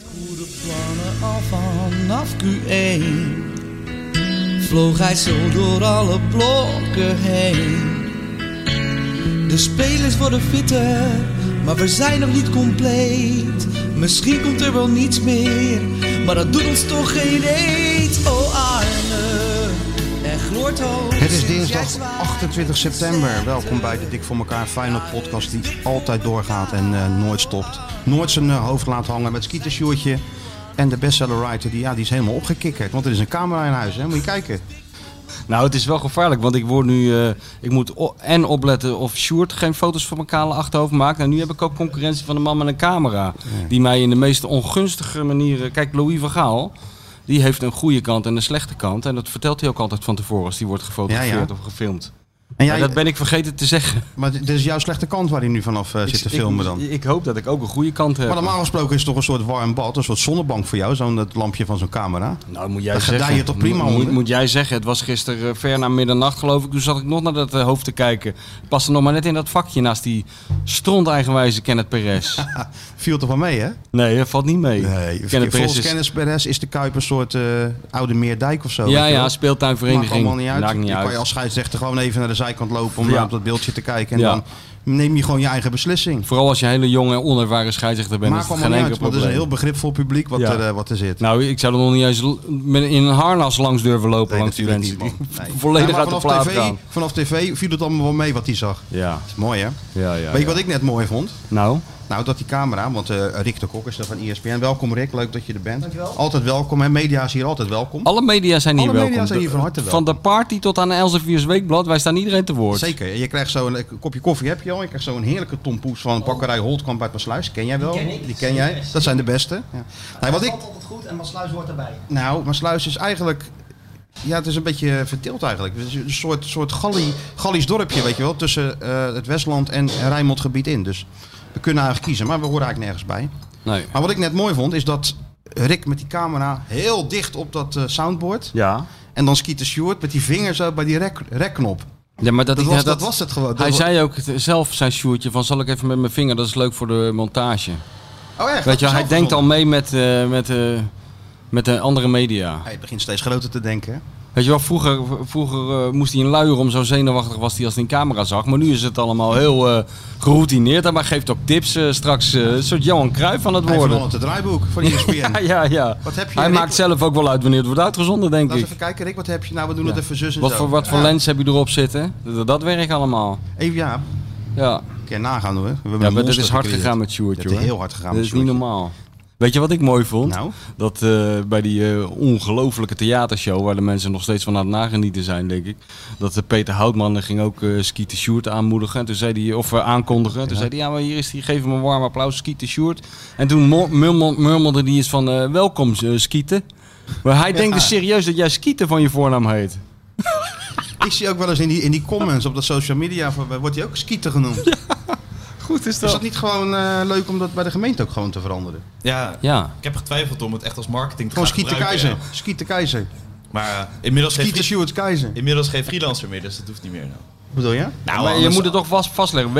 de plannen al vanaf Q1 Vloog hij zo door alle blokken heen De spelers worden fitter, maar we zijn nog niet compleet Misschien komt er wel niets meer, maar dat doet ons toch geen eet Oh Arne, er gloort hoop Het is sinds jij dinsdag zwaait. 28 september. Welkom bij de Dik voor elkaar Final Podcast die altijd doorgaat en eh, nooit stopt. Nooit zijn eh, hoofd laat hangen met skietersjoertje. En de bestseller writer, die, ja, die is helemaal opgekikkerd. Want er is een camera in huis, hè? moet je kijken. Nou, het is wel gevaarlijk, want ik word nu. eh, ik moet o- en opletten of Sjoerd geen foto's van mijn kale achterhoofd maakt. En nu heb ik ook concurrentie van een man met een camera. Die mij in de meest ongunstige manieren. Kijk, Louis van Gaal. Die heeft een goede kant en een slechte kant. En dat vertelt hij ook altijd van tevoren als die wordt gefotografeerd Ja, of gefilmd. En Maar jij, dat ben ik vergeten te zeggen. Maar dit is jouw slechte kant waar hij nu vanaf eh, Ik- zit te ik- filmen dan. Ik, hoop dat ik ook een goede kant heb. Maar normaal gesproken is het toch een soort warm bad, een soort zonnebank voor jou, zo'n dat lampje van zo'n camera. Nou, moet jij Daar gedij zeggen. je toch prima moet, moet, onder? moet jij zeggen, het was gisteren eh, ver na middernacht geloof ik. Toen zat ik nog naar dat eh, hoofd te kijken. Het paste nog maar net in dat vakje naast die stront eigenwijze Kenneth Perez. Viel toch wel mee, hè? nee, dat valt niet mee. Volgens Kenneth Perez is... Kennis Perez is de Kuip een soort eh, oude Meerdijk of zo. weet ja, je wel? ja, speeltuinvereniging. Maakt allemaal niet uit. Maakt niet je uit. kan je als scheidsrechter gewoon even naar de zijkant lopen om Ja. daar op dat beeldje te kijken. En Ja. dan neem je gewoon je eigen beslissing. Vooral als je een hele jonge en onervaren scheidsrechter bent. Maakt is het allemaal geen niet enkel uit, want het is een probleem. heel begripvol publiek wat, Ja. er, eh, wat er zit. Nou, ik zou er nog niet eens l- met- in een harnas langs durven lopen Nee, langs die natuurlijk mensen. niet, man. die Nee. Volledig Ja, maar uit de plaat vanaf TV, gaan. Vanaf tv viel het allemaal wel mee wat hij zag. Ja, Dat is mooi hè? ja, ja. Weet je ja. wat ik net mooi vond? Nou, Nou, dat die camera, want eh, Rick de Kok is er van ESPN. Welkom Rick, leuk dat je er bent. Altijd welkom hè, media is hier altijd welkom. alle media zijn hier Alle media welkom. zijn hier van harte welkom. de party tot aan Elsevier's Weekblad, wij staan iedereen te woord. Zeker, en je krijgt zo'n een kopje koffie heb je al. Je krijgt zo'n heerlijke tompoes van bakkerij Holtkamp uit Pasluis. Ken jij wel? Oh. Die ken ik. jij. Dat zijn de beste. Ja. Nee, wat ik, valt altijd goed en Masluis wordt erbij. Nou, maar Sluis is eigenlijk... Ja, het is een beetje verdeeld eigenlijk. Het is een soort, soort Galli, Gallisch dorpje, weet je wel. Tussen eh, het Westland en Rijnmondgebied in. Dus we kunnen eigenlijk kiezen, maar we horen eigenlijk nergens bij. Nee. Maar wat ik net mooi vond, is dat Rick met die camera heel dicht op dat eh, soundboard... Ja. en dan skiet de Stuart met die vingers zo bij die rek, rekknop. Ja, maar dat, Dat ik- was, ja, dat was het gewoon. Hij Dat- zei ook het- zelf, zijn Sjoerdje, van zal ik even met mijn vinger, dat is leuk voor de montage. oh, echt, Weet je, Dat hij is denkt al zelfverzonnen. mee met, eh, met, eh, met de andere media. Hij begint steeds groter te denken. hè? Weet je wel, vroeger, vroeger eh, moest hij een luier om, zo zenuwachtig was hij als hij een camera zag. Maar nu is het allemaal heel eh, geroutineerd en maar geeft ook tips eh, straks. eh, een soort Johan Cruijff aan het Hij worden. verandert het draaiboek E van ESPN. Ja, ja, ja. Wat heb je, Hij Rick? maakt zelf ook wel uit wanneer het wordt uitgezonden, denk Laten we ik. even kijken, Rick, wat heb je nou? We doen Ja. het even zus en Wat zo. voor, wat voor Ja. lens heb je erop zitten? Dat, dat werkt allemaal. Even, ja, Ja. Kun je nagaan hoor. We hebben Ja, een maar dat monster is hard gecreëerd. gegaan met Sjoerd, Dat joh. is heel hard gegaan Dat met is niet Sjoerdje. normaal. Weet je wat ik mooi vond? Nou, Dat eh, bij die eh, ongelofelijke theatershow, waar de mensen nog steeds van aan het nagenieten zijn, denk ik. Dat eh, Peter Houtman eh, ging ook eh Ski de Sjoerd aanmoedigen. En toen zei hij, of eh, aankondigen. Toen zei hij, ja, maar hier is hij, geef hem een warm applaus, Ski de Sjoerd. En toen mo- murmel- murmelde hij eens van, eh, welkom eh, Skieten. Maar hij denkt dus serieus dat jij Skieten van je voornaam heet. ik zie ook wel eens in die, in die comments op de social media, voor- wordt hij ook skieter genoemd. Goed is Is dat niet gewoon eh, leuk om dat bij de gemeente ook gewoon te veranderen? Ja, Ja. ik heb getwijfeld om het echt als marketing te Gewoon gaan skieter gebruiken, keizer. Skieter keizer. ja. Maar eh, inmiddels, geen Skieter free- Stuart keizer. inmiddels geen freelancer meer, dus dat hoeft niet meer. Nou, Wat bedoel je? Nou, maar je moet het toch vast vastleggen.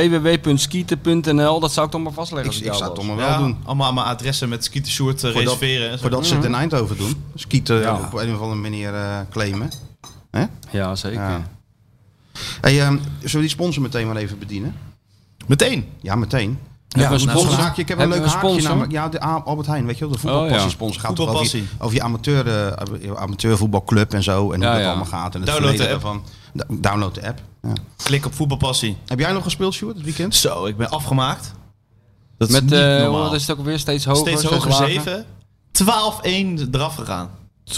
www.skieten.nl, Nou, dat zou ik toch maar vastleggen. Ik, als ik jou zou het was. toch maar wel ja, doen. allemaal aan mijn adressen met Skeeter Sjoerd eh, Voor dat- reserveren en zo. Voordat ze het in Eindhoven doen. Skieter Ja. op een of andere manier eh, claimen. Ja, zeker. Ja. Hey, ehm, zullen we die sponsor meteen maar even bedienen? Meteen. Ja, meteen. Ja, Nou, een zo'n sponsor. haakje. Ik heb een Oh, Hebben leuk we een haakje. sponsor? namelijk. ja, de A- Albert Heijn, weet je wel, de voetbalpassiesponsor. Gaat toch over je, Voetbalpassie. over je amateur, eh, amateurvoetbalclub en zo. En Ja, hoe dat ja. allemaal gaat. En het Download de verleden daarvan. Da- Download de app. Ja. Klik op voetbalpassie. Heb jij nog gespeeld, Sjoerd, dit weekend? Zo, ik ben afgemaakt. Dat is Met, niet eh normaal. wat is het ook weer? Steeds hoger? Steeds hoger 7. 12-1 eraf gegaan. 12-1.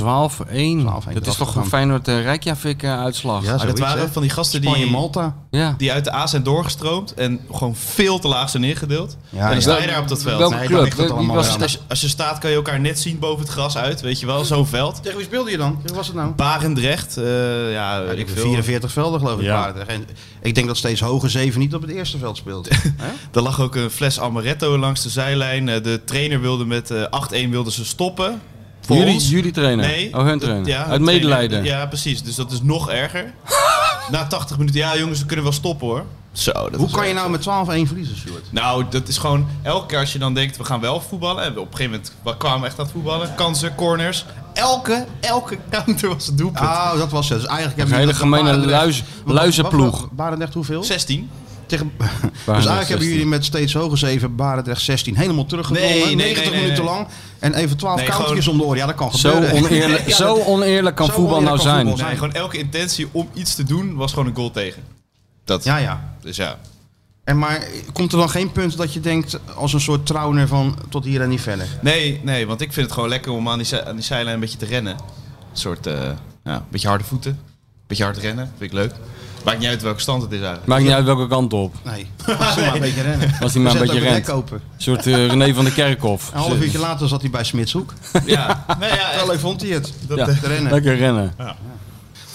12-1 Dat is eraf toch gegaan. een Feyenoord uh, Rijkjavik eh, uitslag? Ja, Maar Ah, dat zoiets, hè? waren van die gasten Spanje, die, Malta. Ja. die uit de A zijn doorgestroomd en gewoon veel te laag zijn neergedeeld. Ja, en dan ja. sta je daar op dat veld. Welke Nee, dat club? ligt het Wie allemaal was weer het? aan. Als- Als je staat kan je elkaar net zien boven het gras uit, weet je wel, zo'n veld. Tegen wie speelde je dan? Wie was het nou? Barendrecht, eh ja, weet ik Ik veel. 44 velden geloof ik Ja. waren er. En ik denk dat steeds hoger 7 niet op het eerste veld speelt. Hè? Er lag ook een fles amaretto langs de zijlijn. Eh, De trainer wilde met eh, 8-1 wilde ze stoppen. Voor Jullie, ons. jullie trainer? Nee. Oh, hun Dat- trainer. ja, Uit de medelijden. trainer. Ja, precies. Dus dat is nog erger. Na 80 minuten, ja jongens, we kunnen wel stoppen hoor. Zo, dat Hoe is kan je echt- nou met 12-1 verliezen, Stuart? Nou, dat is gewoon elke keer als je dan denkt, we gaan wel voetballen. En we op een gegeven moment we kwamen echt aan het voetballen. Kansen, corners. Elke, elke counter was het doelpunt. Ah, dat was het. Dus eigenlijk hebben een hele met gemene Barendrecht- luiz- luizenploeg. Barendrecht hoeveel? 16. Tegen, dus eigenlijk 16. hebben jullie met steeds hoger 7 Barendrecht 16 helemaal teruggedrongen. Nee, nee, 90 nee, nee, minuten nee. lang. En even 12 Nee, koudjes gewoon- om de oren. Ja, dat kan Zo gebeuren. oneerlijk, Ja, zo dat- oneerlijk kan zo voetbal oneerlijk nou kan zijn. voetbal Nee, gewoon elke intentie om iets te doen was gewoon een goal tegen. Dat. Ja, ja. Dus ja. En maar komt er dan geen punt dat je denkt als een soort trouwner van tot hier en niet verder? Nee, nee, want ik vind het gewoon lekker om aan die, zij- aan die zijlijn een beetje te rennen. Een soort, eh, ja, een beetje harde voeten. Een beetje hard rennen. Vind ik leuk. Maakt niet uit welke stand het is eigenlijk. Maakt niet uit welke kant op. Nee. Als hij maar een beetje rennen. Als hij maar een beetje rent. Een Open. soort eh, René van de Kerkhof. Een half uurtje later zat hij bij Smitshoek. Ja, nee, ja, echt. Wel leuk vond hij het. Dat Ja. te rennen. eh, Lekker rennen.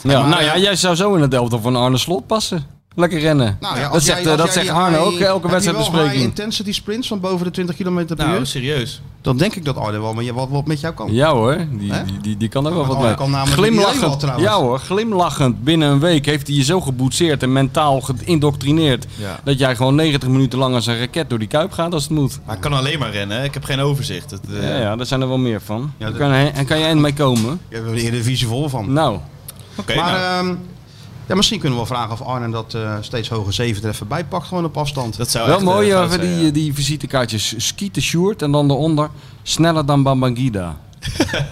Ja. nou ja, jij zou zo in het elftal van Arne Slot passen. Lekker rennen. Nou ja, als dat jij- zegt, eh, als dat jij zegt die Arne high- ook elke heb je wel wedstrijdbespreking. high intensity sprints van boven de 20 km per Nou, uur. serieus. Dan denk ik dat Arne wel met- wat, wat met jou kan. Ja hoor, die, Hè? die, die, die kan er wel Maar wat Arne mee. kan namelijk die eenmaal Glimlachend, trouwens. ja hoor, glimlachend. Binnen een week heeft hij je zo geboetseerd en mentaal geïndoctrineerd... Ja. dat jij gewoon 90 minuten lang als een raket door die kuip gaat als het moet. Maar ik kan alleen maar rennen. hè. Ik heb geen overzicht. Het, eh, Ja, ja daar zijn er wel meer van. Ja, dat- kan, hij- en kan jij eind mee komen? Je hebt er een divisie vol van. Nou, Oké, maar nou, ehm, ja, misschien kunnen we wel vragen of Arne dat eh, steeds hoger 7 er even bij pakt. Gewoon op afstand. dat zou wel echt, eh, mooi goud even zijn, die, ja. die visitekaartjes. Skieten Sjoerd en dan daaronder sneller dan Bambangida.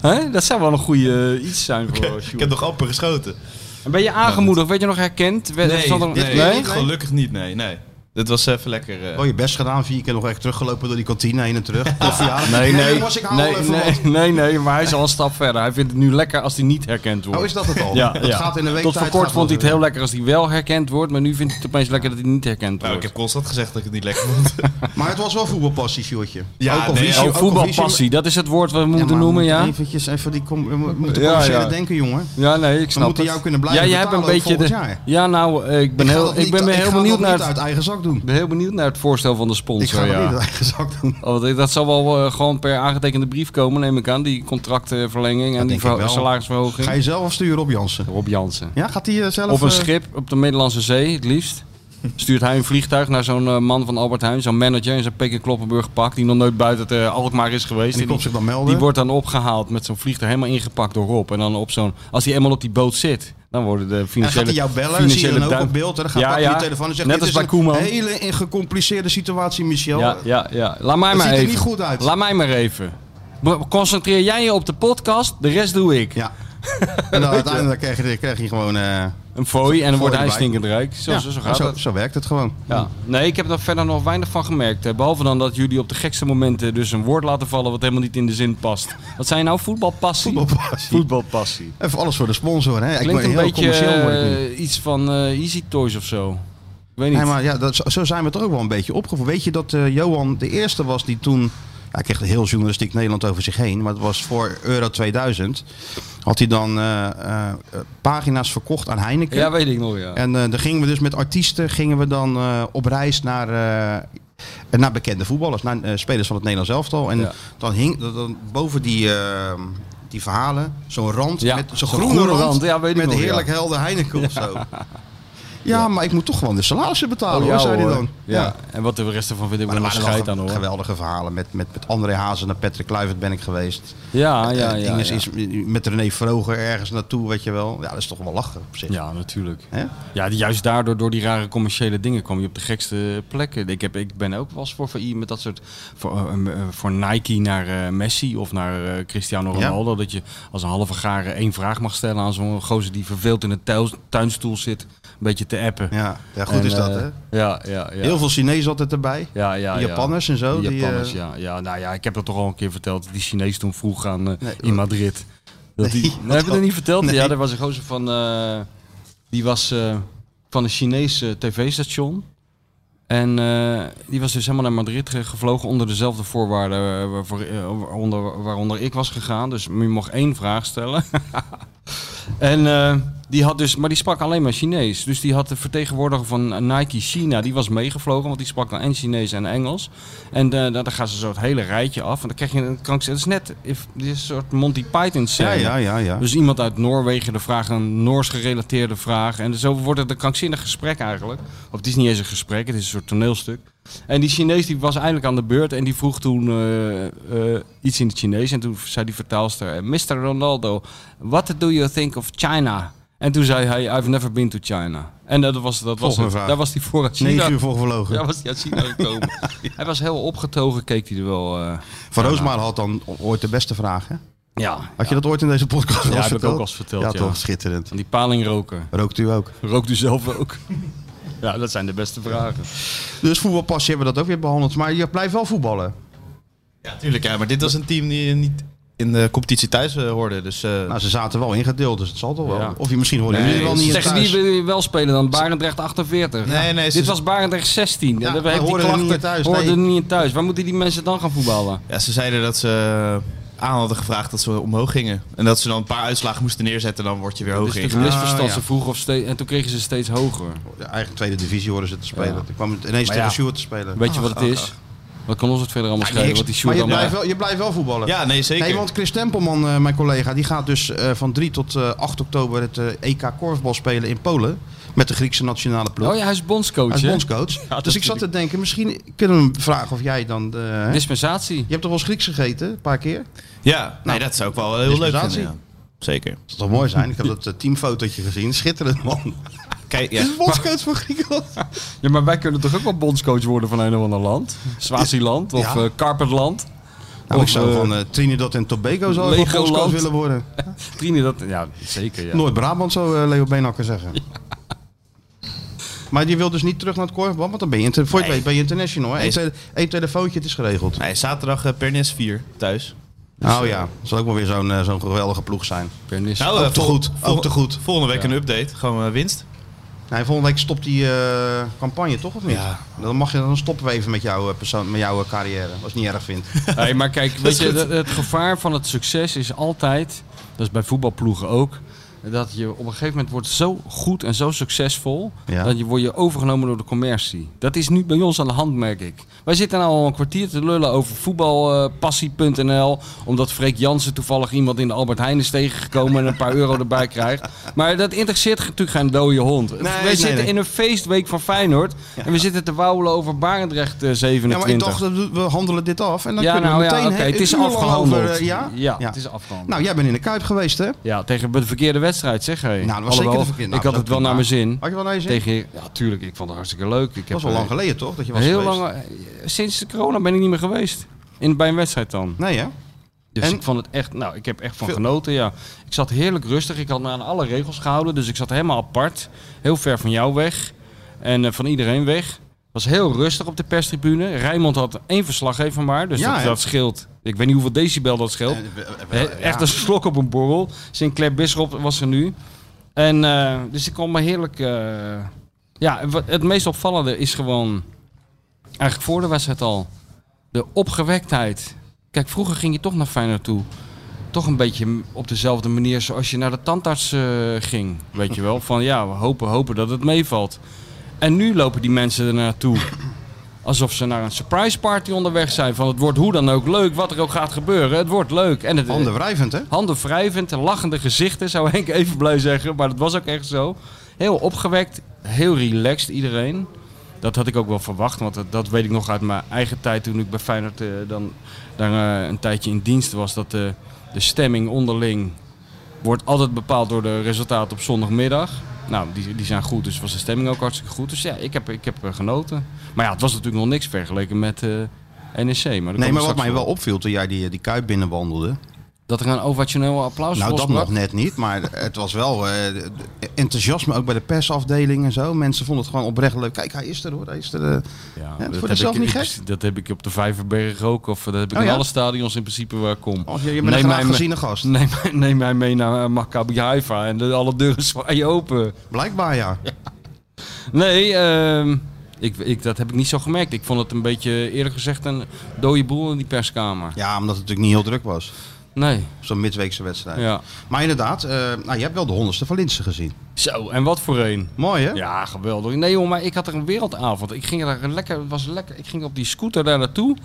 Hè? Dat zou wel een goede eh, iets zijn voor Sjoerd. Ik heb nog amper geschoten. En ben je aangemoedigd? Werd je nog herkend? Werd- zat er- dit nee? keer Nee? niet, gelukkig niet. Nee, nee. Dit was even lekker. eh, Oh, je best gedaan. Vier keer nog echt teruggelopen door die kantine heen en terug. Koffie halen. Nee, nee, jongens, ik haal nee, even nee, wat. nee, nee, maar hij is al een stap verder. Hij vindt het nu lekker als hij niet herkend wordt. Oh, is dat het al? ja, dat ja. gaat in de week Tot voor tijd kort gaat vond hij het dat heel lekker als hij wel herkend wordt, maar nu vindt hij het opeens lekker dat hij niet herkend nou, ik wordt. heb constant gezegd dat ik het niet lekker vond. weer. Maar het was wel voetbalpassie, Sjoerdje. Ja, Ook al nee, verlies je- ook ook al verlies je- Oh, voetbalpassie, dat is het woord wat we Ja, moeten maar we noemen, ja? moeten Eventjes even die kom, we moeten Ja, ja, ja. denken, jongen. Ja, nee, ik snap moeten het. jou kunnen blijven ja, jij hebt een betalen ook beetje de... volgend jaar. Ja, nou, eh, ik ben, Ik ga heel, dat ik niet- ben me ik heel ga dat benieuwd niet naar het, uit eigen zak doen. ben heel benieuwd naar het voorstel van de Ik ga sponsor, dat niet ja. uit eigen zak doen. Oh, want dat zal wel eh, gewoon per aangetekende brief komen, neem ik aan. Die contractverlenging en die denk ik verho- wel. salarisverhoging. Ga je zelf of stuur je Rob Jansen? Rob Jansen. Ja, gaat hij eh, zelf... Of een eh, schip op de Middellandse Zee, het liefst. Stuurt hij een vliegtuig naar zo'n eh, man van Albert Heijn, zo'n manager in zijn Peking Kloppenburg pak, die nog nooit buiten het eh, Alkmaar is geweest. En die komt zich dan melden. die wordt dan opgehaald met zo'n vliegtuig, helemaal ingepakt door Rob. En dan op zo'n, als hij eenmaal op die boot zit, dan worden de En gaat financiële hij jou bellen, zie financiële je dan ook duim- op beeld. En dan gaat Ja, hij op ja. je telefoon en zegt... Net dit als is bij een Koeman. hele in- gecompliceerde situatie, Michel. Ja, ja, ja. Laat mij Dat maar ziet er even. niet goed uit. Laat mij maar even. Be- Concentreer jij je op de podcast, de rest doe ik. Ja. En dan uiteindelijk krijg je, krijg je gewoon... eh, Een fooi en dan wordt hij erbij. stinkend rijk. Zo, ja, zo, zo gaat zo, dat. zo werkt het gewoon. Ja. Nee, ik heb er verder nog weinig van gemerkt. hè. Behalve dan dat jullie op de gekste momenten dus een woord laten vallen wat helemaal niet in de zin past. Wat zijn nou voetbalpassie? Voetbalpassie. Voetbalpassie. Even alles voor de sponsor, hè. Ik ben Klinkt een heel beetje commercieel. word ik nu. eh, iets van eh, Easy Toys of zo. Ik weet niet. Nee, maar ja, dat, zo- zo zijn we toch ook wel een beetje opgevoed. Weet je dat eh, Johan de eerste was die toen... Hij kreeg heel journalistiek Nederland over zich heen. Maar het was voor Euro 2000. Had hij dan eh, eh, eh, pagina's verkocht aan Heineken. Ja, weet ik nog, ja. En eh dan gingen we dus met artiesten gingen we dan, eh, op reis naar, eh, naar bekende voetballers. Naar eh, spelers van het Nederlands elftal. En Ja. dan hing dan- dan boven die... eh, die verhalen, zo'n rand Ja, met zo'n zo'n groene, groene rand, rand, ja, weet ik met nog, ja. heerlijk helder Heineken of zo. Ja, maar ik moet toch gewoon de salarissen betalen, Oh, hoor, ja, zei hij hoor. dan. Ja. En wat de rest ervan vind ik Maar wel een er waren scheid wel aan hoor. geweldige verhalen. Met, met, met André Hazen en Patrick Kluivert ben ik geweest. Ja, Ah, ja, Eh, ja. Dinges ja. Is, met René Vroger ergens naartoe, weet je wel. Ja, dat is toch wel lachen op zich. Ja, natuurlijk. Hè? Ja, die- juist daardoor, door die rare commerciële dingen, kwam je op de gekste plekken. Ik, heb, ik ben ook wel eens voor VI met dat soort. Voor, eh, eh, voor Nike naar eh, Messi of naar eh, Cristiano Ja. Ronaldo. Dat je als een halve garen één vraag mag stellen aan zo'n gozer die verveeld in een tuil- tuinstoel zit. Een beetje te appen. Ja, ja goed En, is dat, eh, hè? Ja, ja, ja. Heel veel Chinezen altijd erbij. Ja, ja, ja. Japanners en zo, Die die, Japanners, eh, ja, ja. Nou ja, ik heb dat toch al een keer verteld. Die Chinees toen vroeg aan eh, Nee, in Madrid. Dat Nee, die, dat nee, heb je dat wel. niet verteld? Nee. Ja, er was een gozer van... eh, die was eh, van een Chinese eh, tv-station. En eh, die was dus helemaal naar Madrid ge- gevlogen onder dezelfde voorwaarden eh, waarvoor, eh, waaronder, waaronder ik was gegaan. Dus je mocht één vraag stellen. en eh, Die had dus, maar die sprak alleen maar Chinees. Dus die had de vertegenwoordiger van Nike China, die was meegevlogen, want die sprak dan en Chinees en Engels. En eh dan, dan gaan ze zo het hele rijtje af. En dan krijg je een krank. Het is net if, dit is een soort Monty Python Ja, scène. ja, ja, ja. Dus iemand uit Noorwegen de vraag, een Noors gerelateerde vraag. En zo wordt het een krankzinnig gesprek eigenlijk. Of het is niet eens een gesprek, het is een soort toneelstuk. En die Chinees die was eindelijk aan de beurt en die vroeg toen eh, eh, iets in het Chinees. En toen zei die vertaalster, eh, Mr. Ronaldo, what do you think of China? En toen zei hij, I've never been to China. En dat was, dat was Volgende het. vraag. daar was hij voor uit China. 9 uur voor gevlogen. Daar was hij uit China gekomen. Hij was heel opgetogen, keek hij er wel... eh, Van ja, Roosmalen had dan ooit de beste vraag, hè? Ja, Had je dat ooit in deze podcast al ja heb verteld? ik ook al eens verteld. ja, Ja, toch? Schitterend. Van die palingroker. Rookt u ook. Rookt u zelf ook? Ja, dat zijn de beste vragen. Dus voetbalpassie hebben we dat ook weer behandeld. Maar je blijft wel voetballen. Ja, tuurlijk. Ja, maar dit was een team die eh, niet in de competitie thuis eh, hoorde. Dus eh, Nou, ze zaten wel ingedeeld, dus het zal toch wel. Ja. Of je misschien hoorde Nee, jullie wel niet in Tegen wie thuis. wil je wel spelen dan? Barendrecht 48. Nee, nee, ze- Dit was Barendrecht 16. Ja, Ja, maar heeft die hoorden er klachten niet in thuis, hoorden nee. er niet in thuis. Waar moeten die mensen dan gaan voetballen? ja, ze zeiden dat ze eh, aan hadden gevraagd dat ze omhoog gingen. En dat ze dan een paar uitslagen moesten neerzetten. Dan word je weer hoog Dus het in. is een misverstand. Ah, ja. Ze vroegen of steeds, en toen kregen ze steeds hoger. Ja, Eigen tweede divisie horen ze te spelen. Ja. Ik kwam ineens Maar tegen ja, Sjoerd te spelen. Weet je wat het is? Wat kan ons het verder allemaal schelen? Wat die maar Sjoerd je allemaal... blijft, wel, je blijft wel voetballen. Ja, nee, zeker. Nee, want Chris Tempelman, eh, mijn collega, die gaat dus eh, van 3 tot eh, 8 oktober het eh, EK korfbal spelen in Polen. Met de Griekse nationale ploeg. Oh ja, hij is bondscoach, Als hè? bondscoach. dat dus ik zat te denken, misschien kunnen we hem vragen of jij dan... De, hè? Dispensatie. Je hebt toch wel eens Grieks gegeten, een paar keer? Ja, nee, dat zou ik wel heel Nou, leuk dispensatie. vinden. ja. Zeker. Dat zou toch mooi zijn? Ik heb dat eh, teamfotootje gezien. Schitterend, man. Kijk, Het ja. is bondscoach voor Griekenland. Ja, maar wij kunnen toch ook wel bondscoach worden van een of ander land? Swaziland of Ja. eh, Carpetland? Nou, ik Of, zou eh, van eh, Trinidad en Tobago zou ik wel Legoland. bondscoach willen worden. Trinidad? Ja, zeker, ja. Noord-Brabant zou eh, Leo Beenhakker zeggen. Maar je wil dus niet terug naar het korfbal, want dan ben je, inter- voor je het weet ben je international. Hè? Nee. Eén, tele- één telefoontje, het is geregeld. Nee, zaterdag eh, Pernis 4 thuis. oh ja, dat zal ook wel weer zo'n eh, zo'n geweldige ploeg zijn. Pernis. Nou, ook te goed, ook te goed. Volgende week Ja. een update. Gewoon eh, winst. Nee, volgende week stopt die eh, campagne, toch of niet? Ja. Dan, mag je, dan stoppen we even met jouw, eh, persoon, met jouw eh, carrière, als je het niet erg vindt. Hey, maar kijk, weet je, het, het gevaar van het succes is altijd, dat is bij voetbalploegen ook, dat je op een gegeven moment wordt zo goed en zo succesvol, Ja. dat je wordt je overgenomen door de commercie. Dat is nu bij ons aan de hand, merk ik. Wij zitten nou al een kwartier te lullen over voetbalpassie.nl, omdat Freek Jansen toevallig iemand in de Albert Heijn is tegengekomen en een paar euro erbij krijgt. Maar dat interesseert natuurlijk geen dode hond. We nee, zitten nee. in een feestweek van Feyenoord en we zitten te wauwelen over Barendrecht eh, 27. Ja, maar ik dacht, eh, we handelen dit af en dan Ja, kunnen nou we ja, meteen... oké, hè, het een is uur lang afgehandeld. over, eh, ja? Ja, het is afgehandeld. Nou, jij bent in de Kuip geweest, hè? Ja, tegen de verkeerde wedstrijd, zeg hé. Nou, dat was zeker de verkeerde- Ik nou, had het wel dat- naar mijn zin. Had je wel naar je zin? Tegen, ja, tuurlijk, ik vond het hartstikke leuk. Ik eh, Dat was wel lang geleden, toch? Dat je was Heel geweest? lang. eh, Sinds de corona ben ik niet meer geweest. In, bij een wedstrijd dan. Nee, hè? Dus En? ik vond het echt, nou, ik heb echt van Veel- genoten, ja. Ik zat heerlijk rustig. Ik had me aan alle regels gehouden. Dus ik zat helemaal apart. Heel ver van jou weg. En eh, van iedereen weg. was heel rustig op de perstribune. Rijmond had één verslaggever maar. Dus Ja, dat, hè? Eh, dat scheelt. Ik weet niet hoeveel decibel dat scheelt. Hè, Echt een slok op een borrel. Sinclair Bisschop was er nu. En, eh, dus ik kon me heerlijk... eh, ja, en wat- het meest opvallende is gewoon... Eigenlijk voor de wedstrijd al. De opgewektheid. Kijk, vroeger ging je toch naar Feyenoord toe. Toch een beetje m- op dezelfde manier zoals je naar de tandarts eh, ging. Weet je wel? Van ja, we hopen, hopen dat het meevalt. En nu lopen die mensen er naartoe. Alsof ze naar een surprise party onderweg zijn. Van het wordt hoe dan ook leuk, wat er ook gaat gebeuren. Het wordt leuk. En het, Handen wrijvend, hè? handen wrijvend, lachende gezichten, zou Henk even blij zeggen. Maar dat was ook echt zo. Heel opgewekt, heel relaxed iedereen. Dat had ik ook wel verwacht, want dat, dat weet ik nog uit mijn eigen tijd toen ik bij Feyenoord eh, dan, daar eh, een tijdje in dienst was. Dat de, de stemming onderling wordt altijd bepaald door de resultaten op zondagmiddag. Nou, die, die zijn goed, dus was de stemming ook hartstikke goed. Dus ja, ik heb, ik heb eh, genoten. Maar ja, het was natuurlijk nog niks vergeleken met eh NEC. Maar daar komen we Nee, maar wat straks mij op. wel opviel toen jij die, die Kuip binnenwandelde... Dat er een ovationeel applaus Nou, dat losbrak. nog net niet, maar het was wel eh, enthousiasme ook bij de persafdeling en zo. Mensen vonden het gewoon oprecht leuk. Kijk, hij is er hoor, hij is er. eh. Ja, voor dat, jezelf heb ik, niet in gek? principe- dat heb ik op de Vijverberg ook. Of eh, dat heb ik Oh, in ja? alle stadions in principe waar ik kom. Als Oh, je, je bent een Neem graag mij me- geziene gast. Neem, mij- neem mij mee naar eh, Maccabi Haifa en de, alle deuren zwaaien open. Blijkbaar ja. Nee, ehm, ik, ik, dat heb ik niet zo gemerkt. eh, Ik vond het een beetje, eerlijk gezegd, een dode boel in die perskamer. Ja, omdat het natuurlijk niet heel druk was. Nee. Zo'n midweekse wedstrijd. Ja. Maar inderdaad, eh, nou, je hebt wel de honderdste van Linsen gezien. Zo, en wat voor een. Mooi hè? Ja, geweldig. Nee jongen, maar ik had er een wereldavond. Ik ging daar lekker, het was lekker. Ik ging op die scooter daar naartoe.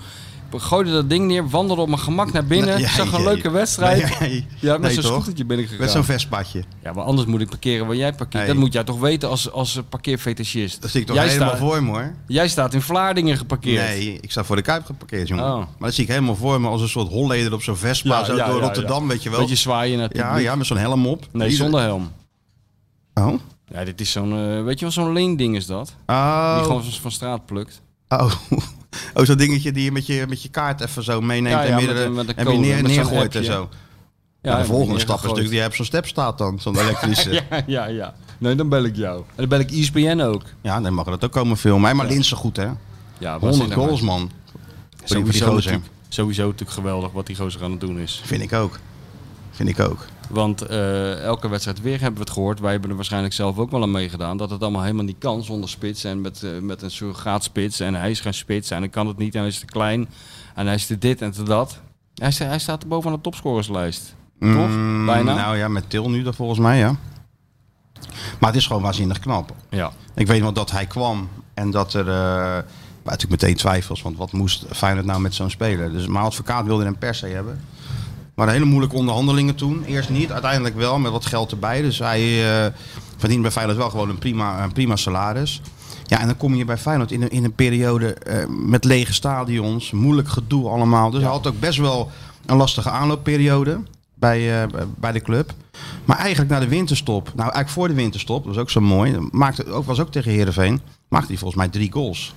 Ik gooide dat ding neer, wandelde op mijn gemak naar binnen. Nee, jij- zag een jij- leuke wedstrijd. Nee, jij- Ja, met nee, zo'n toch? scootertje ben ik gegaan. Met zo'n vestpadje. Ja, maar anders moet ik parkeren waar jij parkeert. Hey. Dat moet jij toch weten als, als eh, parkeerfetischist. Dat zie ik toch jij helemaal staat- voor me hoor. Jij staat in Vlaardingen geparkeerd. Nee, ik sta voor de Kuip geparkeerd, jongen. Oh. Maar dat zie ik helemaal voor me als een soort holleder op zo'n Vespa, Ja, zo ja, door ja, Rotterdam, ja. weet je wel. Beetje zwaaien naar het ja, publiek. ja, met zo'n helm op. Nee, Die- zonder helm. Oh? Ja, dit is zo'n, eh, weet je wel, zo'n leending is dat. Die Oh. gewoon van- van straat plukt. Oh. Oh, zo'n dingetje die je met, je met je kaart even zo meeneemt Ja, ja, en met midden een- met een en weer code, neer, met zo'n neergooit en appje. zo. Ja, en de volgende die stap is natuurlijk, neergegooid. die hebt zo'n stepstaat dan, zo'n elektrische. ja. Ja, ja, ja. Nee, dan bel ik jou. En dan bel ik ESPN ook. nee, mag dat ook komen filmen. Hey, Maar Linsen goed, hè? Ja, 100 goals, man. Voor die Sowieso, gozer. natuurlijk, sowieso natuurlijk geweldig wat die gozer aan het doen is. Vind ik ook. Vind ik ook. Want eh, elke wedstrijd weer hebben we het gehoord. Wij hebben er waarschijnlijk zelf ook wel aan meegedaan. Dat het allemaal helemaal niet kan zonder spits. En met, eh, met een surrogaatspits. En hij is geen spits. En hij kan het niet. En hij is te klein. En hij is te dit en te dat. Hij, sta- hij staat bovenaan de topscorerslijst. Toch? Mm, Bijna? Nou ja, met Til nu dan volgens mij, ja. Maar het is gewoon waanzinnig knap. Ja. Ik weet wel dat hij kwam en dat er... eh, maar natuurlijk meteen twijfels, want wat moest Feyenoord nou met zo'n speler? Dus mijn advocaat wilde hem per se hebben. Maar hele moeilijke onderhandelingen toen. Eerst niet, uiteindelijk wel, met wat geld erbij. Dus hij eh, verdient bij Feyenoord wel gewoon een prima, een prima salaris. Ja, en dan kom je bij Feyenoord in een, in een periode eh, met lege stadions, moeilijk gedoe allemaal. Dus hij had ook best wel een lastige aanloopperiode bij, eh, bij de club. Maar eigenlijk na de winterstop, nou eigenlijk voor de winterstop, dat was ook zo mooi. Maakte, ook, was ook tegen Herenveen, maakte hij volgens mij drie goals.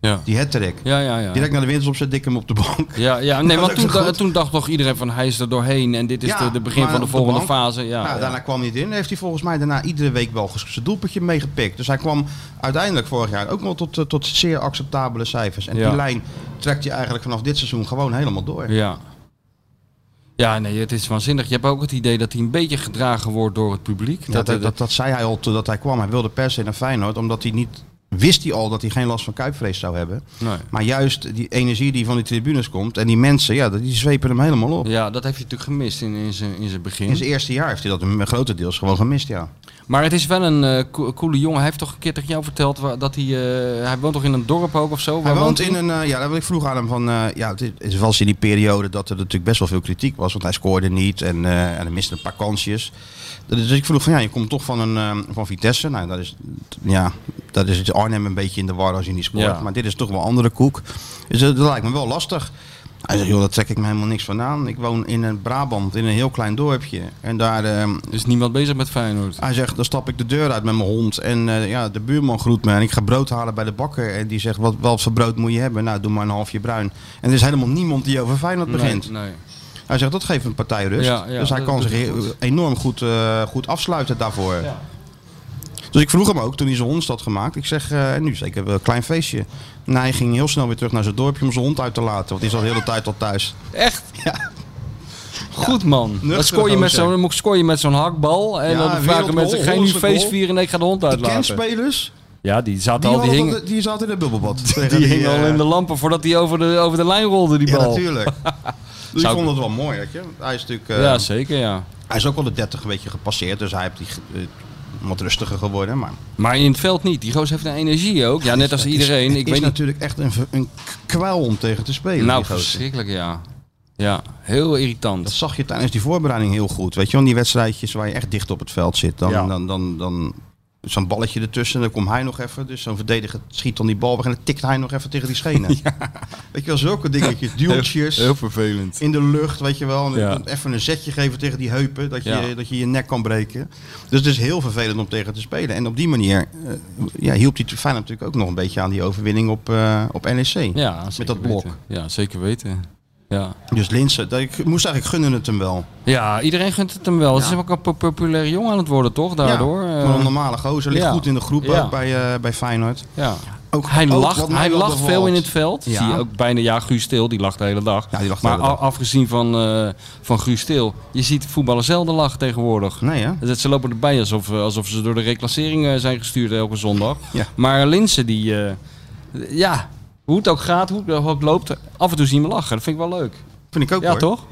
Ja. Die hat-trick. Ja, ja, ja. Direct na de winterstop zet ik hem op de bank. Ja, ja, nee, Dat want is toen, ook goed. da- toen dacht nog iedereen van hij is er doorheen en dit is Ja, de, de begin maar van de op de volgende bank- fase. Ja, nou, ja. daarna kwam hij erin. Heeft hij volgens mij daarna iedere week wel ges- zijn doelpuntje meegepikt. Dus hij kwam uiteindelijk vorig jaar ook wel tot, eh, tot zeer acceptabele cijfers. En Ja. die lijn trekt hij eigenlijk vanaf dit seizoen gewoon helemaal door. Ja. Ja, nee, het is waanzinnig. Je hebt ook het idee dat hij een beetje gedragen wordt door het publiek. dat, dat, dat, dat zei hij al toen dat hij kwam. Hij wilde per se naar Feyenoord, omdat hij niet... Wist hij al dat hij geen last van kuipvrees zou hebben. Nee. Maar juist die energie die van die tribunes komt en die mensen, ja, die zwepen hem helemaal op. Ja, dat heeft hij natuurlijk gemist in, in, zijn, in zijn begin. In zijn eerste jaar heeft hij dat m- grotendeels gewoon gemist, ja. Maar het is wel een eh, co- coole jongen. Hij heeft toch een keer tegen jou verteld wa- dat hij... eh, hij woont toch in een dorp ook of zo? Hij woont in een, eh, ja, dat wil ik vroeg aan hem van, eh, ja, het is- het was in die periode dat er natuurlijk best wel veel kritiek was, want hij scoorde niet en, eh, en hij miste een paar kansjes. Dus ik vroeg van, ja, je komt toch van een, eh, van Vitesse, nou, dat is, ja, dat is het Arnhem een beetje in de war als je niet scoort, Ja. maar dit is toch wel andere koek. Dus dat, dat lijkt me wel lastig. Hij zegt, joh, daar trek ik me helemaal niks van aan. Ik woon in een Brabant, in een heel klein dorpje. En daar, eh, Er is niemand bezig met Feyenoord. hij zegt, dan stap ik de deur uit met mijn hond. En eh, ja, de buurman groet me. En ik ga brood halen bij de bakker. En die zegt, wat, wat voor brood moet je hebben? Nou, doe maar een halfje bruin. En er is helemaal niemand die over Feyenoord begint. Nee, nee. Hij zegt, dat geeft een partij rust. Ja, ja, dus hij dat kan doet zich hij goed. enorm goed, eh, goed afsluiten daarvoor. Dus ik vroeg hem ook, toen hij zijn hond had gemaakt. Ik zeg, eh, nu zeker wel een klein feestje. En hij ging heel snel weer terug naar zijn dorpje om zijn hond uit te laten. Want die zat de hele tijd al thuis. Echt? Ja. Goed man. nuchtere Dan scoor je met gozer. zo'n, scoor je met zo'n hakbal. En Ja, dan vragen wereldgoal, mensen, ga je nu Hollandse feest goal. vieren? Nee, ik ga de hond De uitlaten. kenspelers, Ja, die zaten die, al, Nou, die hadden hingen... dat- die zaten in het bubbelbad. Die Tegen hing al eh, in de lampen voordat hij over de, over de lijn rolde, die Ja, bal. natuurlijk. Dus ik Zou- vond het wel mooi, weet je. Hij is natuurlijk... eh, Ja, zeker, ja. hij is ook al de 30 een beetje gepasseerd, dus hij heeft die ge- eh, wat rustiger geworden. Maar Maar in het veld niet. Die goos heeft een energie ook. Ja, net als iedereen. is, Ik weet niet. natuurlijk echt een, ver- een k- kwel om tegen te spelen. Nou, die gozer. verschrikkelijk, ja. Ja, heel dat irritant. zag je tijdens die voorbereiding heel goed. Weet je, want die wedstrijdjes waar je echt dicht op het veld zit, dan, Ja. dan, dan, dan zo'n balletje ertussen, dan komt hij nog even. Dus zo'n verdediger schiet dan die bal weg en dan tikt hij nog even tegen die schenen. Weet je wel, zulke dingetjes, duwtjes. vervelend. in de lucht, weet je wel. En Ja. Even een zetje geven tegen die heupen, dat je, Ja. dat je je nek kan breken. Dus het is heel vervelend om tegen te spelen. En op die manier eh, ja, hielp die Feyenoord natuurlijk ook nog een beetje aan die overwinning op, eh, op NEC. Ja, zeker dat blok. weten. Ja, zeker weten. Ja. Dus Linsen, dat, ik moest eigenlijk gunnen het hem wel. ja, iedereen gunt het hem wel. Het is ook een po- populaire jongen aan het worden, toch? Daardoor. Ja, Eh, gewoon een normale gozer, ligt ja. goed in de groep Ja. ook bij, eh, bij Feyenoord. ja. Ook, Hij ook lacht, wat mij hij wel lacht veel bevalt. in het veld. Ja. Zie je ook bijna, ja, Guus Stil, die lacht de hele dag. Ja, die lacht de maar hele dag. a- afgezien van, eh, van Guus Stil, je ziet voetballen zelden lachen tegenwoordig. Nee, hè? Dat ze lopen erbij alsof, eh, alsof ze door de reclassering eh, zijn gestuurd elke zondag. Ja. Maar Linsen, die. eh, ja, hoe het ook gaat, hoe het ook loopt, af en toe zien we lachen. Dat vind ik wel leuk. Vind ik ook ja, hoor. toch?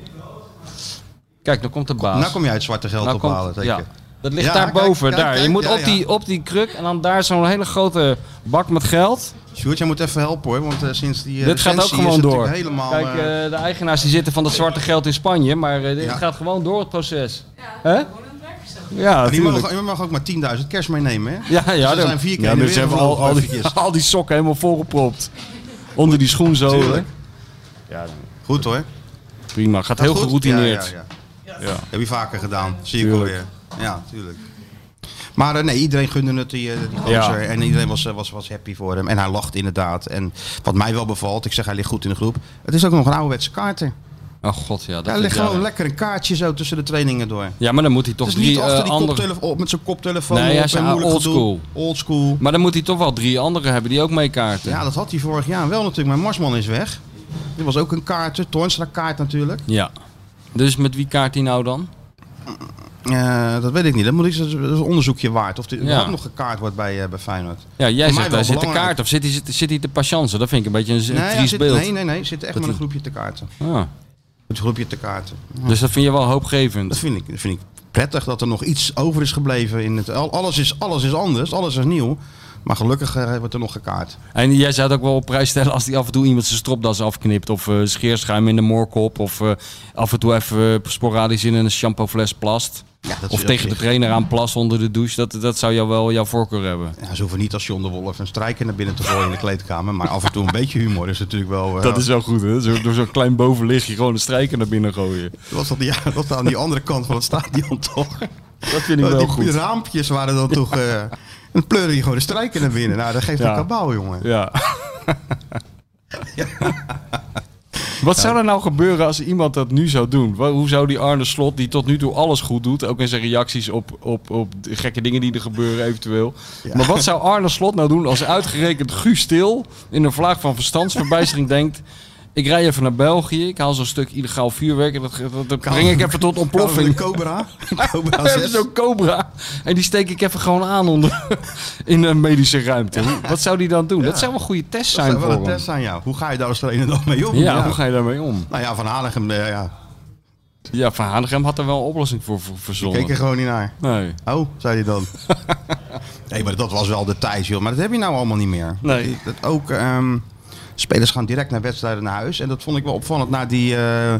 Kijk, dan komt de baas. Nou kom jij het zwarte geld Nou ophalen, komt- zeker. ja. Dat ligt Ja, daar kijk, boven, kijk, daar. je kijk, moet ja, op, ja. Die, op die kruk en dan daar zo'n hele grote bak met geld. Sjoerd, jij moet even helpen hoor, want eh, sinds die eh, dit gaat ook recensie gewoon is het door. natuurlijk helemaal... Kijk, eh, eh, de eigenaars die zitten van dat zwarte geld in Spanje, maar eh, dit Ja. gaat gewoon door het proces. Ja, Hè? Ja, maar die natuurlijk. mag, ook- je mag ook maar 10.000 cash meenemen, hè? Ah, Ja, ja, Dus er dan- zijn vier keer ja, in de dus ze hebben wereld al, al, die, eventjes. al die sokken helemaal volgepropt. Onder die schoenzolen. Tuurlijk. Goed hoor. Prima, gaat Gaat heel goed? geroutineerd. Ja, ja, ja. Ja. Heb je vaker gedaan, zie ik Tuurlijk. alweer. Ja, tuurlijk. Maar eh, nee, iedereen gunde het die, eh, die Ja. gozer. En iedereen was, eh, was, was happy voor hem. En hij lacht inderdaad. En wat mij wel bevalt, ik zeg hij ligt goed in de groep. Het is ook nog een ouderwetse kaarten. Oh god, ja. Dat Daar is- ligt ja. gewoon lekker een kaartje zo tussen de trainingen door. Ja, maar dan moet hij toch Het is drie niet achter eh die andere... koptelefoon, op met zijn koptelefoon. Nee, op hij en zei, ah, moeilijk old gedoe. school. Old school. Maar dan moet hij toch wel drie anderen hebben die ook meekaarten. Ja, Ja. dat had hij vorig jaar wel natuurlijk. Maar Marsman is weg. Dit was ook een kaarten. Toornstra kaart natuurlijk. Dus met wie kaart hij nou dan? Eh, dat weet ik niet. Dat, moet ik, dat is een onderzoekje waard. Of er Ja. nog gekaart wordt bij, eh bij Feyenoord. Ja, jij mij zegt wel hij zit te belangrijk. Nou kaarten of zit hij, zit, zit hij te patiansen? Dat vind ik een beetje een, een ja, triest zit, beeld. nee, nee, nee. Zit echt Dat met een die- groepje te kaarten. Ja. Met een groepje te kaarten. Dus dat vind je wel Dat hoopgevend. vind ik, dat vind ik prettig dat er nog iets over is gebleven. In het, al- alles, is, alles is anders, alles is nieuw. Maar gelukkig eh, wordt er nog gekaart. En jij zou het ook wel op prijs stellen als hij af en toe iemand zijn stropdas afknipt. Of eh, scheerschuim in de moorkop. Of eh, af en toe even eh, sporadisch in een shampoofles plast. Ja, dat of tegen de trainer aan plast onder de douche. Dat, dat zou jou wel jouw voorkeur hebben. ja, Ze hoeven niet als John de Wolf een strijker naar binnen te gooien in de kleedkamer. Maar af en toe een beetje humor is natuurlijk wel... eh, Dat is wel goed, hè? Zo, door zo'n klein bovenlichtje gewoon een strijker naar binnen gooien. was dat, die- ja, dat aan die andere kant van het stadion toch? Dat vind ik Eh, die, wel die goed. raampjes waren dan toch... eh een pleur je gewoon de strijker naar binnen. Nou, dat geeft Ja. een kabaal, jongen. Ja. Wat zou er nou gebeuren als iemand dat nu zou doen? Wa- Hoe zou die Arne Slot, die tot nu toe alles goed doet, ook in zijn reacties op, op, op de gekke dingen die er gebeuren eventueel. Maar wat zou Arne Slot nou doen als uitgerekend Guus Stil in een vlaag van verstandsverbijstering denkt... Ik rij even naar België, ik haal zo'n stuk illegaal vuurwerk en dat, ge- dat, dat breng ik even tot Een ontploffing. Cobra. Een Cobra We hebben 6. zo'n cobra en die steek ik even gewoon aan onder, in een medische ruimte. Wat zou die dan doen? Dat zou wel een goede test zijn Dat zou wel voor een hem. test aan jou. Hoe ga je daar als trainer dan mee om? Ja, hoe ga je daarmee om? Nou ja, Van Hanegem, eh, ja. Ja, Van Hanegem had er wel een oplossing voor, voor verzonnen. keek er gewoon niet naar. Nee. Oh, zei hij dan. nee, maar dat was wel de tijd, joh. Maar dat heb je nou allemaal niet meer. Nee. Dat ook, ehm, spelers gaan direct naar wedstrijden naar huis. En dat vond ik wel opvallend na die... eh,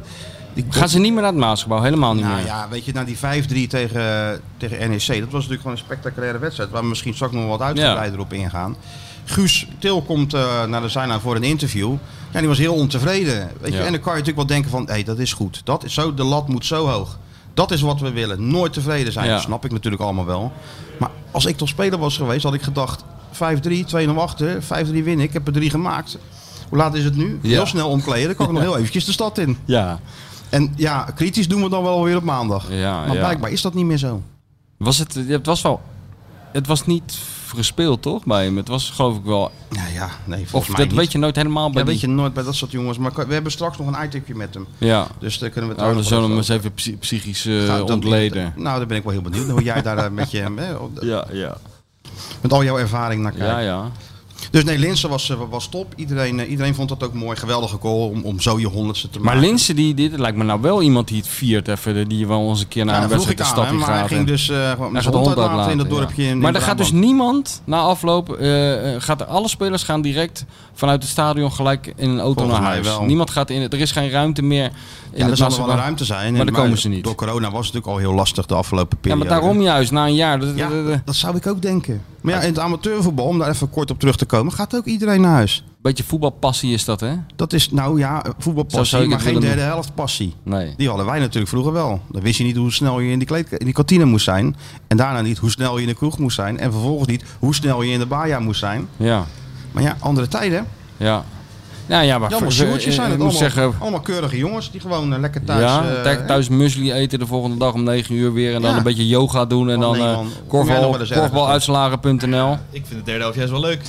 die Gaan ze niet meer naar het Maasgebouw? Helemaal niet nou meer. ja, weet je, na die 5-3 tegen, tegen NEC. Dat was natuurlijk gewoon een spectaculaire wedstrijd. Waar we misschien straks nog wat uitgebreider op ingaan. Guus Til komt eh, naar de zijlijn voor een interview. Ja, die was heel ontevreden. Weet je? Ja. En dan kan je natuurlijk wel denken van, hé, dat is goed. Dat is zo, de lat moet zo hoog. Dat is wat we willen. Nooit tevreden zijn. Ja. Dat snap ik natuurlijk allemaal wel. Maar als ik toch speler was geweest, had ik gedacht... 5-3, 2-0 achter, 5-3 win ik. Ik heb er drie gemaakt. Hoe laat is het nu? Ja. Heel snel omkleden. Dan kan ik nog heel eventjes de stad in. Ja. En ja, kritisch doen we dan wel weer op maandag. Ja, maar ja. blijkbaar is dat niet meer zo. Was het, het was wel... Het was niet gespeeld, toch, bij hem? Het was geloof ik wel... Nou ja, nee, Of volgens dat mij niet. weet je nooit helemaal bij ja, weet die- je nooit bij dat soort jongens. Maar we hebben straks nog een itemje met hem. Ja. Dus daar kunnen we Nou, het dan ook zullen we hem nog eens even psy- psychisch eh, over- Nou, dat- ontleden. Nou, daar ben ik wel heel benieuwd hoe jij daar eh, met, je, eh, Ja, ja. met al jouw ervaring naar kijkt. Ja, ja. Dus nee, Linsen was, eh, was top. Iedereen, eh, iedereen vond dat ook mooi. Geweldige goal om, om zo je honderdste te Maar maken. Linsen, die, dit lijkt me nou wel iemand die het viert even. Die wel eens een keer naar ja, een dat vroeg wedstrijd ik de aan hem, stad in maar hij gaat. en- ging dus eh gewoon Hij met gaat zijn de hond hond uitlaten in dat uitlaten, dorpje ja. in Maar in er gaat dus Brabant. niemand na afloop. eh, eh, gaat, alle spelers gaan direct vanuit het stadion gelijk in een auto Volgens naar mij huis. wel. Niemand gaat in het. Er is geen ruimte meer Ja, in er het zal er wel een Nationaal- ruimte zijn. Maar daar komen ze niet. Door corona was het natuurlijk al heel lastig de afgelopen Ja, periode. maar daarom juist na een jaar. dat- Ja, dat- dat- dat zou ik ook denken. Maar ja, in het amateurvoetbal, om daar even kort op terug te komen, gaat ook iedereen naar huis. beetje voetbalpassie is dat, hè? Dat is nou ja, Zo zou voetbalpassie, ik maar het geen willen derde helft passie. Nee. Die hadden wij natuurlijk vroeger wel. Dan wist je niet hoe snel je in die, kleed, in die kantine moest zijn. En daarna niet hoe snel je in de kroeg moest zijn. En vervolgens niet hoe snel je in de baja moest zijn. Ja, Maar ja, andere tijden. ja. Nou ja, maar Jammer, voor- sjoertjes zijn eh, het ik moet allemaal, zeggen. allemaal keurige jongens die gewoon eh, lekker thuis... ja, eh, thuis, thuis muesli eten de volgende dag om 9 uur weer. En dan Ja. een beetje yoga doen. En Oh, dan nee, eh man. Kom jij nog korfbal, wel eens ergens korfbaluitslagen.nl. Ik vind het derde helft juist wel leuk.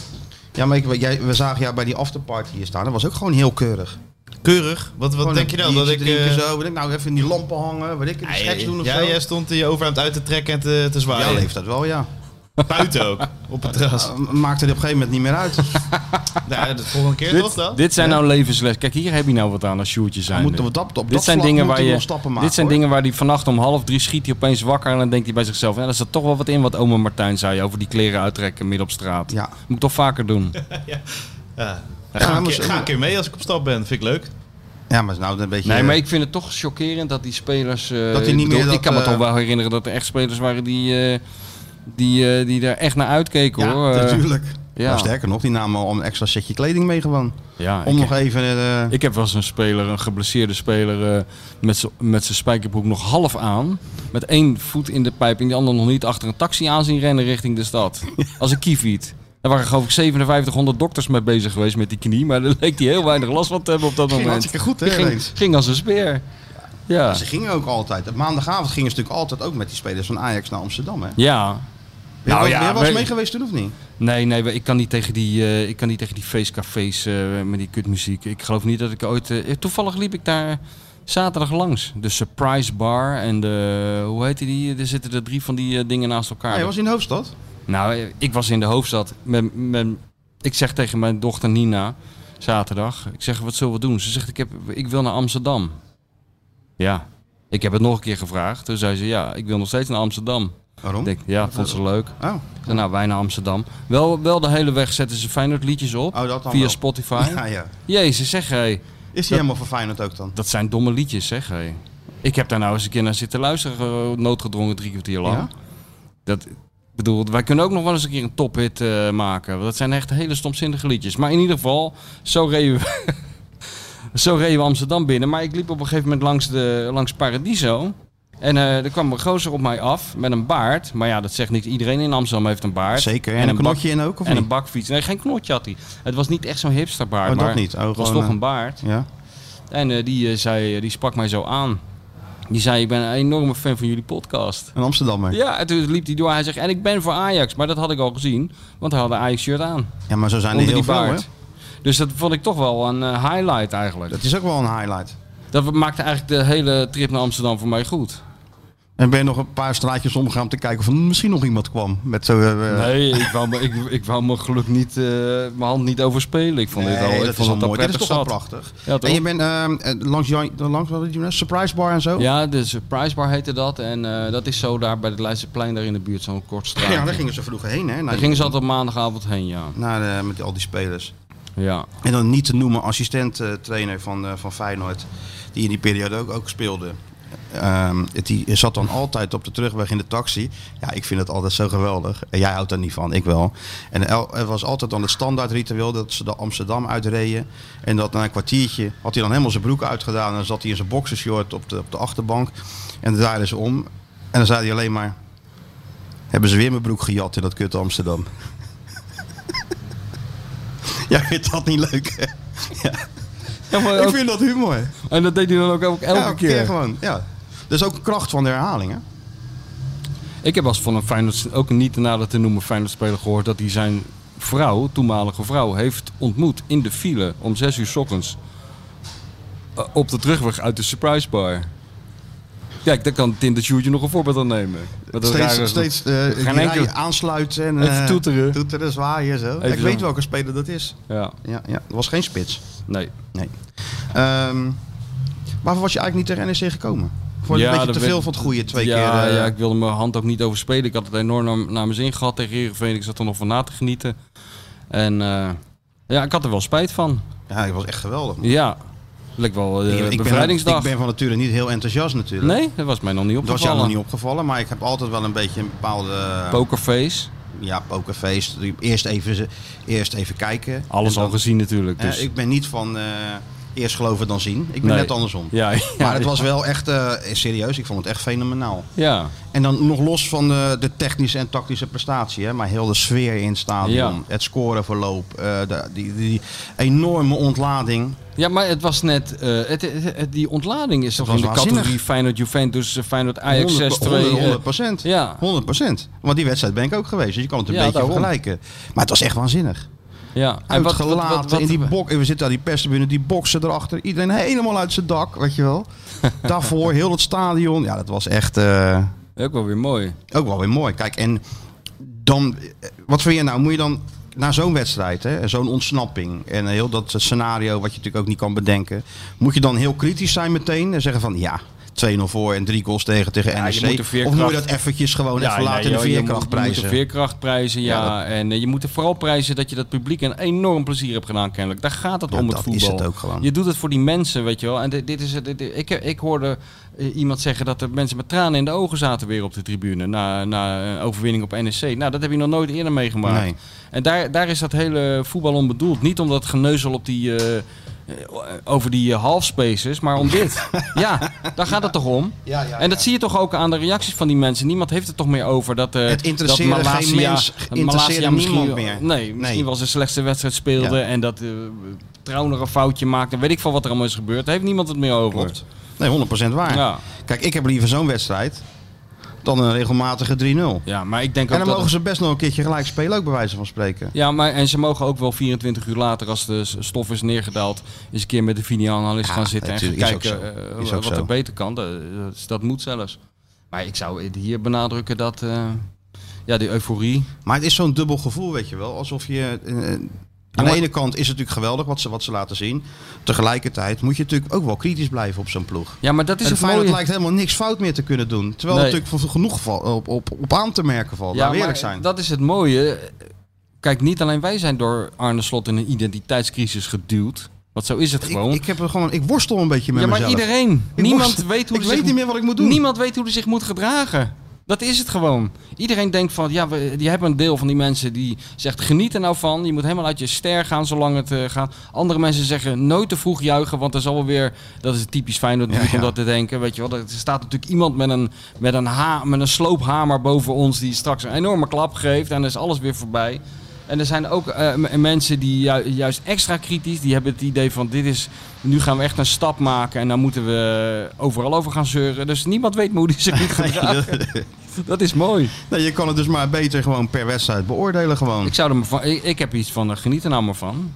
Ja, maar ik, jij, we zagen jou bij die afterparty hier staan. Dat was ook gewoon heel keurig. Keurig. Wat, wat denk je dan? nou Dat ik... drinken eh, zo, weet ik, nou even in die lampen hangen, weet ik, die ja, schets doen of ja, zo. jij stond je overhand uit te trekken en te, te Ja, zwaaien. leeft dat wel, ja. Buiten ook. op het terras. Eh, Maakt het op een gegeven moment niet meer uit. Nou, de volgende keer toch dan? Dit zijn nou levensles. Kijk, hier heb je nou wat aan als shoertje zijn. moeten we dat- op dit dat zijn vlak dingen moeten waar we je, nog stappen maken, Dit zijn hoor. dingen waar die vannacht om half drie schiet hij opeens wakker. En dan denkt hij bij zichzelf: ja, er zat toch wel wat in wat oma Martijn zei over die kleren uittrekken midden op straat. Ja. Moet ik toch vaker doen. Ja. Ja, ga, een maar keer, zo- ga een keer mee als ik op stap ben, vind ik leuk. Ja, maar is nou een beetje... Nee, maar eh, ik vind het toch chockerend dat die spelers. eh, Dat die niet ik bedoel, meer ik kan me dat, toch eh, wel herinneren dat er echt spelers waren die. eh, die, eh die daar echt naar uitkeken ja, hoor. Eh, natuurlijk. ja. Nou, sterker nog, die namen al een extra setje kleding mee gewoon. Ja, Om ik- nog even... eh, Ik heb wel eens een speler, een geblesseerde speler, eh, met z'n- met zijn spijkerbroek nog half aan. Met één voet in de pijp en die andere nog niet achter een taxi aan zien rennen richting de stad. Als een kiefiet. Daar waren geloof ik 5700 dokters mee bezig geweest met die knie. Maar daar leek hij heel weinig last van te hebben op dat Ging moment. hartstikke goed, hè, Die ging, ineens. ging als een speer. Ja. Ze gingen ook altijd. Op maandagavond gingen ze natuurlijk altijd ook met die spelers van Ajax naar Amsterdam. Hè? Ja. Nou, Nou ja, ja, was weet- mee geweest toen of niet? Nee, nee, ik kan niet tegen die, eh, ik kan niet tegen die feestcafés eh, met die kutmuziek. Ik geloof niet dat ik ooit... eh, toevallig liep ik daar zaterdag langs. De Surprise Bar en de... Hoe heet die? Er zitten er drie van die eh, dingen naast elkaar. Hij was in de hoofdstad. Nou, eh, ik was in de hoofdstad. Met, met, ik zeg tegen mijn dochter Nina, zaterdag. Ik zeg, wat zullen we doen? Ze zegt, ik, heb, ik wil naar Amsterdam. Ja. Ik heb het nog een keer gevraagd. Toen zei ze, ja, ik wil nog steeds naar Amsterdam. Waarom? Ik denk, ja, vond ze leuk. Oh, Ik zei, Nou, wij naar Amsterdam. Wel, wel de hele weg zetten ze Feyenoord liedjes op. Oh, dat dan via wel. Spotify. ja, ja. Jezus, zeg hé. Is hij helemaal verfijnd ook dan? Dat zijn domme liedjes, zeg hé. Ik heb daar nou eens een keer naar zitten luisteren, eh, noodgedwongen drie kwartier lang. Ja? Dat, ik bedoel, wij kunnen ook nog wel eens een keer een tophit eh, maken. Want Dat zijn echt hele stomzinnige liedjes. Maar in ieder geval, zo reden we, zo reden we Amsterdam binnen. Maar ik liep op een gegeven moment langs, de, langs Paradiso. En eh, er kwam een gozer op mij af met een baard. Maar ja, dat zegt niks. Iedereen in Amsterdam heeft een baard. Zeker. En, een bak- knotje in ook, of en niet? een bakfiets. Nee, geen knotje had hij. Het was niet echt zo'n hipsterbaard. Oh, dat maar niet. Oh, het was gewoon, toch eh, een baard. Ja. En eh, die, eh, zei, eh, die sprak mij zo aan. Die zei, ik ben een enorme fan van jullie podcast. Een Amsterdammer. Ja. Ja, en toen liep hij door. Hij zegt, en ik ben voor Ajax. Maar dat had ik al gezien, want hij had een Ajax-shirt aan. maar zo zijn er onder heel die veel, hè? baard. Dus dat vond ik toch wel een eh, highlight eigenlijk. Dat is ook wel een highlight. Dat maakte eigenlijk de hele trip naar Amsterdam voor mij goed. En ben je nog een paar straatjes omgegaan om te kijken of er misschien nog iemand kwam. Met zo, eh, Nee, ik wou, me- ik, ik wou mijn geluk niet, eh, mijn hand niet overspelen. Ik vond nee, dit al, ik dat vond is al het al mooi. Dat is prettig toch wel zat. prachtig. Ja, toch? en je bent ehm, eh, langs, Jan, langs wat had je nou? Surprise Bar en zo? Ja, de Surprise Bar heette dat. En eh, dat is zo daar bij het Leidseplein, daar in de buurt, zo'n kort straat. Ja, daar gingen ze vroeger heen, hè? Naar, Daar gingen ze altijd op maandagavond heen, ja. naar, eh, met al die spelers. ja. En dan niet te noemen assistent-trainer van, eh, van Feyenoord, die in die periode ook, ook speelde. Ehm, het, die zat dan altijd op de terugweg in de taxi. Ja, ik vind het altijd zo geweldig. En jij houdt daar niet van, ik wel. En el- er was altijd dan het standaard ritueel dat ze de Amsterdam uitreden. En dat na een kwartiertje had hij dan helemaal zijn broek uitgedaan. En dan zat hij in zijn boxershort op de, op de achterbank. En dan draaiden ze om. En dan zei hij alleen maar... Hebben ze weer mijn broek gejat in dat kut Amsterdam? Jij vindt dat niet leuk, hè? maar Ik ook- vind dat humor. En dat deed hij dan ook elke, elke Ja, keer. gewoon. Ja. Dat is ook een kracht van de herhaling, hè? Ik heb als van een Feyenoord, ook een niet te nader te noemen Feyenoord speler gehoord dat hij zijn vrouw, toenmalige vrouw, heeft ontmoet in de file om 6 uur 's ochtends. Eh, Op de terugweg uit de surprise bar. Kijk, daar kan Tim de Sjoerdje nog een voorbeeld aan nemen. Met dat steeds rare- steeds eh, die enkel- rijen aansluiten en Even eh, toeteren. toeteren, zwaaien zo. Ik zo. weet welke speler dat is. Ja, Ja, ja. Dat was geen spits. nee. Nee. Ehm, waarvoor was je eigenlijk niet tegen NEC gekomen? Voor Ja, een beetje dat te veel weet- van het goede twee ja, keer. eh, ja, ik wilde mijn hand ook niet overspelen. Ik had het enorm naar, naar mijn zin gehad tegen Heerenveen. Ik zat er nog van na te genieten. En eh, ja, ik had er wel spijt van. ja, het was echt geweldig. man. Ja, leek wel eh, ik, ben, ik bevrijdingsdag. ben van nature niet heel enthousiast natuurlijk. Nee, dat was mij nog niet Dat was jou nog opgevallen. niet opgevallen, maar ik heb altijd wel een beetje een bepaalde Pokerface. ja, pokerfeest. Eerst even, eerst even kijken. Alles En dan- al gezien natuurlijk. Hè, Dus. ik ben niet van eh, eerst geloven dan zien. Ik ben Nee. net andersom. Ja, ja, Maar het was wel echt eh, serieus. Ik vond het echt fenomenaal. Ja, En dan nog los van de, de technische en tactische prestatie. Hè, maar heel de sfeer in het stadion. Ja. Het scoreverloop. eh, de, die, die enorme ontlading. ja maar het was net... eh, het, het- het- die ontlading is toch was in de waanzinnig. categorie Feyenoord-Juventus, eh, Feyenoord-Ajax 6-2. 100 eh, 100 procent. ja. 100 procent. Want die wedstrijd ben ik ook geweest. Dus je kan het een Ja, beetje daarom. vergelijken. Maar het was echt waanzinnig. ja. Uitgelaten. in die bok, we zitten daar die perstribune, die boksen erachter. Iedereen helemaal uit zijn dak, weet je wel. Daarvoor heel het stadion. Ja, dat was echt... eh, Ook wel weer mooi. Ook wel weer mooi. Kijk, en dan, eh, wat vind je nou? Moet je dan na zo'n wedstrijd, hè, zo'n ontsnapping en heel dat scenario wat je natuurlijk ook niet kan bedenken, moet je dan heel kritisch zijn meteen en zeggen van ja. 2-0 voor en drie goals tegen tegen Ja, je NEC. moet de Of veerkracht- moet je dat eventjes gewoon even laten in de joh, je moet- veerkracht Je moet prijzen? de veerkracht prijzen, ja. En eh, je moet er vooral prijzen dat je dat publiek een enorm plezier hebt gedaan, kennelijk. Daar gaat het Ja, om, het dat voetbal. is het ook gewoon. Je doet het voor die mensen, weet je wel. En dit, dit is het. dit- dit- ik, ik hoorde eh, iemand zeggen dat er mensen met tranen in de ogen zaten weer op de tribune. Na, na een overwinning op NEC. Nou, dat heb je nog nooit eerder meegemaakt. Nee. En daar, daar is dat hele voetbal om bedoeld. Niet om dat geneuzel op die, eh, eh, over die eh, halfspaces, maar om dit. ja, daar gaat het toch om? Ja, ja, en dat zie je toch ook aan de reacties van die mensen. Niemand heeft het toch meer over dat... eh, Het interesseerde dat Malasia, geen mens, dat interesseerde Malasia misschien- niemand meer. Nee, misschien Nee. wel zijn slechtste wedstrijd speelde Ja. en dat eh Trauner een foutje maakte. Weet ik van wat er allemaal is gebeurd. Daar heeft niemand het meer over. Klopt. Nee, 100% waar. Ja. Kijk, ik heb liever zo'n wedstrijd dan een regelmatige 3-0. Ja, maar ik denk En ook dan dat... mogen ze best nog een keertje gelijk spelen, ook bij wijze van spreken. Ja, maar en ze mogen ook wel 24 uur later, als de s- stof is neergedaald, eens een keer met de videoanalist Ja, gaan zitten en gaan natuurlijk, is kijken ook zo. eh, Is ook wat zo. er beter kan. Dat, dat- dat moet zelfs. Maar ik zou hier benadrukken dat eh, ja, die euforie. Maar het is zo'n dubbel gevoel, weet je wel. Alsof je... eh, aan de maar- ene kant is het natuurlijk geweldig wat ze, wat ze laten zien. Tegelijkertijd moet je natuurlijk ook wel kritisch blijven op zo'n ploeg. Ja, maar dat is en het Feyenoord mooie. lijkt helemaal niks fout meer te kunnen doen. Terwijl Nee. er natuurlijk genoeg val- op, op, op aan te merken valt. Ja, Laten we eerlijk maar zijn. Dat is het mooie. Kijk, niet alleen wij zijn door Arne Slot in een identiteitscrisis geduwd. Want zo is het gewoon. ik, ik, heb er gewoon, ik worstel een beetje met ja, maar mezelf. iedereen. Ik niemand worstel- weet hoe ik hij weet zich niet meer wat ik moet doen. Niemand weet hoe hij zich moet gedragen. Dat is het gewoon. Iedereen denkt van, ja, we, je hebt een deel van die mensen die zegt, geniet er nou van. Je moet helemaal uit je ster gaan zolang het eh, gaat. Andere mensen zeggen, nooit te vroeg juichen, want dat is alweer weer, dat is typisch fijn Ja, ja. om dat te denken. Weet je wel, er staat natuurlijk iemand met een, met, een ha, met een sloophamer boven ons die straks een enorme klap geeft en dan is alles weer voorbij. En er zijn ook eh, m- mensen die ju- juist extra kritisch, die hebben het idee van dit is, nu gaan we echt een stap maken en dan moeten we overal over gaan zeuren. Dus niemand weet meer hoe die zich moet gedragen. dat is mooi. Nee, je kan het dus maar beter gewoon per wedstrijd beoordelen gewoon. Ik, zou er maar van, ik, ik heb iets van, eh, geniet er nou maar van.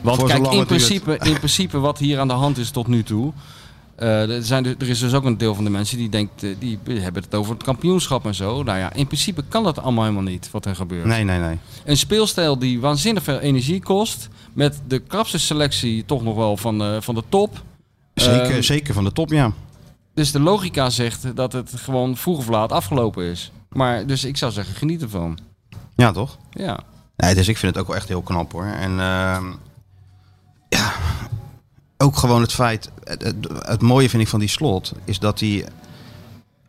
Want Voor kijk, zolang in het duurt. principe, in principe wat hier aan de hand is tot nu toe. eh, er, zijn, dus- er is dus ook een deel van de mensen die denkt, eh, die hebben het over het kampioenschap en zo. Nou ja, in principe kan dat allemaal helemaal niet, wat er gebeurt. Nee, nee, nee. Een speelstijl die waanzinnig veel energie kost. Met de krapste selectie toch nog wel van, eh, van de top. Zeker, Ehm, zeker van de top, ja. Dus de logica zegt dat het gewoon vroeg of laat afgelopen is. Maar dus ik zou zeggen, geniet ervan. Ja, toch? Ja. Nee, dus ik vind het ook wel echt heel knap hoor. En ehm, ja, ook gewoon het feit, het, het, het mooie vind ik van die slot, is dat hij,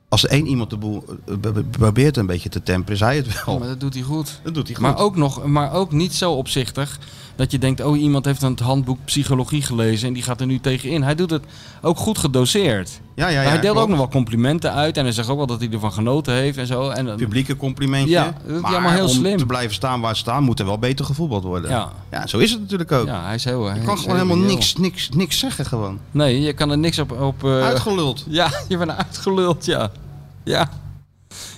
als er één iemand de boel eh, be- be- probeert een beetje te temperen, is hij het wel. maar dat doet hij goed. dat doet hij goed. Maar ook, nog, maar ook niet zo opzichtig dat je denkt, oh iemand heeft aan het handboek psychologie gelezen en die gaat er nu tegenin. Hij doet het ook goed gedoseerd. ja, ja, ja, hij deelt klopt. ook nog wel complimenten uit en hij zegt ook wel dat hij ervan genoten heeft en zo. En, eh, dan- Publieke complimentje. Ja, dat doet hij maar, allemaal heel om slim. te blijven staan waar ze staan, moet er wel beter gevoetbald worden. Ja. zo is het natuurlijk ook. ja, hij is heel... Je kan gewoon helemaal niks, niks, niks zeggen gewoon. Nee, je kan er niks op. op eh, Uitgeluld. ja, je bent uitgeluld, ja. Ja.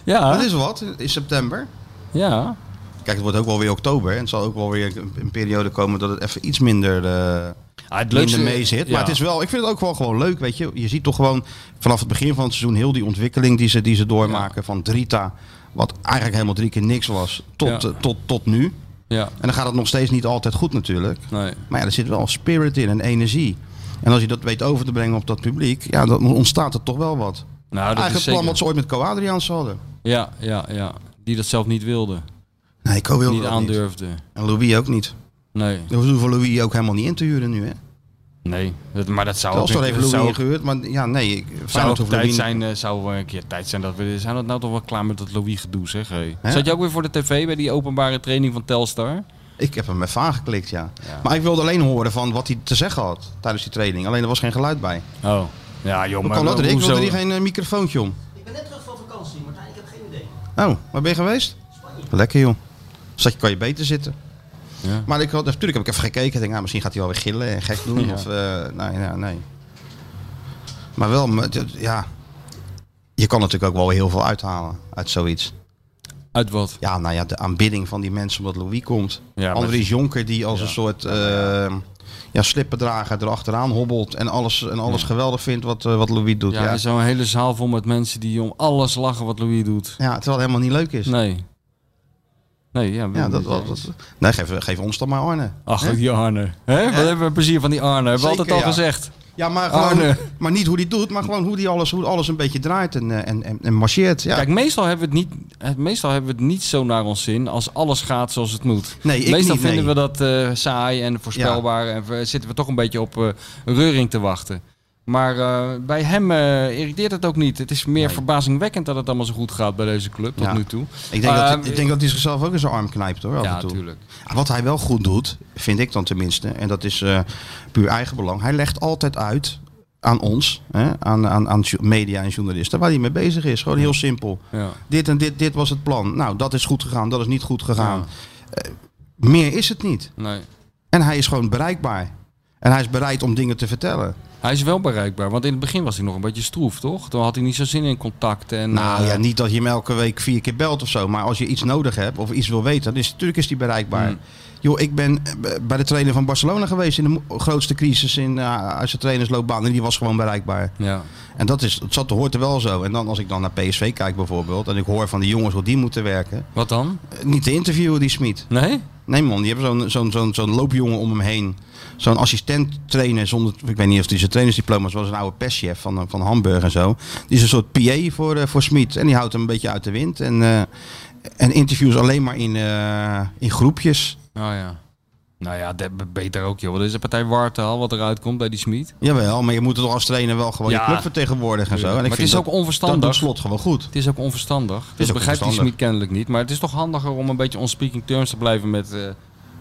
Ja. Dat is wat, in september. Ja. Kijk, het wordt ook wel weer oktober. En het zal ook wel weer een, een periode komen dat het even iets minder, eh Ah, het minder mee zit. Maar het is wel, ik vind het ook wel gewoon leuk, weet je. Je ziet toch gewoon vanaf het begin van het seizoen heel die ontwikkeling die ze, die ze doormaken. Van Drita, wat eigenlijk helemaal drie keer niks was, tot, eh, Ja. tot, tot nu. Ja, En dan gaat het nog steeds niet altijd goed natuurlijk. nee. Maar ja, er zit wel spirit in en energie. En als je dat weet over te brengen op dat publiek, ja, dan ontstaat er toch wel wat. Nou, dat Eigenlijk is het zeker. plan wat ze ooit met Co Adriaans hadden. Ja, ja, ja. Die dat zelf niet wilde. Nee, Co wilde niet dat niet. aandurfde. En Louis ook niet. Nee. We hoeven voor Louis ook helemaal niet in te huren nu, hè? Nee. Dat, maar dat zou ook, Telstar heeft Oh, dat Louis zou, ingehuurd, maar ja, nee. Ik, zou Feyenoord ook hoeft tijd Louis zijn, eh, zou wel een keer tijd zijn dat we. Zijn we nou toch wel klaar met dat Louis gedoe, zeg? Hey. Ja. Zat je ook weer voor de tv bij die openbare training van Telstar? Ik heb hem even aangeklikt, ja. Ja. Maar ik wilde alleen horen van wat hij te zeggen had tijdens die training. Alleen er was geen geluid bij. Oh. Ja, joh, Hoe maar kan dat? Ik hoezo- wilde hier geen eh, microfoontje om. Ik ben net terug van vakantie, Martijn. Ik heb geen idee. Oh, waar ben je geweest? Lekker, joh. Zat je, kan je beter zitten. Ja. Maar ik had, natuurlijk heb ik even gekeken. Ik denk, nou, misschien gaat hij wel weer gillen en gek doen. Ja. Of, eh, nee, nee, nee. Maar wel, maar dit- ja. Je kan natuurlijk ook wel heel veel uithalen uit zoiets. Uit wat? Ja, nou ja, de aanbidding van die mensen omdat Louis komt. Ja, maar- Andries Jonker die als een soort eh, ja, slippendrager erachteraan hobbelt en alles, en alles geweldig vindt wat, eh, wat Louis doet. Ja, Ja, ja. en zo'n hele zaal vol met mensen die om alles lachen wat Louis doet. terwijl het helemaal niet leuk is. Nee. Nee, ja, Ja, dat, dat dat, dat- nee, geef, geef ons dan maar Arne. Ach, Hè? die Arne. Hè? Wat hebben we plezier van die Arne? Hebben we Zeker, altijd al ja. gezegd. Ja, maar, gewoon, Arne. maar niet hoe die doet, maar gewoon hoe die alles, hoe alles een beetje draait en, eh, en, en, en marcheert. Ja. Kijk, meestal hebben, we het niet, eh, meestal hebben we het niet zo naar ons zin als alles gaat zoals het moet. Nee, ik meestal niet, vinden nee. we dat eh, saai en voorspelbaar en we- zitten we toch een beetje op eh, reuring te wachten. Maar eh, bij hem eh, irriteert het ook niet. Het is meer verbazingwekkend dat het allemaal zo goed gaat bij deze club tot Ja. nu toe. ik, denk Eh, dat, ik denk dat hij zichzelf ook in zijn arm knijpt hoor. Af ja, en toe. natuurlijk. Wat hij wel goed doet, vind ik dan tenminste, en dat is eh, puur eigenbelang. Hij legt altijd uit aan ons, hè, aan, aan, aan jo- media en journalisten, waar hij mee bezig is. Gewoon heel simpel. Ja. Dit en dit, dit was het plan. Nou, dat is goed gegaan, dat is niet goed gegaan. Eh, meer is het niet. Nee. En hij is gewoon bereikbaar. En hij is bereid om dingen te vertellen. Hij is wel bereikbaar, want in het begin was hij nog een beetje stroef, toch? Toen had hij niet zo zin in contact. En, Nou eh, ja, niet dat je hem elke week vier keer belt of zo. Maar als je iets nodig hebt of iets wil weten, dan is natuurlijk is die bereikbaar. Mm. Joh, ik ben eh, b- bij de trainer van Barcelona geweest in de mo- grootste crisis in, eh, uit zijn trainersloopbaan. En die was gewoon bereikbaar. Ja. En dat is, het zat, hoort er wel zo. En dan als ik dan naar PSV kijk bijvoorbeeld. En ik hoor van de jongens hoe die moeten werken. Wat dan? eh, Niet te interviewen die Smit. Nee? Nee man, die hebben zo'n zo'n zo'n zo'n loopjongen om hem heen. Zo'n assistent trainer zonder, ik weet niet of hij zijn trainersdiploma's was, een oude perschef van, eh, van Hamburg en zo. Die is een soort PA voor, eh, voor Smit en die houdt hem een beetje uit de wind. En, eh, en interviews alleen maar in, eh, in groepjes. Nou ja. Nou ja, dat- beter ook, joh. Er is een partij Wartaal wat eruit komt bij die Smit. Jawel, maar je moet toch als trainer wel gewoon je Ja. club vertegenwoordigen en zo. En ik maar het vind is dat- ook onverstandig. Dat doet slot gewoon goed. Het is ook onverstandig. is dat ook begrijpt die onverstandig. Smit kennelijk niet. Maar het is toch handiger om een beetje on speaking terms te blijven met, eh,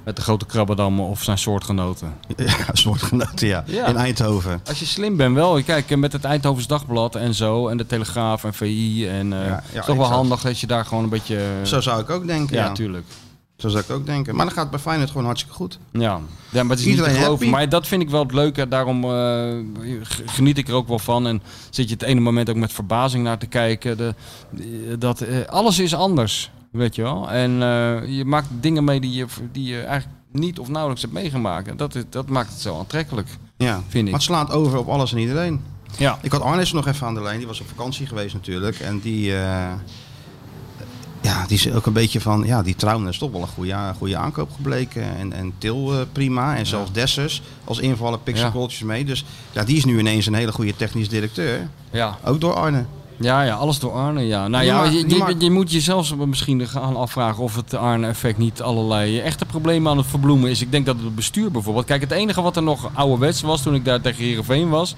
met de grote krabberdammen of zijn soortgenoten. Ja, soortgenoten, ja. Ja. In Eindhoven. Als je slim bent wel. Kijk, eh, met het Eindhovens Dagblad en zo. En de Telegraaf en VI. En, eh, Ja, ja, het is toch wel exact. handig dat je daar gewoon een beetje... eh, Zo zou ik ook denken. ja, ja. tuurlijk. Zo zou ik ook denken. Maar dan gaat het bij Feyenoord gewoon hartstikke goed. Ja, ja maar het is Iedereen niet te geloven. happy? Maar dat vind ik wel het leuke. Daarom eh, g- geniet ik er ook wel van. En zit je het ene moment ook met verbazing naar te kijken. De, de- dat, eh, alles is anders, weet je wel. En eh, je maakt dingen mee die je, die je eigenlijk niet of nauwelijks hebt meegemaakt. En dat, is- dat maakt het zo aantrekkelijk, Ja. vind Maar ik. het slaat over op alles en iedereen. Ja. Ik had Arnes nog even aan de lijn. Die was op vakantie geweest natuurlijk. En die, eh, ja, die is ook een beetje van... Ja, die Trouwen is toch wel een goede, een goede aankoop gebleken. En, en Til eh, prima. En zelfs Dessers als invaller pikt zijn Ja. goaltjes mee. Dus ja, die is nu ineens een hele goede technisch directeur. Ja. Ook door Arne. Ja, ja, alles door Arne, ja. Nou Die ja, maakt- je, die je, maakt- je moet jezelf misschien gaan afvragen of het Arne-effect niet allerlei echte problemen aan het verbloemen is. Ik denk dat het bestuur bijvoorbeeld... Kijk, het enige wat er nog ouderwets was toen ik daar tegen Heerenveen was...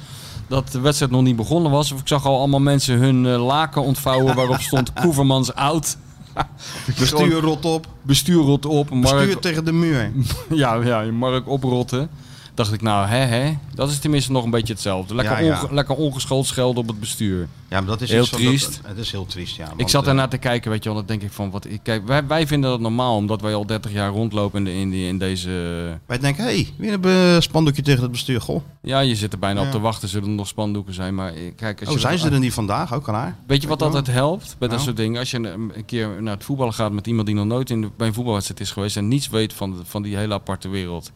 dat de wedstrijd nog niet begonnen was. Of ik zag al allemaal mensen hun eh, laken ontvouwen waarop stond Koevermans oud. Bestuur rot op. Bestuur rot op. Bestuur Mark, tegen de muur. ja, ja, Mark oprotten. Dacht ik, nou, hè, hè. Dat is tenminste nog een beetje hetzelfde. Lekker, Ja, ja. onge- lekker ongeschoold schelden op het bestuur. Ja, maar dat is Heel iets van dat- triest. het is heel triest, ja. Ik want, zat eh, daarna te kijken, weet je wel, dan denk ik van, wat, ik- kijk, wij, wij vinden dat normaal, omdat wij al 30 jaar rondlopen in, de, in, die- in deze... Wij denken, hé, hey, weer een eh, spandoekje tegen het bestuur. Goh, Ja, je zit er bijna Ja. op te wachten, zullen er nog spandoeken zijn, maar eh, kijk... Als oh, je zijn dan- ze er niet vandaag? Ook al haar. Weet je wat Weet je altijd helpt bij dat Nou. soort dingen? Als je een een keer naar het voetballen gaat met iemand die nog nooit in de- bij een voetbalwedstrijd is geweest en niets weet van, de- van die hele aparte wereld.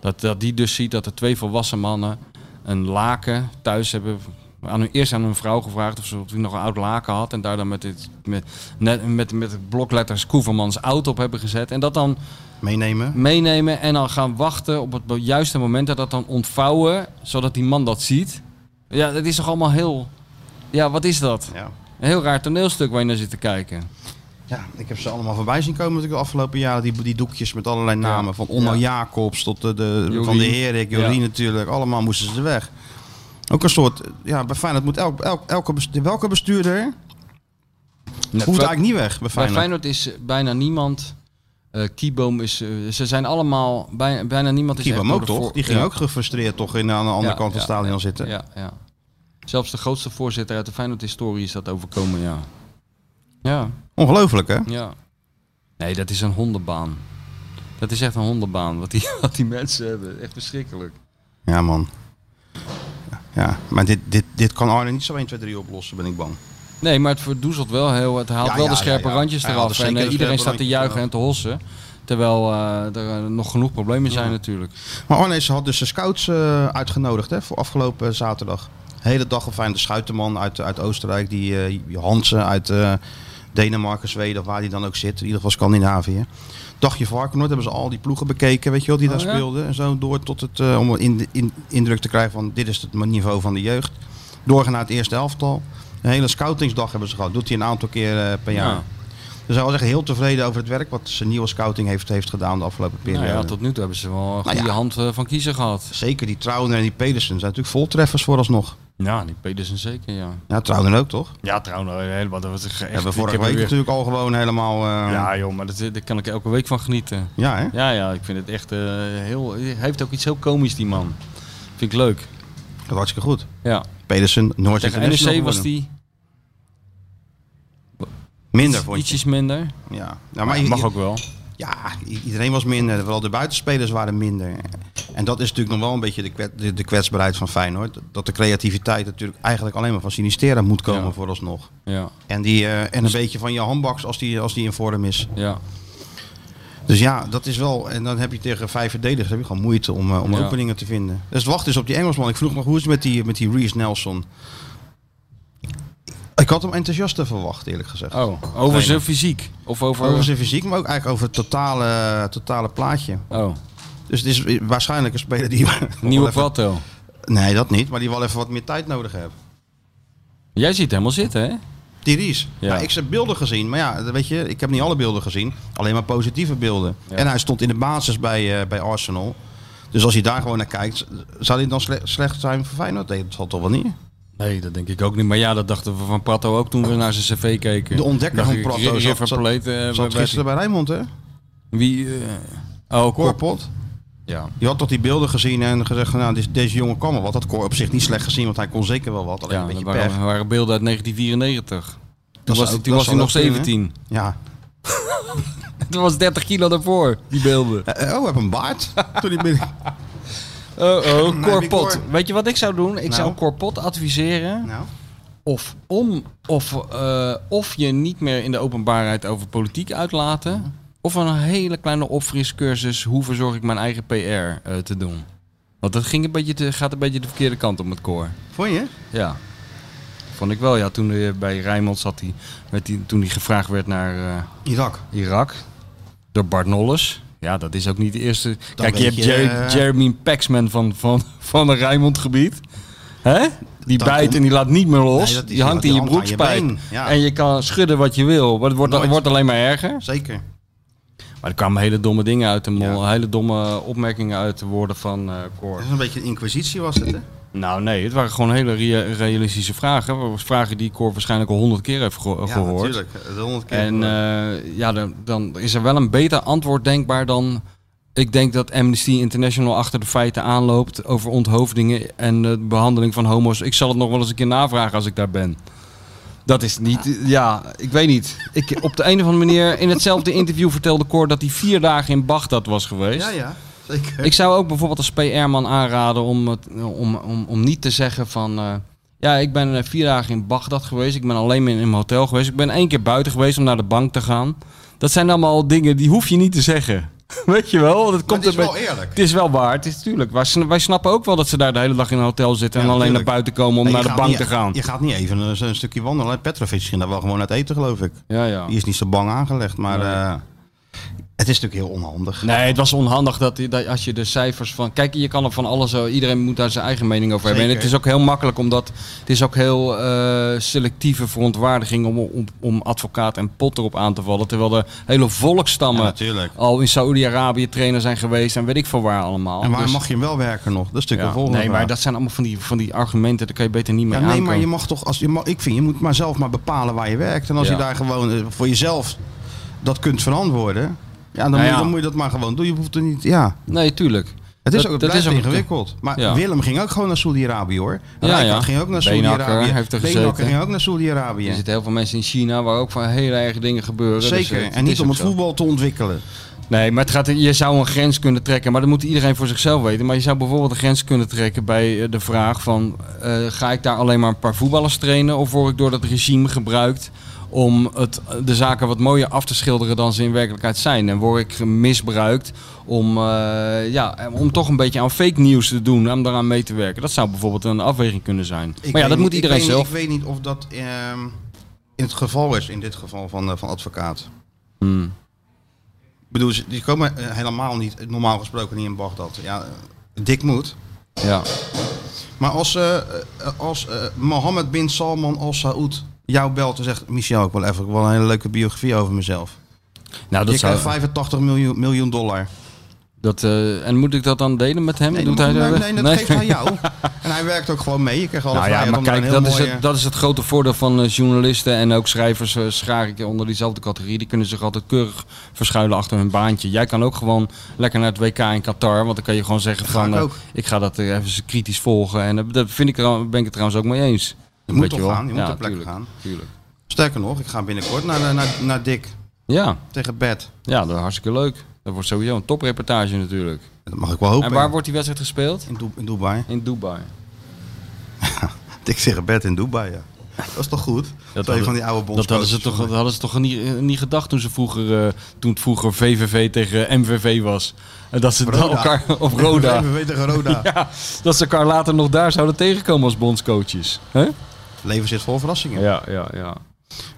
Dat, dat die dus ziet dat er twee volwassen mannen een laken thuis hebben. Aan hun, eerst aan hun vrouw gevraagd of ze of die nog een oud laken had. En daar dan met, dit, met, net, met, met blokletters Koevermans oud op hebben gezet. En dat dan Meenemen. meenemen en dan gaan wachten op het be- juiste moment. En dat dan ontvouwen, zodat die man dat ziet. Ja, dat is toch allemaal heel... Ja, wat is dat? Ja. Een heel raar toneelstuk waar je naar zit te kijken. Ja, ik heb ze allemaal voorbij zien komen natuurlijk de afgelopen jaren. Die, die doekjes met allerlei namen. Van Onno Ja. Jacobs tot de, de, Jorien. Van de Herik, Jorien Ja. natuurlijk. Allemaal moesten ze weg. Ook een soort, ja, bij Feyenoord moet elk, elk, elke bestuurder, welke bestuurder Net moet Fey- eigenlijk niet weg bij bij Feyenoord. Feyenoord is eh, bijna niemand. eh Kieboom is. eh, ze zijn allemaal. Bij, bijna niemand is. Kiba echt door ook de toch? voor- Die ging ja. ook gefrustreerd toch in, aan de andere Ja, kant van het ja, stadion ja, zitten. Ja, ja. Zelfs de grootste voorzitter uit de Feyenoord-historie is dat overkomen, ja. Ja, Ongelooflijk hè? ja. Nee, dat is een hondenbaan. Dat is echt een hondenbaan wat die, wat die mensen hebben. Echt verschrikkelijk. Ja man. Ja, maar dit, dit, dit kan Arne niet zo 1, 2, 3 oplossen, ben ik bang. Nee, maar het verdoezelt wel heel. Het haalt Ja, wel ja, de ja, scherpe ja. randjes Hij haalt eraf. er zeker En eh, de iedereen scherpe staat te randjes juichen eraf. en te hossen. Terwijl eh, er eh, nog genoeg problemen zijn natuurlijk. Maar Arne is- had dus de scouts eh, uitgenodigd hè, voor afgelopen zaterdag. De hele dag al fijn. De Schuiterman uit, uit Oostenrijk, die eh Hansen uit, eh, Denemarken, Zweden, of waar die dan ook zit. In ieder geval Scandinavië. Dagje Varkenoord hebben ze al die ploegen bekeken, weet je wel, die daar Oh, ja? speelden. En zo door tot het, eh, om een in, in, indruk te krijgen van dit is het niveau van de jeugd. Doorgaan naar het eerste elftal. Een hele scoutingsdag hebben ze gehad. Doet hij een aantal keer eh, per jaar. Ja. Dus hij was echt heel tevreden over het werk wat zijn nieuwe scouting heeft, heeft gedaan de afgelopen periode. Nou ja, tot nu toe hebben ze wel een goede ja. hand eh, van kiezen gehad. Zeker die Trouwner en die Pedersen zijn natuurlijk voltreffers vooralsnog. Ja, die Pedersen zeker, ja. Ja, Trouwner ook toch? Ja, trouwens, nou, helemaal. Dat was echt... Ja, we ik vorige heb week er weer- natuurlijk al gewoon helemaal... eh, ja. Ja, joh, maar dat- daar kan ik elke week van genieten. hè? Ja, ja, ik vind het echt eh, heel... Hij heeft ook iets heel komisch, die man. Vind ik leuk. Dat was hartstikke goed. Ja. Pedersen, Noord Tegen E NEC was die Minder vond je. ietsjes minder. Ja. Nou, Maar maar i- mag ook wel. Ja, i- iedereen was minder. Vooral de buitenspelers waren minder. En dat is natuurlijk nog wel een beetje de, kwet- de, de kwetsbaarheid van Feyenoord. Dat de creativiteit natuurlijk eigenlijk alleen maar van Sinistera moet komen Ja. vooralsnog. Ja, En, die, eh, en een beetje van je handbaks als die, als die in vorm is. ja. Dus ja, dat is wel. En dan heb je tegen vijf verdedigers heb je gewoon moeite om, eh, om Ja. openingen te vinden. Dus het wachten is op die Engelsman. Ik vroeg nog hoe is het met die, met die Reese Nelson. Ik had hem enthousiaster verwacht, eerlijk gezegd. Oh, over zijn fysiek? Of over... Over zijn fysiek, maar ook eigenlijk over het totale, totale plaatje. Oh, Dus het is waarschijnlijk een speler die... nieuwe wel plateau. even- Nee, dat niet. Maar die wel even wat meer tijd nodig heeft. Jij ziet helemaal zitten, hè? Die Ries. Ja. Nou, ik heb beelden gezien, maar ja, weet je, ik heb niet alle beelden gezien. Alleen maar positieve beelden. Ja. En hij stond in de basis bij, eh, bij Arsenal. Dus als je daar gewoon naar kijkt, zou hij dan sle- slecht zijn voor Feyenoord? Nee, dat zal toch wel niet? Nee, dat denk ik ook niet. Maar ja, dat dachten we van Prato ook toen we naar zijn cv keken. De ontdekker Dacht van ik, Prato River zat- zat- Plate, eh, waar- Zat gisteren bij Rijnmond, hè? Wie? eh, oh, Korp. Korpot. Ja. Je had toch die beelden gezien en gezegd, nou, deze, deze jongen kan wel wat. Dat kon op zich niet slecht gezien, want hij kon zeker wel wat. Alleen Ja, een dat beetje waren, pech. waren beelden uit 1994. Toen Dat was, zou- hij- toen dat was hij zou nog ook kunnen, hè? 17. Ja. Toen was 30 kilo daarvoor, die beelden. Eh, eh, Oh, heb een baard. Toen hij binnen... Oh, oh, die Korpot. Cor- Weet je wat ik zou doen? Ik zou Nou? Korpot adviseren. Nou, Of, om, of, eh, of je niet meer in de openbaarheid over politiek uitlaten. Of een hele kleine opfriscursus. Hoe verzorg ik mijn eigen PR eh, te doen? Want dat ging een beetje te, gaat een beetje de verkeerde kant op met koor. vond je? Ja. Vond ik wel. Ja, toen hij bij Rijnmond zat, hij, werd hij, toen hij gevraagd werd naar eh, Irak. Irak door Bart Nolles. Ja, dat is ook niet de eerste. Kijk, je weet hebt je, Jer- eh, Jeremy Paxman van, van, van het Rijnmondgebied. Hè? Die Dan bijt komt- en die laat niet meer los. Nee, dat is- die hangt die in je hangt aan je broekspijp. been, ja. En je kan schudden wat je wil, maar het wordt, Nooit. het wordt alleen maar erger. Zeker. Maar er kwamen hele domme dingen uit de mol. Ja. Hele domme opmerkingen uit de woorden van eh Cor. Dat is een beetje een inquisitie was het, hè? Nou nee, het waren gewoon hele rea- realistische vragen. Vragen die Cor waarschijnlijk al honderd keer heeft geho- Ja, gehoord. natuurlijk. De honderd keer En gehoord. eh, ja, dan, dan is er wel een beter antwoord denkbaar dan. Ik denk dat Amnesty International achter de feiten aanloopt over onthoofdingen en de behandeling van homo's. Ik zal het nog wel eens een keer navragen als ik daar ben. Dat is niet, ja, ik weet niet. Ik, op de een of andere manier, in hetzelfde interview vertelde Cor dat hij vier dagen in Bagdad was geweest. Ja, ja, zeker. Ik zou ook bijvoorbeeld als PR-man aanraden om, het, om, om, om niet te zeggen van... eh, ja, ik ben eh, vier dagen in Bagdad geweest. Ik ben alleen maar in een hotel geweest. Ik ben één keer buiten geweest om naar de bank te gaan. Dat zijn allemaal dingen die hoef je niet te zeggen. Weet je wel? want Het, komt het is een beetje- wel eerlijk. Het is wel waar. Het is natuurlijk. Wij, sn- wij snappen ook wel dat ze daar de hele dag in een hotel zitten... Ja, en alleen naar natuurlijk. buiten komen om Nee, naar je de gaat niet- bank te gaan. Je gaat niet even een, een stukje wandelen. hè? Petrovic ging daar wel gewoon uit eten, geloof ik. Ja, ja. Die is niet zo bang aangelegd, maar Nee. eh, het is natuurlijk heel onhandig. Nee, het was onhandig dat, dat als je de cijfers van. Kijk, je kan er van alles. eh, Iedereen moet daar zijn eigen mening over hebben. En Zeker. het is ook heel makkelijk omdat. Het is ook heel eh, selectieve verontwaardiging om, om, om advocaat en pot erop aan te vallen. Terwijl er hele Ja, volkstammen natuurlijk. al in Saoedi-Arabië trainer zijn geweest en weet ik veel waar allemaal. En waar Dus- mag je hem wel werken nog? Dat is natuurlijk ja, de volgende Nee, maar vraag. dat zijn allemaal van die, van die argumenten. Daar kan je beter niet mee Ja, aankomen. nee, maar je mag toch, als je mag, ik vind, je moet maar zelf maar bepalen waar je werkt. En als Ja. je daar gewoon eh, voor jezelf dat kunt verantwoorden, ja, dan, moet, Nou ja. je- dan moet je dat maar gewoon doen. Je hoeft er niet, ja. Nee, tuurlijk. Het is Dat- ook, dat het is blijft ook een- ingewikkeld. Maar Ja. Willem ging ook gewoon naar Saudi-Arabië hoor. Ja, Rijkaard ja. ging ook naar Beenhakker Saudi-Arabië. heeft er Beenhakker gezeten. ging ook naar Saudi-Arabië. Er zitten heel veel mensen in China waar ook van hele erge dingen gebeuren. Dus Zeker. het- en niet is om ook het zo. voetbal te ontwikkelen. Nee, maar het gaat, je zou een grens kunnen trekken, maar dat moet iedereen voor zichzelf weten. Maar je zou bijvoorbeeld een grens kunnen trekken bij eh, de vraag van... eh, ga ik daar alleen maar een paar voetballers trainen of word ik door dat regime gebruikt... om het, de zaken wat mooier af te schilderen dan ze in werkelijkheid zijn? En word ik misbruikt om, eh, ja, om toch een beetje aan fake nieuws te doen, om daaraan mee te werken? Dat zou bijvoorbeeld een afweging kunnen zijn. Ik maar ja, weet dat niet- moet iedereen ik weet zelf... Niet, ik weet niet of dat ehm, in het geval is, in dit geval van, eh, van advocaat. Hmm. Ik bedoel, ze- die komen eh, helemaal niet, eh, normaal gesproken niet in Bagdad. Ja, eh, dik moet. Ja. Maar als, eh, eh, als eh, Mohammed bin Salman al Saud jou belt en zegt... Michel, ik wil even ik wil een hele leuke biografie over mezelf. Nou, je dat zou... krijgt 85 miljoen, miljoen dollar. Dat, eh, en moet ik dat dan delen met hem? Nee, Doet dat, hij nee, dat? nee, dat geeft aan jou. En hij werkt ook gewoon mee. Je krijgt alle Nou ja, vrijheid maar om daar kijk, een heel dat is, mooie- het, dat is het grote voordeel van eh, journalisten en ook schrijvers. eh, schaar ik onder diezelfde categorie. Die kunnen zich altijd keurig verschuilen achter hun baantje. Jij kan ook gewoon lekker naar het WK in Qatar. Want dan kan je gewoon zeggen: ga van, ik eh, ook. ik ga dat eh, even kritisch volgen. En eh, dat vind ik, er- ben ik het trouwens ook mee eens. Je moet Weet toch wel. gaan, je moet Ja, ter plekke tuurlijk, gaan. tuurlijk. Sterker nog, ik ga binnenkort naar, naar, naar, naar Dick Ja, tegen Bed. ja, dat is hartstikke leuk. Dat wordt sowieso een topreportage natuurlijk. Dat mag ik wel hopen. En waar wordt die wedstrijd gespeeld? in, Du- in Dubai. In Dubai. Dick tegen Bed in Dubai, ja. Dat is toch goed? Dat Twee hadden- van die oude bondscoaches. Dat hadden ze toch, dat hadden ze toch niet, eh, niet gedacht toen, ze vroeger, eh, toen het vroeger VVV tegen eh, MVV was. En dat ze dan Roda. elkaar op Roda. We weten tegen Roda. Ja, dat ze elkaar later nog daar zouden tegenkomen als bondscoaches. hè? Leven zit vol verrassingen. Ja, ja, ja.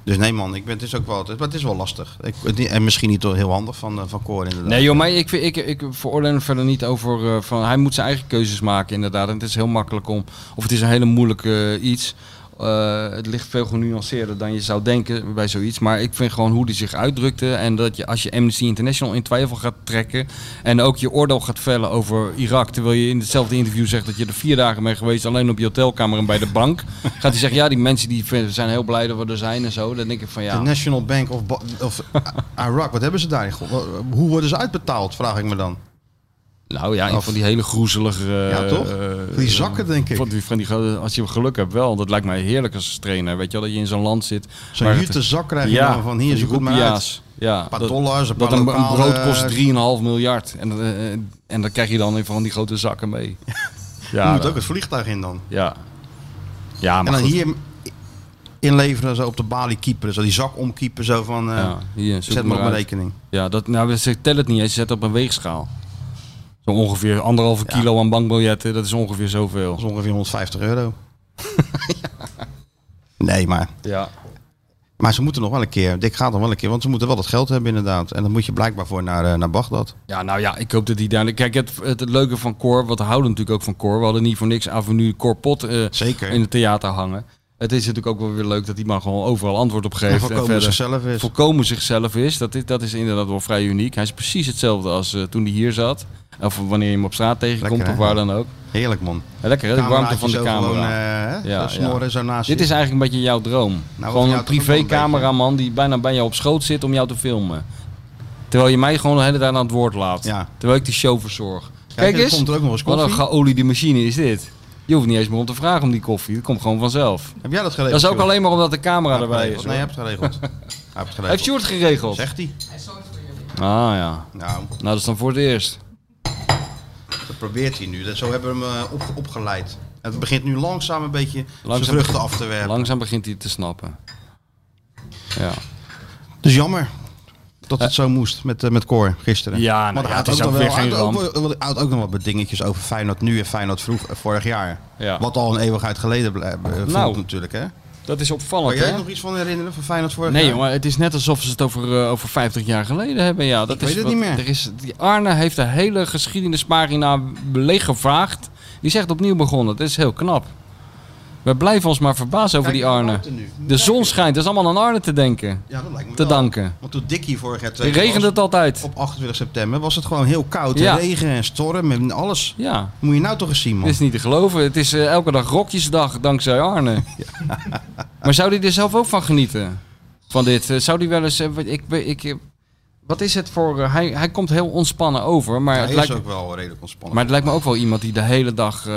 Dus nee man, ik ben, het is ook wel, het, maar het is wel lastig. Ik, het- en misschien niet heel handig van, eh, van Cor inderdaad. Nee joh, maar ik, vind- ik, ik veroordeel hem verder niet over... eh, van, hij moet zijn eigen keuzes maken inderdaad. En het is heel makkelijk om... Of het is een hele moeilijke eh, iets. Eh, het ligt veel genuanceerder dan je zou denken bij zoiets. Maar ik vind gewoon hoe hij zich uitdrukte. En dat je als je Amnesty International in twijfel gaat trekken. En ook je oordeel gaat vellen over Irak. Terwijl je in hetzelfde interview zegt dat je er vier dagen bent geweest. Alleen op je hotelkamer en bij de bank. Gaat hij zeggen, ja die mensen die vinden- zijn heel blij dat we er zijn en zo. Dan denk ik van De ja... National Bank of, Ba- of Iraq, wat hebben ze daar in god- Hoe worden ze uitbetaald, vraag ik me dan. Nou ja, een Of- van die hele groezelige... eh, Ja, toch? eh, Die zakken, denk ik. Van die, van die, gro- als je geluk hebt wel. Dat lijkt mij heerlijk als trainer. Weet je wel, dat je in zo'n land zit. Zo'n waar jute het- zak krijg je dan van hier, die zo goed maar uit. roepia's. Ja, Een paar dat, dollars, een paar eh, dat een, een lokale- brood kost 3,5 miljard. En, dat, eh, eh, en dat krijg je dan in van die grote zakken mee. Je Ja, moet dat- ook het vliegtuig in dan. ja. ja En maar dan goed. hier inleveren, zo op de balie keeper. Zo die zak omkiepen, zo van... eh, ja, hier, zoek zet maar op mijn uit. rekening. Ja, dat, nou, ze tellen het niet eens. Ze zetten op een weegschaal. Zo ongeveer anderhalve kilo aan bankbiljetten. Dat is ongeveer zoveel. Dat is ongeveer 150 euro. Nee, maar, Ja. maar ze moeten nog wel een keer. Dick gaat nog wel een keer, want ze moeten wel dat geld hebben inderdaad. En dan moet je blijkbaar voor naar, eh, naar Bagdad. Ja, nou ja, ik hoop dat die daar... Kijk, het, het, het leuke van Cor, wat we houden natuurlijk ook van Cor. We hadden niet voor niks Avenue Corpot eh Zeker. in het theater hangen. Het is natuurlijk ook wel weer leuk dat die man gewoon overal antwoord op geeft. en voorkomen verder zichzelf is. Volkomen zichzelf is. Dat is, dat is inderdaad wel vrij uniek. Hij is precies hetzelfde als eh, toen hij hier zat. Of wanneer je hem op straat tegenkomt Lekker, of hè? waar dan ook. Heerlijk man. Ja, lekker hè, de warmte van de Cameraatje zo camera. Gewoon, eh, hè, Ja, zo snoren ja. zo naast Dit je. is eigenlijk een beetje jouw droom. Nou, wat gewoon jou een toch ook wel een privé-cameraman die bijna bij jou op schoot zit om jou te filmen. Terwijl je mij gewoon de hele tijd aan het woord laat. Ja. Terwijl ik die show verzorg. Kijk, Kijk, er eens, komt er ook nog eens wat een koffie. geoliede machine is dit. Je hoeft niet eens meer om te vragen om die koffie. Dat komt gewoon vanzelf. Heb jij dat Dat geregeld? is ook Sjoerd? alleen maar omdat de camera Heb je erbij geregeld? is. Nee, je hoor. hebt het geregeld. Hij heeft het geregeld. Heeft Sjoerd geregeld? Zegt hij. Ah ja. Nou, Nou, dat is dan voor het eerst. dat probeert hij nu. Dat, zo hebben we hem eh, op, opgeleid. En het begint nu langzaam een beetje Langzaam- zijn vruchten af te werpen. Langzaam begint hij het te snappen. Ja. Dus jammer dat het zo moest met, eh, met Cor gisteren. Ja, nou maar ja, hij had het is ook ook nog weer wel- hij geen had ook wel- hij had ook nog wat dingetjes over Feyenoord nu en Feyenoord vroeg, eh, vorig jaar. Ja. Wat al een eeuwigheid geleden ble- eh, voelt Nou. natuurlijk. Hè? Dat is Kan opvallend, jij hè? je nog iets van herinneren van Feyenoord vorig Nee, jaar? jongen, het is net alsof ze het over, eh, over 50 jaar geleden hebben. Ja, dat Ik is weet het wat- niet meer. Er is, die Arne heeft de hele geschiedenispagina leeggevraagd. Die is echt opnieuw begonnen. Dat is heel knap. We blijven ons maar verbazen over Kijk, die Arne. buiten nu. De Kijk. zon schijnt. Dat is allemaal aan Arne te denken. Ja, dat lijkt me Te wel. danken. Want toen Dickie vorig jaar Het tweede regent was, het altijd. op 28 september was het gewoon heel koud. en Ja. Regen en storm en alles. Ja, Moet je nou toch eens zien, man. dit is niet te geloven. Het is eh, elke dag rokjesdag dankzij Arne. maar zou hij er zelf ook van genieten? Van dit? Eh, Zou hij wel eens... eh, wat- ik, ik, ik- wat is het voor... eh, hij, hij komt heel ontspannen over, maar Hij het is lijkt... ook wel redelijk ontspannen. Maar het lijkt me ook wel iemand die de hele dag eh,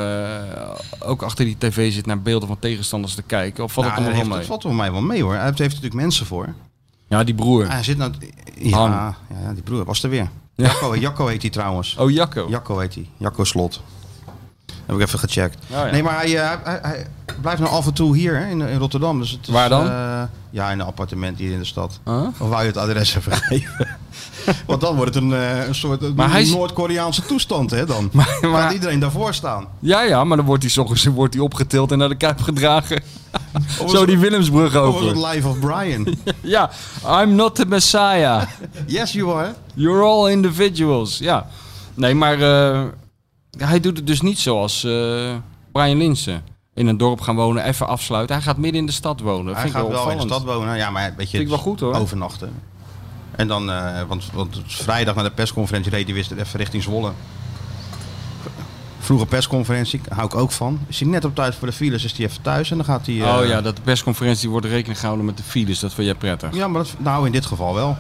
ook achter die tv zit naar beelden van tegenstanders te kijken. Of valt Nou, het hij allemaal heeft, wel het mee? valt voor mij wel mee, hoor. Hij heeft heeft natuurlijk mensen voor. Ja, die broer. Hij zit nou... Ja, Han. ja, die broer was er weer. Ja. Jacco, Jacco heet hij trouwens. Oh, Jacco. Jacco heet hij. Jacco Slot. Heb ik even gecheckt. Oh, ja. Nee, maar hij, eh, hij, hij blijft nou af en toe hier hè, in, in Rotterdam. Dus het is, Waar dan? eh, ja, in een appartement hier in de stad. Huh? Of wou je het adres even geven? Want dan wordt het een, eh, een soort een Maar hij is- Noord-Koreaanse toestand, hè dan. Maar- maar- Gaat iedereen daarvoor staan. Ja, ja, maar dan wordt hij 's ochtends wordt hij opgetild en naar de kuip gedragen. Zo die Willemsbrug Of was over. het Life of Brian? Ja, I'm not the Messiah. yes, you are. You're all individuals. Ja. Nee, maar eh, hij doet het dus niet zoals eh, Brian Linsen. In een dorp gaan wonen, even afsluiten. Hij gaat midden in de stad wonen. Dat Hij vind ik gaat wel wel in de opvallend. stad wonen. Ja, maar weet je, Vind ik wel goed, hoor. overnachten. En dan, eh, want, want vrijdag na de persconferentie reed hij weer even richting Zwolle. Vroege persconferentie, hou ik ook van. Is hij net op tijd voor de files, is hij even thuis en dan gaat hij... eh, Oh ja, dat de persconferentie wordt rekening gehouden met de files. Dat vind jij prettig. Ja, maar dat, nou in dit geval wel.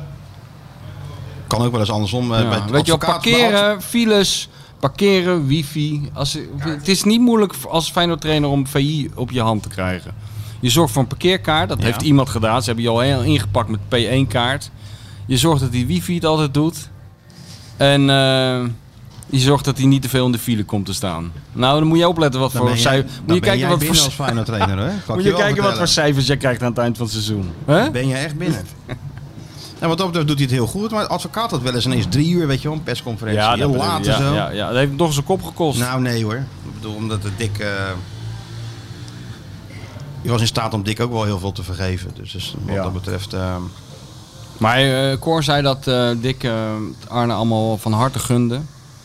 Kan ook wel eens andersom. eh, Ja, bij het Weet je wel, advocaat- bij adv- parkeren, files, parkeren, wifi. Als, het is niet moeilijk als Feyenoord trainer om VI op je hand te krijgen. Je zorgt voor een parkeerkaart, dat Ja. heeft iemand gedaan. Ze hebben je al heel ingepakt met P1-kaart. Je zorgt dat die wifi het altijd doet. En eh, je zorgt dat hij niet te veel in de file komt te staan. Nou, dan moet je opletten wat Dan voor ben jij- cijfer- dan Moet ben je kijken jij wat binnen voor als Feyenoord trainer, hè? Kan ik moet je wel kijken wat voor vertellen. cijfers jij krijgt aan het eind van het seizoen. Hè? Ben je echt binnen? En Nou, wat dat betreft doet hij het heel goed. Maar het advocaat had wel eens ineens drie uur, weet je wel, een persconferentie. Ja, heel dat- laat ja, en zo. Ja, ja, dat heeft nog eens een kop gekost. Nou, nee hoor. Ik bedoel, omdat het dik... eh, Je was in staat om dik ook wel heel veel te vergeven. Dus, dus wat Ja. dat betreft... ehm, Maar eh Cor zei dat eh Dick eh, Arne allemaal van harte gunde.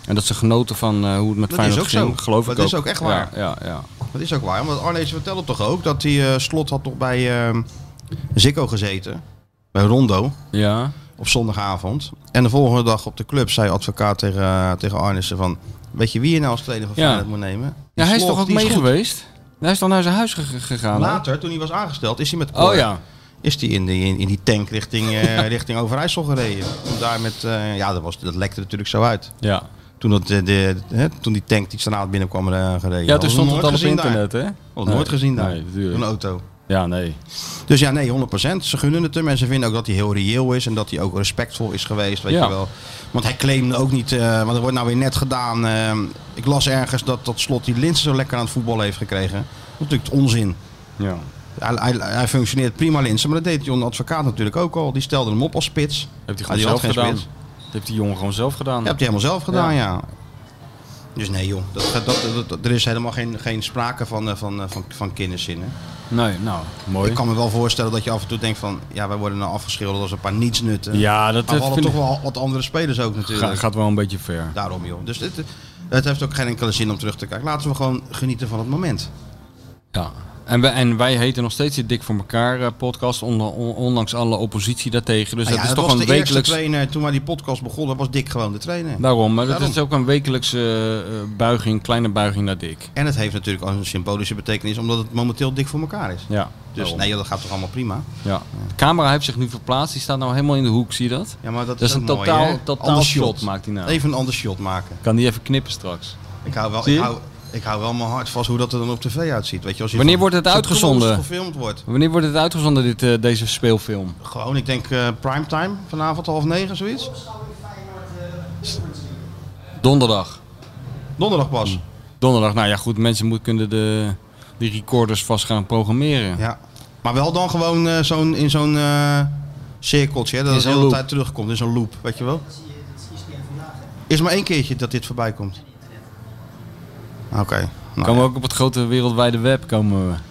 En dat ze genoten van eh, hoe het met Dat Feyenoord is ook ging. zo. Geloof Dat ik ook. is ook echt waar. Ja, ja, ja. Dat is ook waar, want Arnees vertelde toch ook dat hij eh, slot had nog bij eh, Ziggo gezeten. Bij Rondo ja. op zondagavond. En de volgende dag op de club zei advocaat tegen, eh, tegen Arnissen van... Weet je wie je nou als trainer van Ja. Feyenoord moet nemen? Die ja hij is Slot, toch ook die mee goed. geweest? Hij is dan naar zijn huis ge- gegaan. hè? Later, toen hij was aangesteld, is hij met Cor- Oh ja. is die in, die, in, in die tank richting, eh, richting Overijssel gereden. Om daar met, eh, ja, dat, was, dat lekte natuurlijk zo uit. Ja, Toen, dat, eh, de, hè, toen die tank die straat binnenkwam eh, gereden. ja Hadden we toen stond nooit het al op gezien daar. internet, hè? Hadden we Nee. nooit gezien daar, Nee, een natuurlijk. auto. Ja, nee. Dus ja, nee, 100%. Ze gunnen het hem en ze vinden ook dat hij heel reëel is en dat hij ook respectvol is geweest, weet Ja. je wel. Want hij claimde ook niet, eh, want er wordt nou weer net gedaan. eh, ik las ergens dat dat slot die Linsen zo lekker aan het voetballen heeft gekregen. Dat is natuurlijk onzin. Ja. Hij, hij, hij functioneert prima Linsen, maar dat deed John Advocaat natuurlijk ook al. Die stelde hem op als spits. Heeft hij Maar gewoon Ah, die had zelf geen gedaan. spits. Dat heeft die jongen gewoon zelf gedaan. Dat heb hij helemaal zelf gedaan, ja. Dus nee joh, dat, dat, dat- dat- er is helemaal geen, geen sprake van, eh, van, eh, van, van kinderzinnen. Nee, nou, mooi. Ik kan me wel voorstellen dat je af en toe denkt van, ja, wij worden nou afgeschilderd als een paar nietsnutten. Ja, Maar dat we dat hadden vind toch ik- wel wat andere spelers ook natuurlijk. ga- gaat wel een beetje ver. Daarom joh. Dus het, het heeft ook geen enkele zin om terug te kijken. Laten we gewoon genieten van het Dus moment. Nou Ja. En wij, en wij heten nog steeds de Dik voor elkaar eh, podcast, on- on- ondanks alle oppositie daartegen. Nou Dus dat ja, is dat toch was een de eerste wekelijks. trainer, toen wij die podcast begonnen, was Dick gewoon de trainer. Daarom, maar dat Daarom. is ook een wekelijkse eh, eh, buiging, kleine buiging naar Dik. En het heeft natuurlijk ook een symbolische betekenis, omdat het momenteel Dick voor elkaar is. Ja. Dus daarom. nee, joh, dat gaat toch allemaal prima. Ja. De camera heeft zich nu verplaatst, die staat nou helemaal in de hoek, zie je dat? Ja, maar dat, Dat is ook een mooi, totaal- hè? totaal Ander shot maakt hij nou. Even een ander shot maken. Kan die even knippen straks. Ik hou wel, Zie ik je? hou, ik hou wel mijn hart vast hoe dat er dan op tv uitziet. Weet je, als je Wanneer van- wordt het zo uitgezonden? knullig gefilmd wordt. Wanneer wordt het uitgezonden, dit, eh, deze speelfilm? Gewoon, ik denk prime primetime, vanavond half negen, zoiets. Donderdag. Donderdag pas. Donderdag, nou ja goed, mensen moet, kunnen de, die recorders vast gaan programmeren. Ja. Maar wel dan gewoon eh, zo'n, in zo'n eh, cirkeltje, hè, dat In het zo'n de hele loop. tijd terugkomt. In zo'n loop, weet je wel. Is maar één keertje dat dit voorbij komt. Oké. Nou, Komen we ook op het grote wereldwijde web, komen we. maar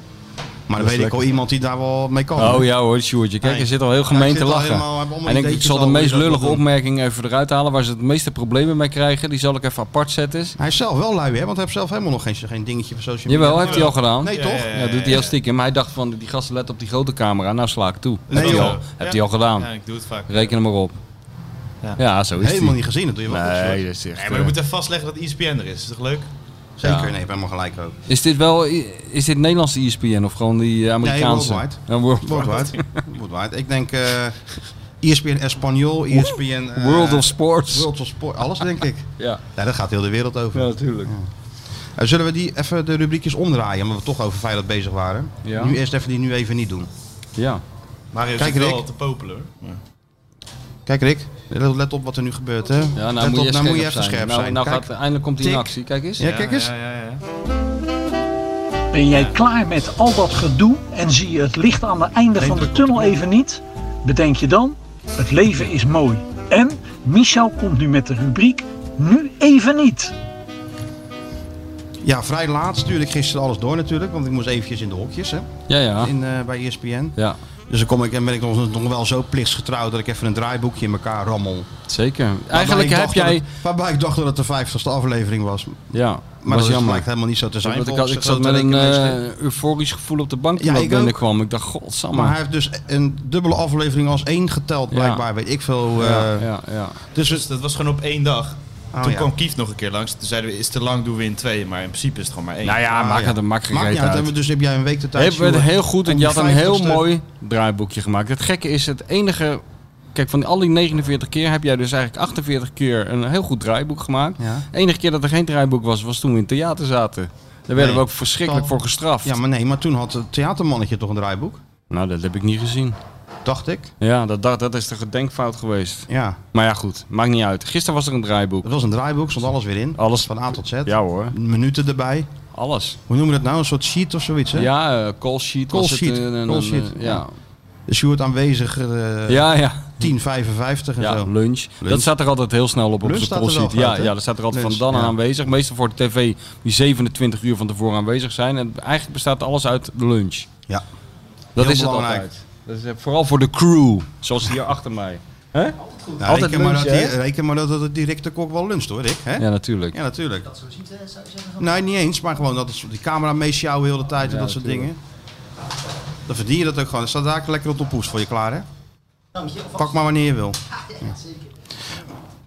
is dan weet ik lekker. wel iemand die daar wel mee kan. Oh ja hoor, Sjoerdje. Kijk, Nee. je zit al heel Ja, gemeen ik te zit al lachen. helemaal- heb allemaal en ik, ik ideetjes zal de al hoe je meest dat lullige moet doen. opmerking even eruit halen. Waar ze het meeste problemen mee krijgen. Die zal ik even apart zetten. Hij is zelf wel lui, hè? Want hij heeft zelf helemaal nog geen, geen dingetje van social media. Jawel, heeft hij al gedaan. Nee, toch? Ja, ja, Ja, doet hij heel stiekem. Hij dacht van, die gasten let op die grote camera. Nou sla ik toe. Nee, heeft hij joh. al, heeft Ja. hij al gedaan. Ja, ik doe het vaak. Reken hem maar op. Ja, Ja. zo is Helemaal die. niet gezien, dat doe je wel goed, Sjoerd. Nee, dat is echt... Nee, maar je eh, moet even vastleggen dat E ESPN er is. Is toch leuk? Zeker, Ja. nee, je hebt helemaal gelijk ook. Is dit wel... Is dit Nederlandse E ESPN of gewoon die eh, Amerikaanse? worldwide. Ja, world- Worldwide. Worldwide. Ik denk eh ESPN Espanol, ESPN... eh, World of Sports. World of Sport, alles denk ik. Ja. Ja, daar gaat heel de wereld over. natuurlijk. Eh, Zullen we die even de rubriekjes omdraaien, omdat we toch over Feyenoord bezig waren? Ja. Nu eerst even die nu even niet doen. Ja. Mario Kijk, zit wel Rick. te popelen hoor. Kijk Rick, let let op wat er nu gebeurt hè. Ja, nou let moet op, je, nou moet je even zijn. scherp Nou, zijn. Nou, Kijk. gaat, eindelijk komt hij in Tik. actie. Kijk eens. Ja, kijk eens. Ja, ja, ja. Ben jij klaar met al dat gedoe en zie je het licht aan het einde van de tunnel even niet? Bedenk je dan, het leven is mooi. En Michel komt nu met de rubriek Nu even niet. Ja, vrij laat stuurde ik gisteren alles door natuurlijk. Want ik moest eventjes in de hokjes hè, Ja, ja. in, eh, bij ESPN. Ja, Dus dan kom ik, en ben ik nog, nog wel zo plichtsgetrouw dat ik even een draaiboekje in elkaar rammel. zeker. Waarbij ik Eigenlijk heb dacht dat jij... het- waarbij ik dacht dat het de vijftigste aflevering was. Ja, Maar was dat is- jammer. blijkt helemaal niet zo te zijn. Want ik, had, volgens ik de zat grote met een rekenmeester. eh, euforisch gevoel op de bank toen Ja, dat ik ook. binnenkwam. Ik dacht, maar hij godsamme. heeft dus een dubbele aflevering als één geteld Ja. blijkbaar. Weet ik veel. eh, Ja, ja, ja. Dus Dus het- dat was gewoon op één dag. Oh, Toen ja. kwam Kief nog een keer langs. Toen zeiden we, is te lang, doen we in twee. Maar in principe is het gewoon maar één. Nou ja, Ah, maak ja. het een makkelijk maakt niet uit. uit. hebben we- Dus heb jij een week de tijd. Hebben we het Sjoerd, heel goed en om je had die een heel 50ste mooi draaiboekje gemaakt. Het gekke is, het enige... Kijk, van al die 49 keer heb jij dus eigenlijk 48 keer een heel goed draaiboek gemaakt. Ja. De enige keer dat er geen draaiboek was, was toen we in het theater zaten. Daar werden Nee. we ook verschrikkelijk Kan- voor gestraft. Ja, maar nee, maar toen had het theatermannetje toch een draaiboek? Nou, dat heb ik niet gezien. Dacht ik. Ja, dat, dat, dat is de gedenkfout geweest. Ja, Maar ja, goed. Maakt niet uit. Gisteren was er een draaiboek. dat was een draaiboek, stond alles weer in. Alles. Van A tot Z. Ja hoor. Minuten erbij. Alles. Hoe noemen we dat nou? Een soort sheet of zoiets, hè? Ja, eh call sheet. was Call Het, sheet, eh, een- call een, sheet, eh, ja. ja. Dus je wordt aanwezig eh ja, ja. 10.55 en Ja, zo. lunch. Dat staat er altijd heel snel op op Lunch de staat call er wel sheet. Ja, groot, hè? ja, dat staat er altijd Lunch, van dan aan ja. aanwezig. Meestal voor de tv die 27 uur van tevoren aanwezig zijn. En eigenlijk bestaat alles uit lunch. Ja. Dat Heel is belangrijk. het altijd. Dat is, eh, vooral voor de crew, zoals hier achter mij. Hè? Nou, Altijd reken, maar lunch, dat, die- hè? reken maar dat het direct de kok wel luncht, hoor, Rick. Hè? Ja, natuurlijk. Ja, natuurlijk. Nee, niet eens, maar gewoon dat het- die camera meesjouwen heel de tijd en Ja, dat soort natuurlijk. dingen. Dan verdien je dat ook gewoon. Er staat daar lekker op de poes voor je klaar, hè? Dank je. Pak maar wanneer je wil.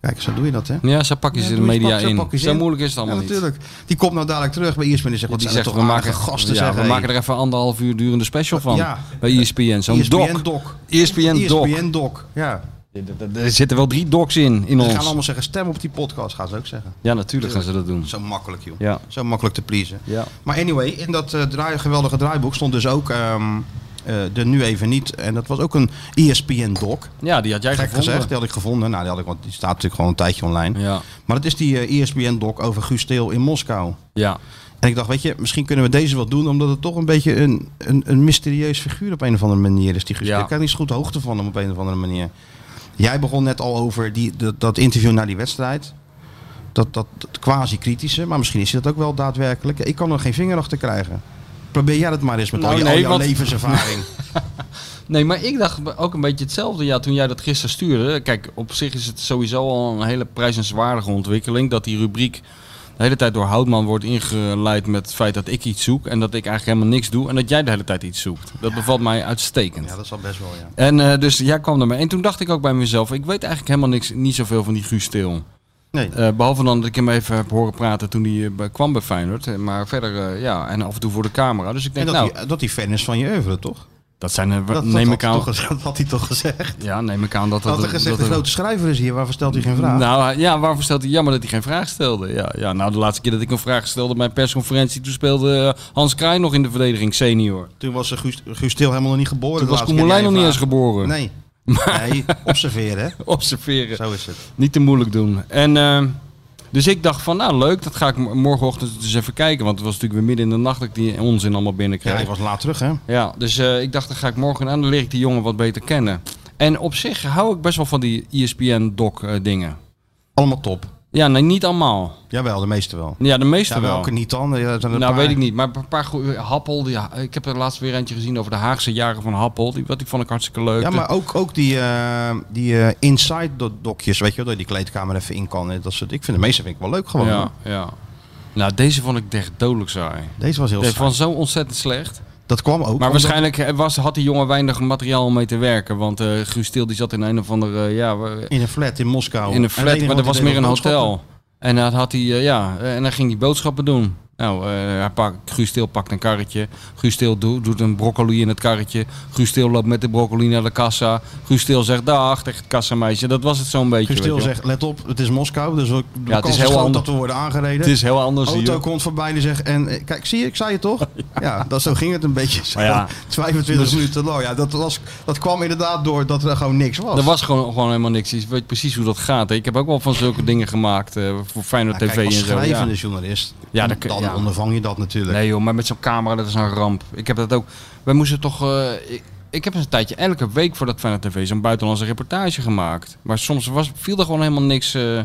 Kijk, zo doe je dat, hè? Ja, zo pakken ze Ja, de doe eens, media pak ze, in. pak eens Zo in. moeilijk is het Ja, allemaal niet. natuurlijk. Die komt nou dadelijk terug bij ESPN en zegt, wat Die zijn zegt, toch we maken, gasten, ja, zeggen, we hey. maken er even anderhalf uur durende special van. Ja. E Bij E ESPN. Zo'n E ESPN doc. doc. ESPN doc. ESPN doc. Ja. Er zitten wel drie docs in, in Ze gaan ons. allemaal zeggen, stem op die podcast, gaan ze ook zeggen. Ja, natuurlijk gaan ze dat doen. Zo makkelijk, joh. Ja. Zo makkelijk te pleasen. Ja. Maar anyway, in dat eh, draai- geweldige draaiboek stond dus ook ehm, eh, de Nu Even Niet. En dat was ook een E ESPN-doc. Ja, die had jij Gek gevonden. gezegd, die had ik gevonden. Nou, die, had ik, want die staat natuurlijk gewoon een tijdje online. Ja, Maar dat is die eh, E ESPN-doc over Gusteel in Moskou. ja. En ik dacht, weet je, misschien kunnen we deze wel doen... omdat het toch een beetje een, een, een mysterieus figuur op een of andere manier is. Die Gusteel. Ja. Ik kan niet zo goed hoogte van hem op een of andere manier. Jij begon net al over die, dat, dat interview na die wedstrijd. Dat, dat, dat quasi-kritische, maar misschien is hij dat ook wel daadwerkelijk. Ik kan er geen vinger achter krijgen. Probeer jij dat maar eens met Nou, al, je, al nee, jouw want- levenservaring. Nee, maar ik dacht ook een beetje hetzelfde. Ja, toen jij dat gisteren stuurde. Kijk, op zich is het sowieso al een hele prijzenswaardige ontwikkeling. Dat die rubriek de hele tijd door Houtman wordt ingeleid met het feit dat ik iets zoek. En dat ik eigenlijk helemaal niks doe. En dat jij de hele tijd iets zoekt. Dat bevalt mij uitstekend. ja, dat zal best wel, ja. En eh, dus jij kwam ermee. En toen dacht ik ook bij mezelf, ik weet eigenlijk helemaal niks, niet zoveel van die Guus Til. Nee. Eh, behalve dan dat ik hem even heb horen praten toen hij eh, bij- kwam bij Feyenoord. Eh, Maar verder, eh, ja, en af en toe voor de camera. Dus En ik denk, dat, nou, die, dat die fan is van je oeuvre, toch? dat zijn, eh, Dat, neem, dat ik had aan, hij toch gez- dat had hij toch gezegd? ja, neem ik aan dat dat... had hij gezegd, dat- de grote schrijver is hier, waarvoor stelt hij geen vraag? Nou ja, waarvoor stelt hij jammer dat hij geen vraag stelde? Ja, ja, nou, de laatste keer dat ik een vraag stelde bij een persconferentie, toen speelde eh, Hans Kraai nog in de verdediging senior. Toen was eh, Guus, Guus Til helemaal nog niet geboren. Toen de was laatste Koemelijn keer nog die niet hij eens geboren. Nee. Nee, observeren. hè. Observeren. Zo is het. Niet te moeilijk doen. En eh, dus ik dacht van, nou leuk, dat ga ik m- morgenochtend eens even kijken. Want het was natuurlijk weer midden in de nacht dat ik die onzin allemaal Ja, binnenkreeg. hij Ja, was laat terug, hè? dus eh, ik dacht, dan ga ik morgen aan, dan leer ik die jongen wat beter kennen. En op zich hou ik best wel van die ESPN-doc eh, dingen. Allemaal top. Ja, nee, niet allemaal. Jawel, de meeste wel. Ja, de meeste Ja, wel. welke niet dan? Ja, er zijn er een Nou, paar. weet ik niet. Maar een paar goede... Happel, die, eh, ik heb er laatst weer eentje gezien over de Haagse jaren van Happel. Die, wat, die vond ik hartstikke leuk. Ja, maar ook, ook die, eh, die eh, inside do- dokjes, weet je wel, dat je die kleedkamer even in kan. en Dat soort, ik vind de meeste vind ik wel leuk gewoon. ja, hoor. ja. Nou, deze vond ik echt dodelijk saai. Deze was heel Deze saai. vond zo ontzettend slecht. Dat kwam ook. Maar omdat- waarschijnlijk eh, was, had die jongen weinig materiaal om mee te werken. Want eh Guus Til die zat in een of andere... eh, ja, we- In een flat in Moskou. in Oh. En een het flat, enige maar wat er hij was deed meer een boodschappen. hotel. En dan, had hij, eh, ja, eh, en dan ging hij boodschappen doen. Nou, eh, hij pak, Guus Til pakt een karretje. Guus Til doet, doet een broccoli in het karretje. Guus Til loopt met de broccoli naar de kassa. Guus Til zegt dag tegen het kassameisje. Dat was het zo'n beetje. Guus weet je Til wel. zegt, let op, het is Moskou, dus we- de het kans is is heel groot ander- dat we worden aangereden. Het is heel anders auto hier. komt voorbij en die zegt, en eh, kijk, zie je, ik zei het toch? ja, dat, zo ging het een beetje. Zo, Maar ja. dus- 25 minuten lang. Ja, dat, was, dat kwam inderdaad door dat er gewoon niks was. Er was gewoon, gewoon helemaal niks. Je weet precies hoe dat gaat. hè. Ik heb ook wel van zulke dingen gemaakt eh, voor Feyenoord Nou, kijk, TV en als zo. ja. schrijvende journalist, Ja, dan, dan kun- dan ja. ondervang je dat natuurlijk. Nee joh, maar met zo'n camera, dat is een ramp. Ik heb dat ook... Wij moesten toch... eh, ik, ik heb eens een tijdje elke week voor dat Feyenoord TV zo'n buitenlandse reportage gemaakt. Maar soms was, viel er gewoon helemaal niks. eh je,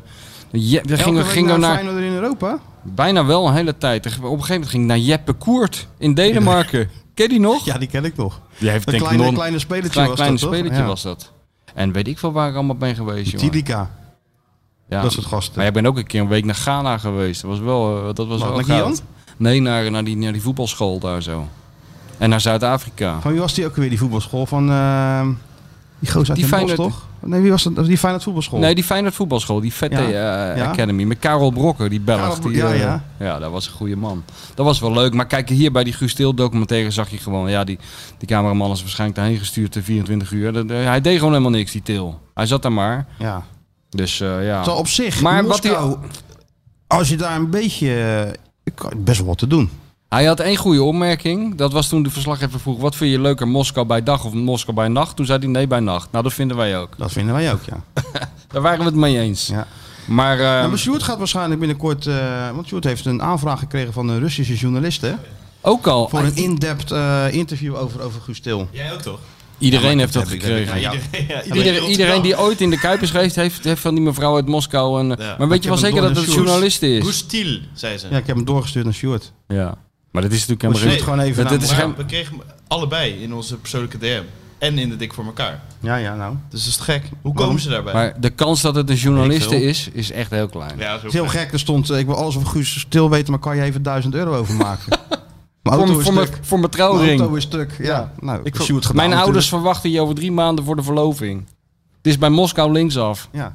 we gingen, week gingen we naar, Feyenoord in Europa? bijna wel een hele tijd. Op een gegeven moment ging ik naar Jeppe Koert in Denemarken. Ken je die nog? Ja, die ken ik toch. Die heeft Een denk ik kleine, nog- kleine spelertje klein, was klein dat, toch? spelletje Ja. was dat. En weet ik veel waar ik allemaal ben geweest, jongen. Tilica, Ja. dat soort gasten. Maar jij bent ook een keer een week naar Ghana geweest. Dat was wel, eh, dat was Wat, wel naar goud. Guyana? Nee, naar, naar, die, naar die voetbalschool daar zo. En naar Zuid-Afrika. Van wie was die ook weer, die voetbalschool? Van ehm, die gozer Die uit Den Bosch, Feyenoord- toch? Nee, wie was dat? Dat was Die Feyenoord voetbalschool. Nee, die Feyenoord voetbalschool, die Vette Ja. eh, Ja. Academy. Met Karel Brokker, die Belg. Karel Bro- die, ja, eh, ja. ja, dat was een goede man. Dat was wel leuk. Maar kijk, hier bij die Gusteel documentaire zag je gewoon... Ja, die, die cameraman is waarschijnlijk daarheen gestuurd de 24 uur. Dat- eh, hij deed gewoon helemaal niks, die Til. Hij zat daar maar. Ja. Dus eh, ja. Terwijl op zich, Maar maar wat die- Moskou, als je daar een beetje... eh, ik kan best wel wat te doen. Hij had één goede opmerking. Dat was toen de verslaggever vroeg: wat vind je leuker, Moskou bij dag of Moskou bij nacht? Toen zei hij nee bij nacht. Nou, dat vinden wij ook. Dat vinden wij ook, ja. Ehm, Daar waren we het mee eens. Ja. Maar, eh, Nou, maar Sjoerd gaat waarschijnlijk binnenkort... eh, want Sjoerd heeft een aanvraag gekregen van een Russische journalist, hè? ook al, Voor een in-depth eh, interview over, over Gustil. Jij ook toch? iedereen heeft dat heb ik- heb ik gekregen. aan jou. Iedereen, iedereen die ooit in de Kuip is geweest, heeft, heeft van die mevrouw uit Moskou. En, Ja. Maar weet je heb wel hem zeker door dat de het een Sjoerd. journalist is? Goestiel, zei ze. Ja, ik heb hem doorgestuurd naar Sjoerd. Ja. Maar dat is natuurlijk Maar helemaal Sjoerd geen. Nee, gewoon even naar dat- dat hem. is Maar geen- we kregen hem allebei in onze persoonlijke DM. En in de Dik voor elkaar. Ja, ja, nou. Het Dus dat is te gek. Hoe Waarom? komen ze daarbij? Maar de kans dat het een Ik journaliste wil. is, is echt heel klein. ja, zo is heel gek, er stond... eh, ik wil alles over Gustil weten, maar kan je even 1000 euro overmaken? Mijn Voor, auto mijn- is voor, mijn- stuk. voor mijn Mijn trouwring. auto is stuk, ja. Nou, ik Voor- Sjoerd gedaan Mijn natuurlijk. ouders verwachten je over drie maanden voor de verloving. Het is bij Moskou linksaf. Ja,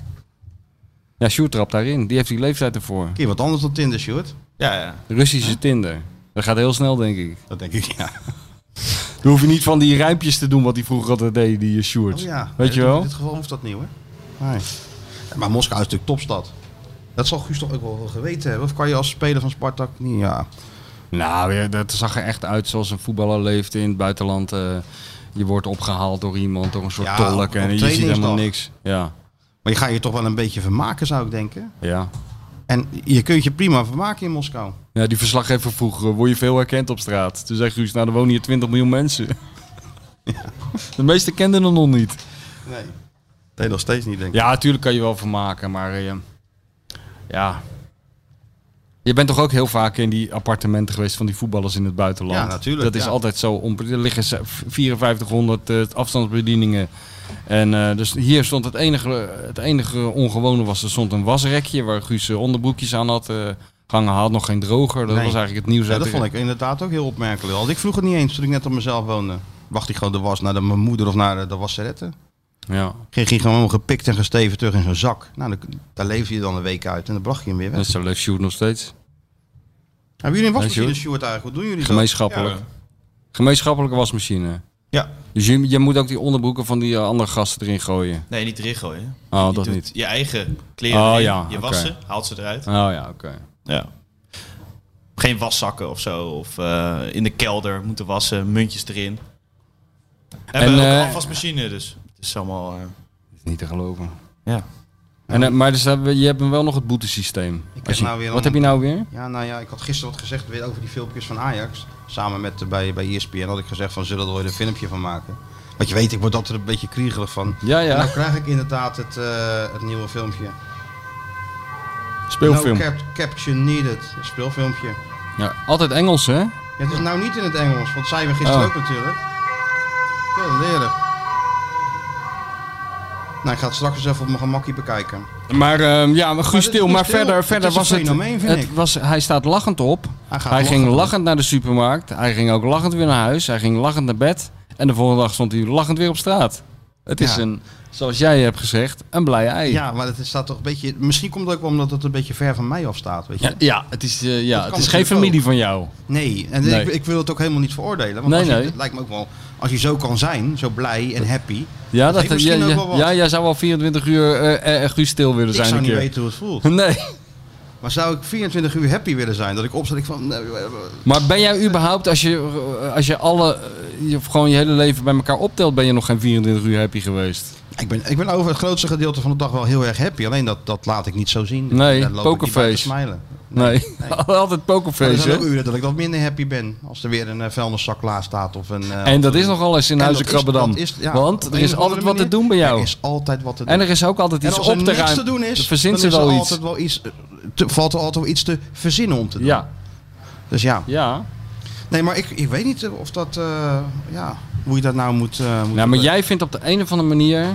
Ja, Sjoerd trapt daarin. Die heeft die leeftijd ervoor. keer wat anders dan Tinder, Sjoerd. Ja, ja. De Russische Tinder. Dat gaat heel snel, denk ik. Dat denk ik, ja. Dan hoef je niet van die rijmpjes te doen wat hij vroeger altijd deed, die eh, Sjoerd. Oh ja. Weet je In wel? dit geval hoeft dat niet hoor. Nee. Ja, maar Moskou is natuurlijk topstad. Dat zal Guus toch ook wel geweten hebben? Of kan je als speler van Spartak niet? Ja. Nou, ja, dat zag er echt uit zoals een voetballer leefde in het buitenland. eh, je wordt opgehaald door iemand, door een soort Ja, op- tolk op en je ziet trainingsdag. helemaal niks. Ja, Maar je gaat je toch wel een beetje vermaken, zou ik denken. ja. En je kunt je prima vermaken in Moskou. Ja, die verslaggever vroeg, eh, word je veel herkend op straat? Toen zei Guus, nou, er wonen hier 20 miljoen mensen. De meeste kenden hem nog niet. Nee. Nee, nog steeds niet, denk ik. Ja, natuurlijk kan je wel vermaken, maar eh, ja. Je bent toch ook heel vaak in die appartementen geweest van die voetballers in het buitenland. Ja, natuurlijk, Dat is ja. altijd zo. onpre- Er liggen ze- 5400 eh, afstandsbedieningen. En eh, dus hier stond het enige, het enige ongewone was, er stond een wasrekje waar Guus eh, onderbroekjes aan had. eh gangen had nog geen droger. Dat Nee. was eigenlijk het nieuws. Ja, uit dat de- vond ik inderdaad ook heel opmerkelijk. Had ik vroeger niet eens toen ik net op mezelf woonde. Wacht ik gewoon de was naar de, mijn moeder of naar de, de wasseretten. Ja, Ging, ging gewoon gepikt en gesteven terug in zo'n zak. Nou, dan, daar leefde je dan een week uit en dan bracht je hem weer weg. dat is zo leuk shoot nog steeds. Hebben jullie een Ja, Sjoerd. wasmachine, Sjoerd, eigenlijk? Wat doen jullie zo? Gemeenschappelijk. Gemeenschappelijke wasmachine. Ja. Dus je, je moet ook die onderbroeken van die eh, andere gasten erin gooien. Nee, niet erin gooien. Oh, Je dat doet niet. Je eigen kleren Oh, erin, ja, Je oké. wassen, haalt ze eruit. Oh ja, oké. Ja. Geen waszakken of zo. Of eh, in de kelder moeten wassen, muntjes erin. En, En, we hebben ook eh, een afwasmachine, dus het is allemaal... eh, Is niet te geloven. ja. En, eh, maar dus, heb- je hebt hem wel nog het boetesysteem. heb Als je- nou weer wat een- heb je nou weer? Ja, nou ja, ik had gisteren wat gezegd weer over die filmpjes van Ajax. Samen met eh, bij, bij ESPN had ik gezegd van zullen we er ooit een filmpje van maken. Want je weet, ik word altijd een beetje kriegelig van. Ja, En ja. dan krijg ik inderdaad het, eh, het nieuwe filmpje. Speelfilm. No cap- caption needed. Een speelfilmpje. Ja, altijd Engels, hè? Ja, het is nou niet in het Engels, want zij we gisteren Oh. ook natuurlijk. Kunnen leren. Nou, ik ga het straks eens even op mijn gemakkie bekijken. Maar ehm, ja, maar Guus het is Til. Maar Guus Til. verder, Het verder is een was het... fenomeen, vind het ik. Was, hij staat lachend op. Hij, gaat hij ging lachen. lachend naar de supermarkt. Hij ging ook lachend weer naar huis. Hij ging lachend naar bed. En de volgende dag stond hij lachend weer op straat. Het is Ja. een, zoals jij hebt gezegd, een blij ei. Ja, maar het staat toch een beetje... Misschien komt het ook wel omdat het een beetje ver van mij afstaat, weet je. Ja, ja, het is, eh, ja, kan het is geen natuurlijk familie van jou. Nee, en Nee. Ik, ik wil het ook helemaal niet veroordelen. Want Nee, als je- nee. het lijkt me ook wel, als je zo kan zijn, zo blij en happy. Ja, dat, heeft misschien ja, ook ja, wel wat. ja, jij zou wel 24 uur eh, eh, Guus Til willen Ik zijn zou een niet keer. weten hoe het voelt. Nee. Maar zou ik 24 uur happy willen zijn? Dat ik opstel, ik van... nee, eh, eh, Maar ben jij überhaupt, als je, eh, als je alle, eh, je, gewoon je hele leven bij elkaar optelt, ben je nog geen 24 uur happy geweest? Ik ben, ik ben over het grootste gedeelte van de dag wel heel erg happy. Alleen dat, dat laat ik niet zo zien. Nee, Daar loop ik niet bij te pokerface. smijlen. Nee, altijd Maar er pokerface. zijn ook hè? uren dat ik wat minder happy ben. Als er weer een eh, vuilniszak klaar staat. Of een, eh, En of dat een- is nogal eens in En Huizen dat is- Krabbedam. dat is- ja, op Want een er is of andere altijd wat te manier- doen bij Er jou. is altijd wat te doen. En er is ook altijd En iets als er Dus op te niks te ruimen. doen is, verzint dan ze is er wel iets. altijd wel iets. eh, te- valt er altijd wel iets te verzinnen om te doen. Ja, Dus ja. ja. Nee, maar ik, ik weet niet eh, of dat. eh, ja, hoe je dat nou moet. eh, moet Nou, maar jij vindt op de een of andere manier.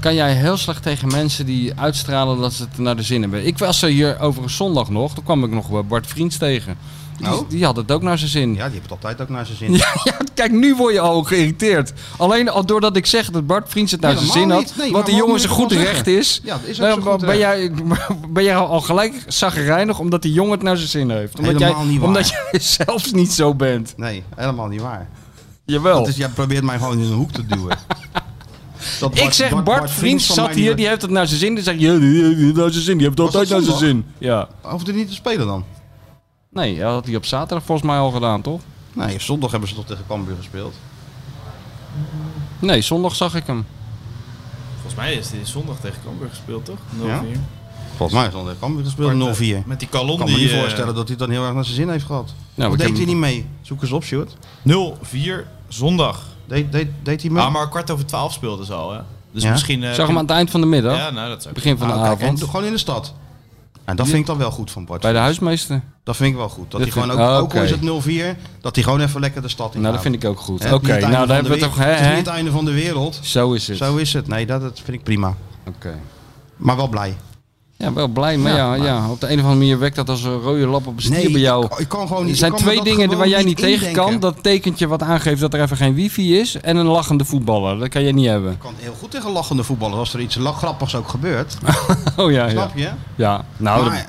kan jij heel slecht tegen mensen die uitstralen dat ze het naar de zin hebben. Ik was er hier over een zondag nog. Toen kwam ik nog wel Bart Vriends tegen. Die, Oh. die had het ook naar zijn zin. Ja, die hebt het altijd ook naar zijn zin. Ja, ja, kijk, nu word je al geïrriteerd. Alleen al doordat ik zeg dat Bart Vriends het naar zijn Helemaal zin had. niet. Nee, wat maar die wat jongen moet zijn ik goed ervan recht is. Ja, dat is ook nou, zijn goed ben, jij, ben jij al gelijk zagrijnig omdat die jongen het naar zijn zin heeft? Omdat Helemaal jij, niet waar. Omdat jij zelfs niet zo bent. Nee, helemaal niet Oh. waar. Jawel. Dus jij probeert mij gewoon in een hoek te duwen. Dat ik Bart- zeg, Bart, Vriends Vriends van zat mij hier, niet- die heeft het naar zijn zin. Die zegt, ja, die heeft het naar zijn zin. Die heeft het Was dat altijd naar zijn zin. Ja. Hoeft hij niet te spelen dan? Nee, dat had hij op zaterdag volgens mij al gedaan, toch? Nee, op zondag hebben ze toch tegen Cambuur gespeeld. Nee, zondag zag ik hem. Volgens mij is dit zondag tegen Cambuur gespeeld, toch? 0-4. Ja. Volgens mij is het tegen Cambuur gespeeld. eh, 0-4. Met die Ik kalon kan me niet die... eh, voorstellen dat hij het dan heel erg naar zijn zin heeft gehad. Nou, Of ik deed heb hij hem- niet mee? Zoek eens op, Sjoerd. 0-4 zondag. Deed, deed, deed hij mee? Ah, maar kwart over twaalf speelden ze al, hè? Dus Ja. misschien... eh, Zag hem aan het eind van de middag. Ja, nou, dat zou ik... Begin van de Ah, kijk, en avond. doe gewoon in de stad. En dat vind ik dan wel goed van Bart. Bij de huismeester. Dat vind ik wel goed. Dat Dat hij gewoon ook, vind- ah, ook al is oké. het 0-4, dat hij gewoon even lekker de stad in Nou, dat gaat. vind ik ook goed. Hè, Oké, het is niet het nou, einde daar van hebben we de toch... wereld. Hè, Het is niet hè? het einde van de wereld. Zo is het. Zo is het. Nee, dat, dat vind ik prima. Oké. Maar wel blij. Ja, wel blij, maar ja, ja, op de een of andere manier werkt dat als een rode lap op een stier bij jou. ik, ik kan gewoon niet. Er ik zijn kan me twee dat dingen gewoon waar jij niet tegen indenken. kan. Dat tekentje wat aangeeft dat er even geen wifi is. En een lachende voetballer. Dat kan jij niet hebben. Ik kan heel goed tegen lachende voetballers als er iets lach- grappigs ook gebeurt. Oh ja, ja. Snap je? ja. Nou, dat- maar,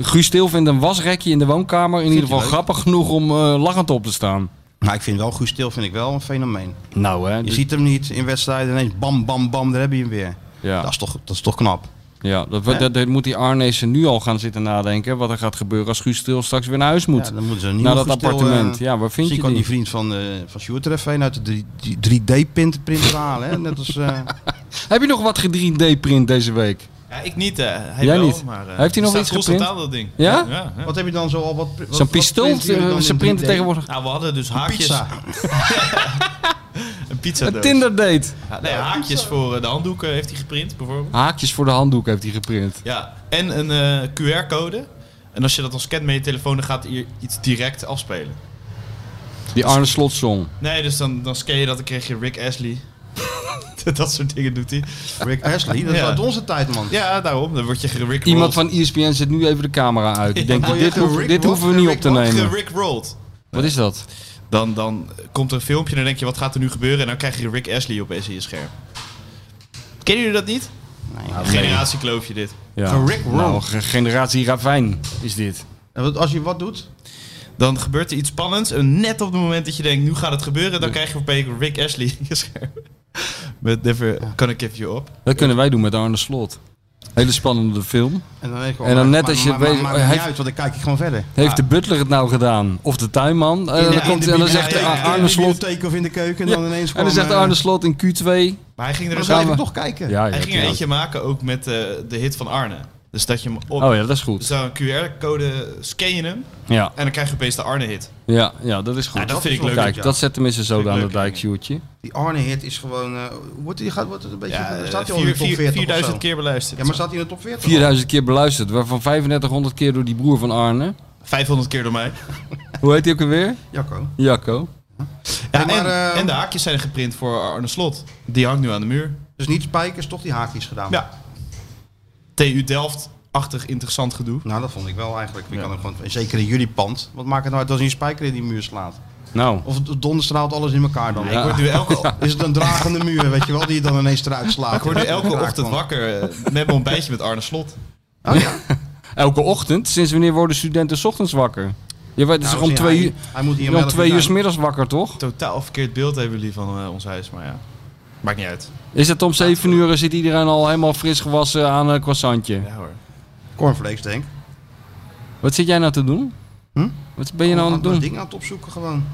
Guus Stil vindt een wasrekje in de woonkamer in ieder hij geval leuk. grappig genoeg om eh, lachend op te staan. maar ik vind wel, Guus Stil vind ik wel een fenomeen. Nou hè, Je dus- ziet hem niet in wedstrijden ineens bam, bam, bam, daar heb je hem weer. ja, Dat, is toch, dat is toch knap. ja dat, we- dat, dat moet die Arnezen nu al gaan zitten nadenken wat er gaat gebeuren als Guus Stil straks weer naar huis moet. Ja, dan moeten ze een naar nieuwe dat Guus Til, appartement. eh, ja, waar vind Misschien je kan die? die vriend van, eh van Sjoerd er even een uit de 3D-printer halen. Hè? Net als, eh, Heb je nog wat ge 3D-print deze week? Ja, ik niet, eh. Hij Jij wel, niet. maar... eh, Heeft hij nog staat iets constant geprint? aan, dat ding. Ja? ja, ja. wat heb je dan zo al? Wat, wat- Zo'n wat pistool, eh, printen jullie dan ze in printen 3D? tegenwoordig Nou, we hadden dus haakjes. Pizza. Een pizza een Tinder-date. nee, haakjes voor eh, de handdoeken heeft hij geprint, bijvoorbeeld. Haakjes voor de handdoek heeft hij geprint. Ja, en een eh, QR-code. En als je dat dan scant met je telefoon, dan gaat hij iets direct afspelen. Die Arne Slot song. Nee, dus dan, dan scan je dat, dan kreeg je Rick Ashley. dat soort dingen doet hij. Rick Ashley, dat is Ja. uit onze tijd, man. Ja, daarom. Dan word je gerick Iemand van E ESPN zet nu even de camera uit. Ik denk, Oh, je dit, hebt een hoef- Rick dit Ross hoeven we en niet Rick op te Ross nemen. Rick rolled. Wat is dat? Dan, dan komt er een filmpje en dan denk je, wat gaat er nu gebeuren? En dan krijg je Rick Ashley opeens in je scherm. Kennen jullie dat niet? Nou, Nee. Generatiekloofje dit. Ja. Een Rick Roll. Nou, ge- generatie Ravijn is dit. En wat- als je wat doet, Dan gebeurt er iets spannends. En net op het moment dat je denkt, nu gaat het gebeuren, dan krijg je opeens Rick Ashley in je scherm. Met Never Gonna Give You Up. Dat kunnen wij doen met Arne Slot. Hele spannende film. En dan, denk ik wel, En dan maar- net als je maar- maar- weet- maar maakt niet heeft- uit, want dan kijk ik gewoon verder. Heeft de butler het nou gedaan? Of de tuinman? En dan, Ja, komt, in de en dan zegt bibliotheek, Ar- in Arne de Slot... bibliotheek of in de keuken en dan ineens eh, En dan zegt Arne Slot in Q2... Maar hij ging er Dan dus ga ook- gaan we- ik toch kijken. Ja, ja, Hij ging er ja. eentje maken ook met eh, de hit van Arne. Dus dat je hem op... Oh ja, dat is Dus goed. dan een QR-code scan je hem Ja, en dan krijg je opeens de Arne-hit. ja, ja dat is goed. Ja, dat vind ik leuk. Kijk, ja. dat zet tenminste zo Vind ik aan de leuk, dijk, ja. Sjoerdje. Die Arne hit is gewoon... eh, wordt, die, gaat, wordt het een beetje... Ja, staat eh, hij al in de vier- top vier- 40 of 4000 zo? keer beluisterd. Ja, maar staat hij in de top 40? al? 4000 keer beluisterd, waarvan 3500 keer door die broer van Arne. 500 keer door mij. Hoe heet hij ook alweer? Jacco. Jacco. Ja, maar, en, eh, en de haakjes zijn geprint voor Arne Slot. Die hangt nu aan de muur. Dus niet spijkers, toch die haakjes gedaan. Ja. TU Delft-achtig interessant gedoe. Nou, dat vond ik wel eigenlijk. Je Ja. kan ook gewoon, en zeker in jullie pand. Wat maakt het nou uit als je een spijker in die muur slaat? Nou, Of het donderstraalt alles in elkaar dan? Ik word nu elke, Is het een dragende muur, weet je wel, die je dan ineens eruit slaat? ik word nu elke ochtend wakker eh, met mijn ontbijtje met Arne Slot. Oh ja. elke ochtend. Sinds wanneer worden studenten 's ochtends wakker? Je weet, het is Nou, gewoon Dus om zie, twee hij- uur, Hij moet hier om om elf twee uur zijn. 's middags wakker, toch? Totaal verkeerd beeld hebben jullie van eh, ons huis, maar ja. Maakt niet uit. Is het om 7 uur zit iedereen al helemaal fris gewassen aan een croissantje. Ja hoor. Cornflakes, denk ik. Wat zit jij nou te doen? Hm? Wat ben je nou aan Allemaal het doen? dingen aan het opzoeken gewoon.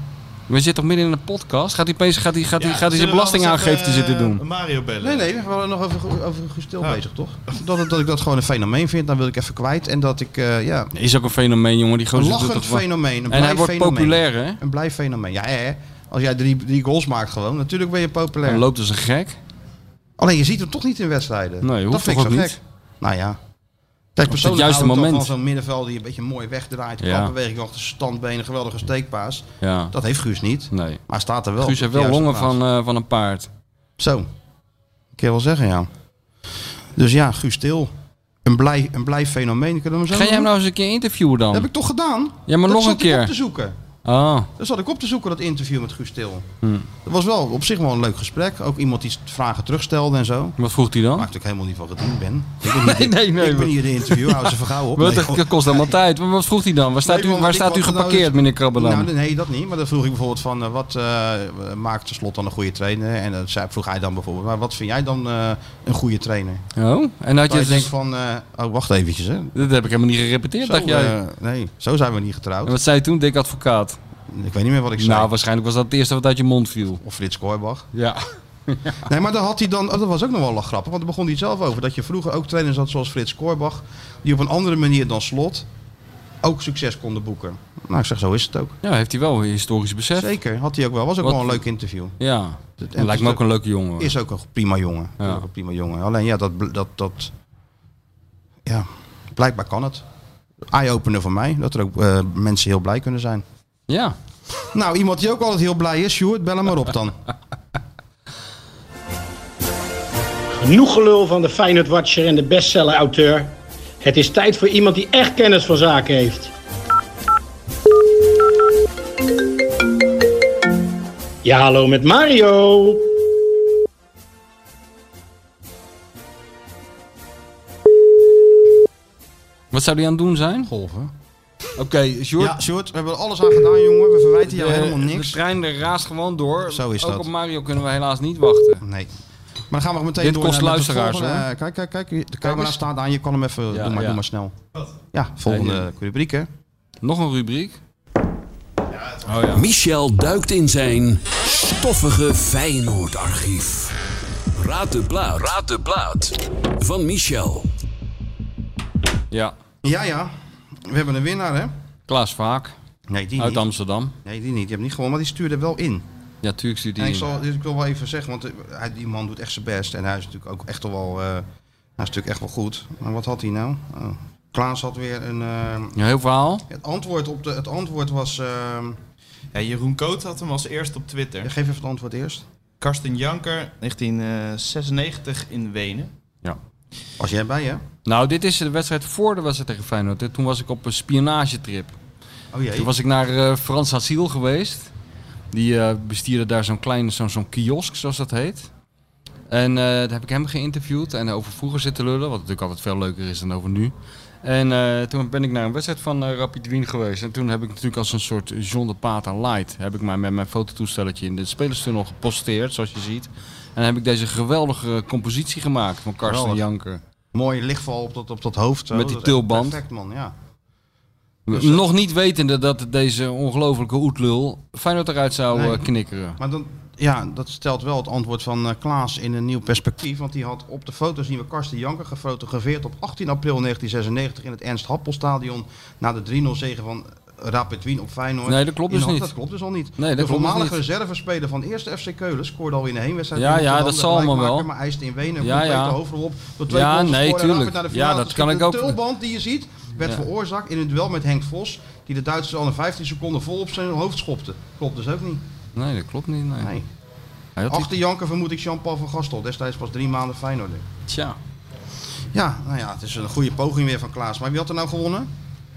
We zitten toch midden in een podcast? Gaat hij opeens gaat hij, gaat hij, Ja, gaat hij zullen zijn we anders belastingaangifte even, zitten eh, doen? Mario bellen. Nee, nee, we waren nog over, over gestil Ja. bezig, toch? Dat, dat ik dat gewoon een fenomeen vind, dan wil ik even kwijt. En dat ik, eh, ja, Is ook een fenomeen, jongen. Die een gozer doet lachend toch wel- fenomeen. Een En hij blij wordt fenomeen. populair, hè? Een blij fenomeen. Ja, hè? Als jij drie, drie goals maakt gewoon, natuurlijk ben je populair. Hij loopt als een gek. Alleen je ziet hem toch niet in wedstrijden. Nee, hoeft dat vind toch ik ook zo niet? gek. Nou ja. Kijk, het persoonlijk juiste hou ik dan moment. van zo'n middenveld die een beetje mooi wegdraait. Ja. Ja. beweging achter zijn standbeen, een geweldige steekpaas. Ja, Dat heeft Guus niet. Maar nee. hij staat er wel. Guus heeft op de wel juiste plaats. longen van, eh, van een paard. Zo. Ik kan wel zeggen, ja. Dus ja, Guus Til. Een blij, een blij fenomeen. Kunnen we hem zo Ga jij noemen? hem nou eens een keer interviewen Dat heb dan? ik toch gedaan? Ja, maar dat nog zat een keer. Ik op te zoeken. Ah, Dat zat ik op te zoeken, dat interview met Guus Til. Hmm. Dat was wel op zich wel een leuk gesprek. Ook iemand die vragen terugstelde en zo. wat vroeg hij dan? Waar ik natuurlijk helemaal niet van gediend ben. Ik ben niet, Nee, nee, nee. ik ben hier de interview, hou ze vergauw op. Wat, Nee, dat- joh. dat kost allemaal tijd. Maar wat vroeg hij dan? Waar staat Nee, u, want waar ik staat u was- nou, geparkeerd, dus- meneer Krabbelan? Nou, nee, dat niet. Maar dan vroeg ik bijvoorbeeld van, eh, wat eh, maakt de slot dan een goede trainer? En dan zei- vroeg hij dan bijvoorbeeld, maar wat vind jij dan eh, een goede trainer? Oh, en had Dat je je denkt dus, van, eh, oh wacht eventjes hè. Dat heb ik helemaal niet gerepeteerd, Zo, dacht jij. eh, nee, zo zijn we niet en getrouwd. wat zei je toen, dik advocaat? Ik weet niet meer wat ik zei. Nou, waarschijnlijk was dat het eerste wat uit je mond viel. of Frits Korbach. Ja. Nee, maar daar had hij dan, oh, dat was ook nog wel grappig, want daar begon hij zelf over. Dat je vroeger ook trainers had zoals Frits Korbach, die op een andere manier dan slot ook succes konden boeken. Nou, ik zeg, zo is het ook. Ja, heeft hij wel een historisch besef. Zeker, had hij ook wel. Was ook Wat- wel een leuk interview. Ja. Het- En lijkt me ook een leuke jongen. hoor. Is ook een prima jongen. Ja. Is ook een prima jongen. Alleen ja, dat, bl- dat, dat ja, blijkbaar kan het. Eye-opener voor mij, dat er ook eh, mensen heel blij kunnen zijn. Ja. Nou, iemand die ook altijd heel blij is, Sjoerd, bel hem maar op dan. Genoeg gelul van de Feyenoord Watcher en de bestseller-auteur. Het is tijd voor iemand die echt kennis van zaken heeft. Ja, hallo met Mario. Wat zou hij aan het doen zijn? Golven. Oké, Sjoerd. Ja, Sjoerd, we hebben er alles aan gedaan, jongen. We verwijten jou de- helemaal De niks. trein raast gewoon door. Zo is ook dat. op Mario kunnen we helaas niet wachten. Nee. Maar dan gaan we meteen Dit door kost naar met het luisteraars, volgende. Eh, Kijk, kijk, kijk. De camera eens. staat aan. Je kan hem even... Ja, doe, maar, ja. doe maar snel. Ja, volgende Nee, rubriek, hè. Nog een rubriek. Oh Michel duikt in zijn stoffige Feyenoord-archief. Raad de plaat. Raad de plaat. Van Michel. Ja. Ja, ja. We hebben een winnaar, hè. Klaas Vaak Nee, die uit niet. Amsterdam. Nee, die niet. Die hebt niet gewonnen, maar die stuurde wel in. Ja, tuurlijk stuurt En hij ik, in. zal, dus ik wil wel even zeggen, want eh, hij- die man doet echt zijn best. En hij is natuurlijk ook echt al wel, eh, hij is natuurlijk echt wel goed. Maar wat had hij nou? Oh. Klaas had weer een... eh, Ja, heel verhaal. het, antwoord op de, het antwoord was... eh, Ja, Jeroen Koot had hem als eerste op Twitter. geef even het antwoord eerst. Karsten Janker, 1996 in Wenen. Was jij bij, hè? Nou, dit is de wedstrijd voor de wedstrijd tegen Feyenoord. hè. Toen was ik op een spionagetrip. Oh jee. Toen was ik naar eh, Frans Asiel geweest. Die eh, bestierde daar zo'n klein zo'n zo'n kiosk, zoals dat heet. En eh, daar heb ik hem geïnterviewd en over vroeger zitten lullen, wat natuurlijk altijd veel leuker is dan over nu. En eh, toen ben ik naar een wedstrijd van eh, Rapid Wien geweest. En toen heb ik natuurlijk als een soort John de Pata light, heb ik mij met mijn fototoestelletje in de spelerstunnel geposteerd, zoals je ziet. En heb ik deze geweldige compositie gemaakt van Karsten Geweldig. Janker. Mooie lichtval op dat, op dat hoofd. zo. Met die Dat is echt tulband. Perfect, man, ja. Dus Nog niet wetende dat deze ongelofelijke oetlul Feyenoord eruit zou Nee. eh, knikkeren. Maar dan, ja, dat stelt wel het antwoord van eh, Klaas in een nieuw perspectief. Want die had op de foto zien we Karsten Janker gefotografeerd op 18 april 1996 in het Ernst Happelstadion. Na de 3-0 zege van Rapid Wien op Feyenoord. Nee, dat klopt In dus Hand- niet. Dat klopt dus al niet. Nee, dat de klopt dus voormalige niet. reservespeler van de eerste FC Keulen scoorde al in de heenwedstrijd. Ja, tegen ja, dat Hollander zal allemaal gelijkmaker, wel. Maar eiste in Wenen een Ja, complete ja. hoofdrol op. Door twee Ja, goals te nee, scoren en tuurlijk. Rapid naar de Ja, finale dat te kan schieten. ik De ook- tulband die je ziet werd Ja. veroorzaakt in een duel met Henk Vos. Die de Duitsers al in 15 seconden vol op zijn hoofd schopte. Klopt dus ook niet. Nee, dat klopt niet. Nee. Nee. Hij had die- Achter Janker vermoed ik Jean-Paul van Gastel. Destijds pas drie maanden Feyenoorder. Tja. Ja, nou ja, het is een goede poging weer van Klaas. Maar wie had er nou gewonnen?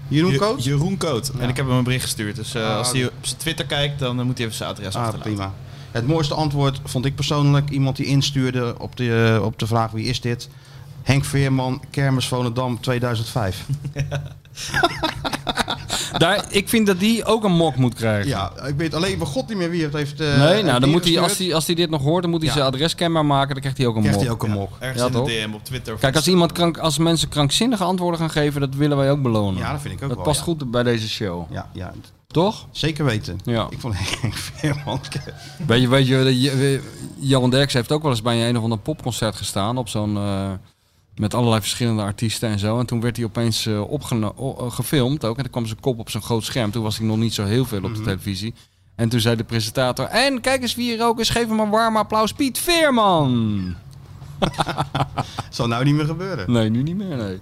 Jeroen Je- Koot? Jeroen Koot. En ik heb hem een bericht gestuurd. Dus eh, Ah, als hij op zijn Twitter kijkt, dan eh, moet hij even zijn adres Ah, achterlaten. prima. Het mooiste antwoord vond ik persoonlijk iemand die instuurde op de, eh, op de vraag wie is dit? Henk Veerman, Kermis Volendam 2005. Daar, ik vind dat die ook een mok moet krijgen. Ja, ik weet alleen bij God niet meer wie het heeft. eh, nee, heeft nou, dan moet hij, ingestuurd. als hij, als hij dit nog hoort, dan moet hij Ja. zijn adres kenbaar maken. Dan krijgt hij ook een krijgt mok. hij ook een mok. Ergens Ja, in de toch? DM op Twitter. of Kijk, als, Instagram. iemand krank, als mensen krankzinnige antwoorden gaan geven, dat willen wij ook belonen. Ja, dat vind ik ook dat wel, past ja. goed bij deze show. Ja, ja. Toch? Zeker weten. Ja. Ik vond Henk Veerman... Weet je, weet je, je- je- Johan Derks heeft ook wel eens bij een, een of ander popconcert gestaan op zo'n eh, met allerlei verschillende artiesten en zo. En toen werd hij opeens eh, opgeno- o- eh, gefilmd ook. En dan kwam zijn kop op zo'n groot scherm. Toen was hij nog niet zo heel veel op de Mhm. televisie. En toen zei de presentator: En kijk eens wie hier ook is. Geef hem een warm applaus, Piet Veerman. Zal nou niet meer gebeuren. Nee, nu niet meer. Nee.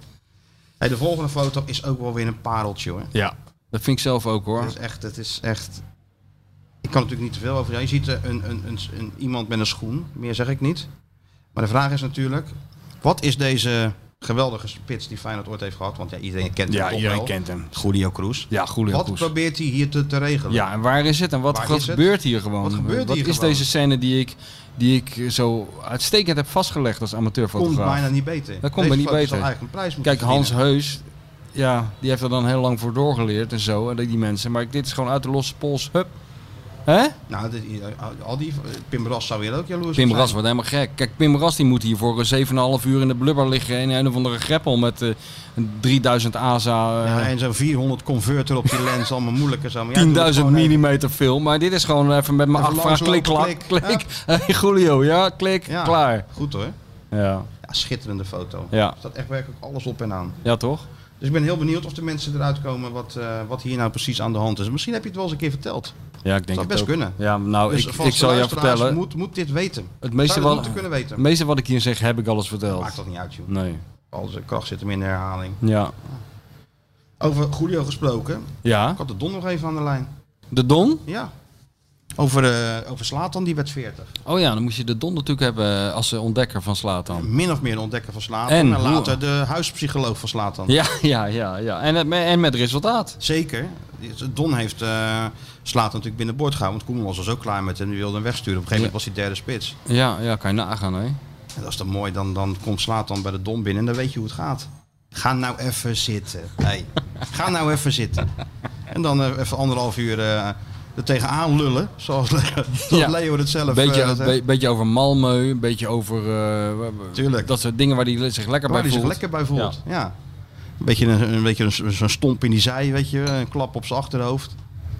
Hey, de volgende foto is ook wel weer een pareltje hoor. Ja. Dat vind ik zelf ook hoor. Het is echt, het is echt. Ik kan er natuurlijk niet te veel over zeggen. Je ziet eh, een, een, een, een- iemand met een schoen, meer zeg ik niet. Maar de vraag is natuurlijk, wat is deze geweldige spits die Feyenoord ooit heeft gehad? Want ja, iedereen kent hem toch wel. hem. Julio Cruz. Ja, Julio Wat Cruz. probeert hij hier te, te regelen? Ja, en waar is het en wat, Waar wat is het? gebeurt hier gewoon? Wat gebeurt hier is gewoon? deze scène die ik, die ik zo uitstekend heb vastgelegd als komt amateurfotograaf? bijna niet beter. Dat komt Deze er niet foto beter. zal eigenlijk een prijs moeten Kijk, Hans verdienen. Heus, ja, die heeft er dan heel lang voor doorgeleerd en zo, en die die mensen. Maar dit is gewoon uit de losse pols, hup. Hè? Nou, dit- al die, Pim Ras zou weer ook jaloers Pim op zijn. Ras wordt helemaal gek. Kijk, Pim Ras die moet hier voor eh, 7,5 uur in de blubber liggen in een of andere greppel met eh, 3000 ASA, Ja, eh, en zo'n 400 converter op die lens, allemaal moeilijk en zo. Maar ja, doe het 10.000 gewoon even. millimeter film. Maar dit is gewoon even met mijn Even acht vraag klik, klak, langslopen, klik. klik. Hey, Julio, ja, klik, Ja. klaar. Goed hoor. Ja. Ja, schitterende foto. Ja. Er staat echt werkelijk alles op en aan. ja, toch? Dus ik ben heel benieuwd of de mensen eruit komen wat, eh, wat hier nou precies aan de hand is. Misschien heb je het wel eens een keer verteld. Ja, ik denk Zou het best ook. kunnen. Ja, nou, dus ik, vast ik zal de jou luisteraars vertellen. Moet, moet dit weten. het, meeste Zou je dat wat, moeten kunnen het weten. meeste wat ik hier zeg, heb ik alles verteld. Maakt dat niet uit, joh. Nee. Al zijn kracht zit hem in de herhaling. Ja. Over Julio gesproken. Ja. Ik had de Don nog even aan de lijn. De Don? Ja. Over, eh over Slatan, die werd 40. Oh ja, dan moest je de Don natuurlijk hebben als eh, ontdekker van Slatan. Min of meer de ontdekker van Slatan. En En, hoe- later de huispsycholoog van Slatan. Ja, ja, ja. ja. En, het- en met resultaat. Zeker. Don heeft eh Slaat natuurlijk binnenboord gehouden. Want Koeman was al zo klaar met hem. Die wilde hem wegsturen. Op een gegeven moment was hij derde spits. Ja, ja kan je nagaan, hè? En dat is dan mooi. Dan, dan komt Slaat dan bij de Don binnen. En dan weet je hoe het gaat. Ga nou even zitten. Hey, ga nou even zitten. En dan eh, even anderhalf uur eh er tegenaan lullen. Zoals, Le- zoals Ja. Leo het zelf Beetje, eh, een zegt. be- beetje over Malmö, een beetje over eh, Tuurlijk. dat soort dingen waar hij zich lekker Waar bij hij zich voelt. lekker bij voelt. Ja. Een beetje, een, een beetje een, zo'n stomp in die zij, weet je. Een klap op zijn achterhoofd.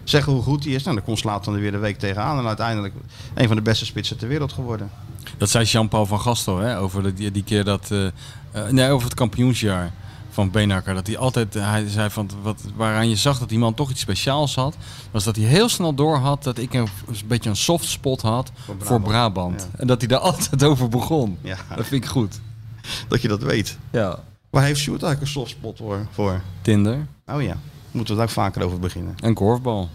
Zeggen hoe goed hij is. Nou, dan kon Slaat dan er weer de week tegenaan. En uiteindelijk een van de beste spitsen ter wereld geworden. Dat zei Jean-Paul van Gastel, hè, over de- die, die keer dat... eh, eh, nee, over het kampioensjaar van Benakker. Dat hij altijd, eh, hij zei van, wat, waaraan je zag dat die man toch iets speciaals had... was dat hij heel snel door had dat ik een, een beetje een soft spot had voor Brabant. Brabant. Ja. En dat hij daar altijd over begon. Ja. Dat vind ik goed. Dat je dat weet. Ja. Waar heeft Sjoerd eigenlijk een softspot voor- voor? Tinder Oh ja, moeten we daar ook vaker over beginnen. en korfbal.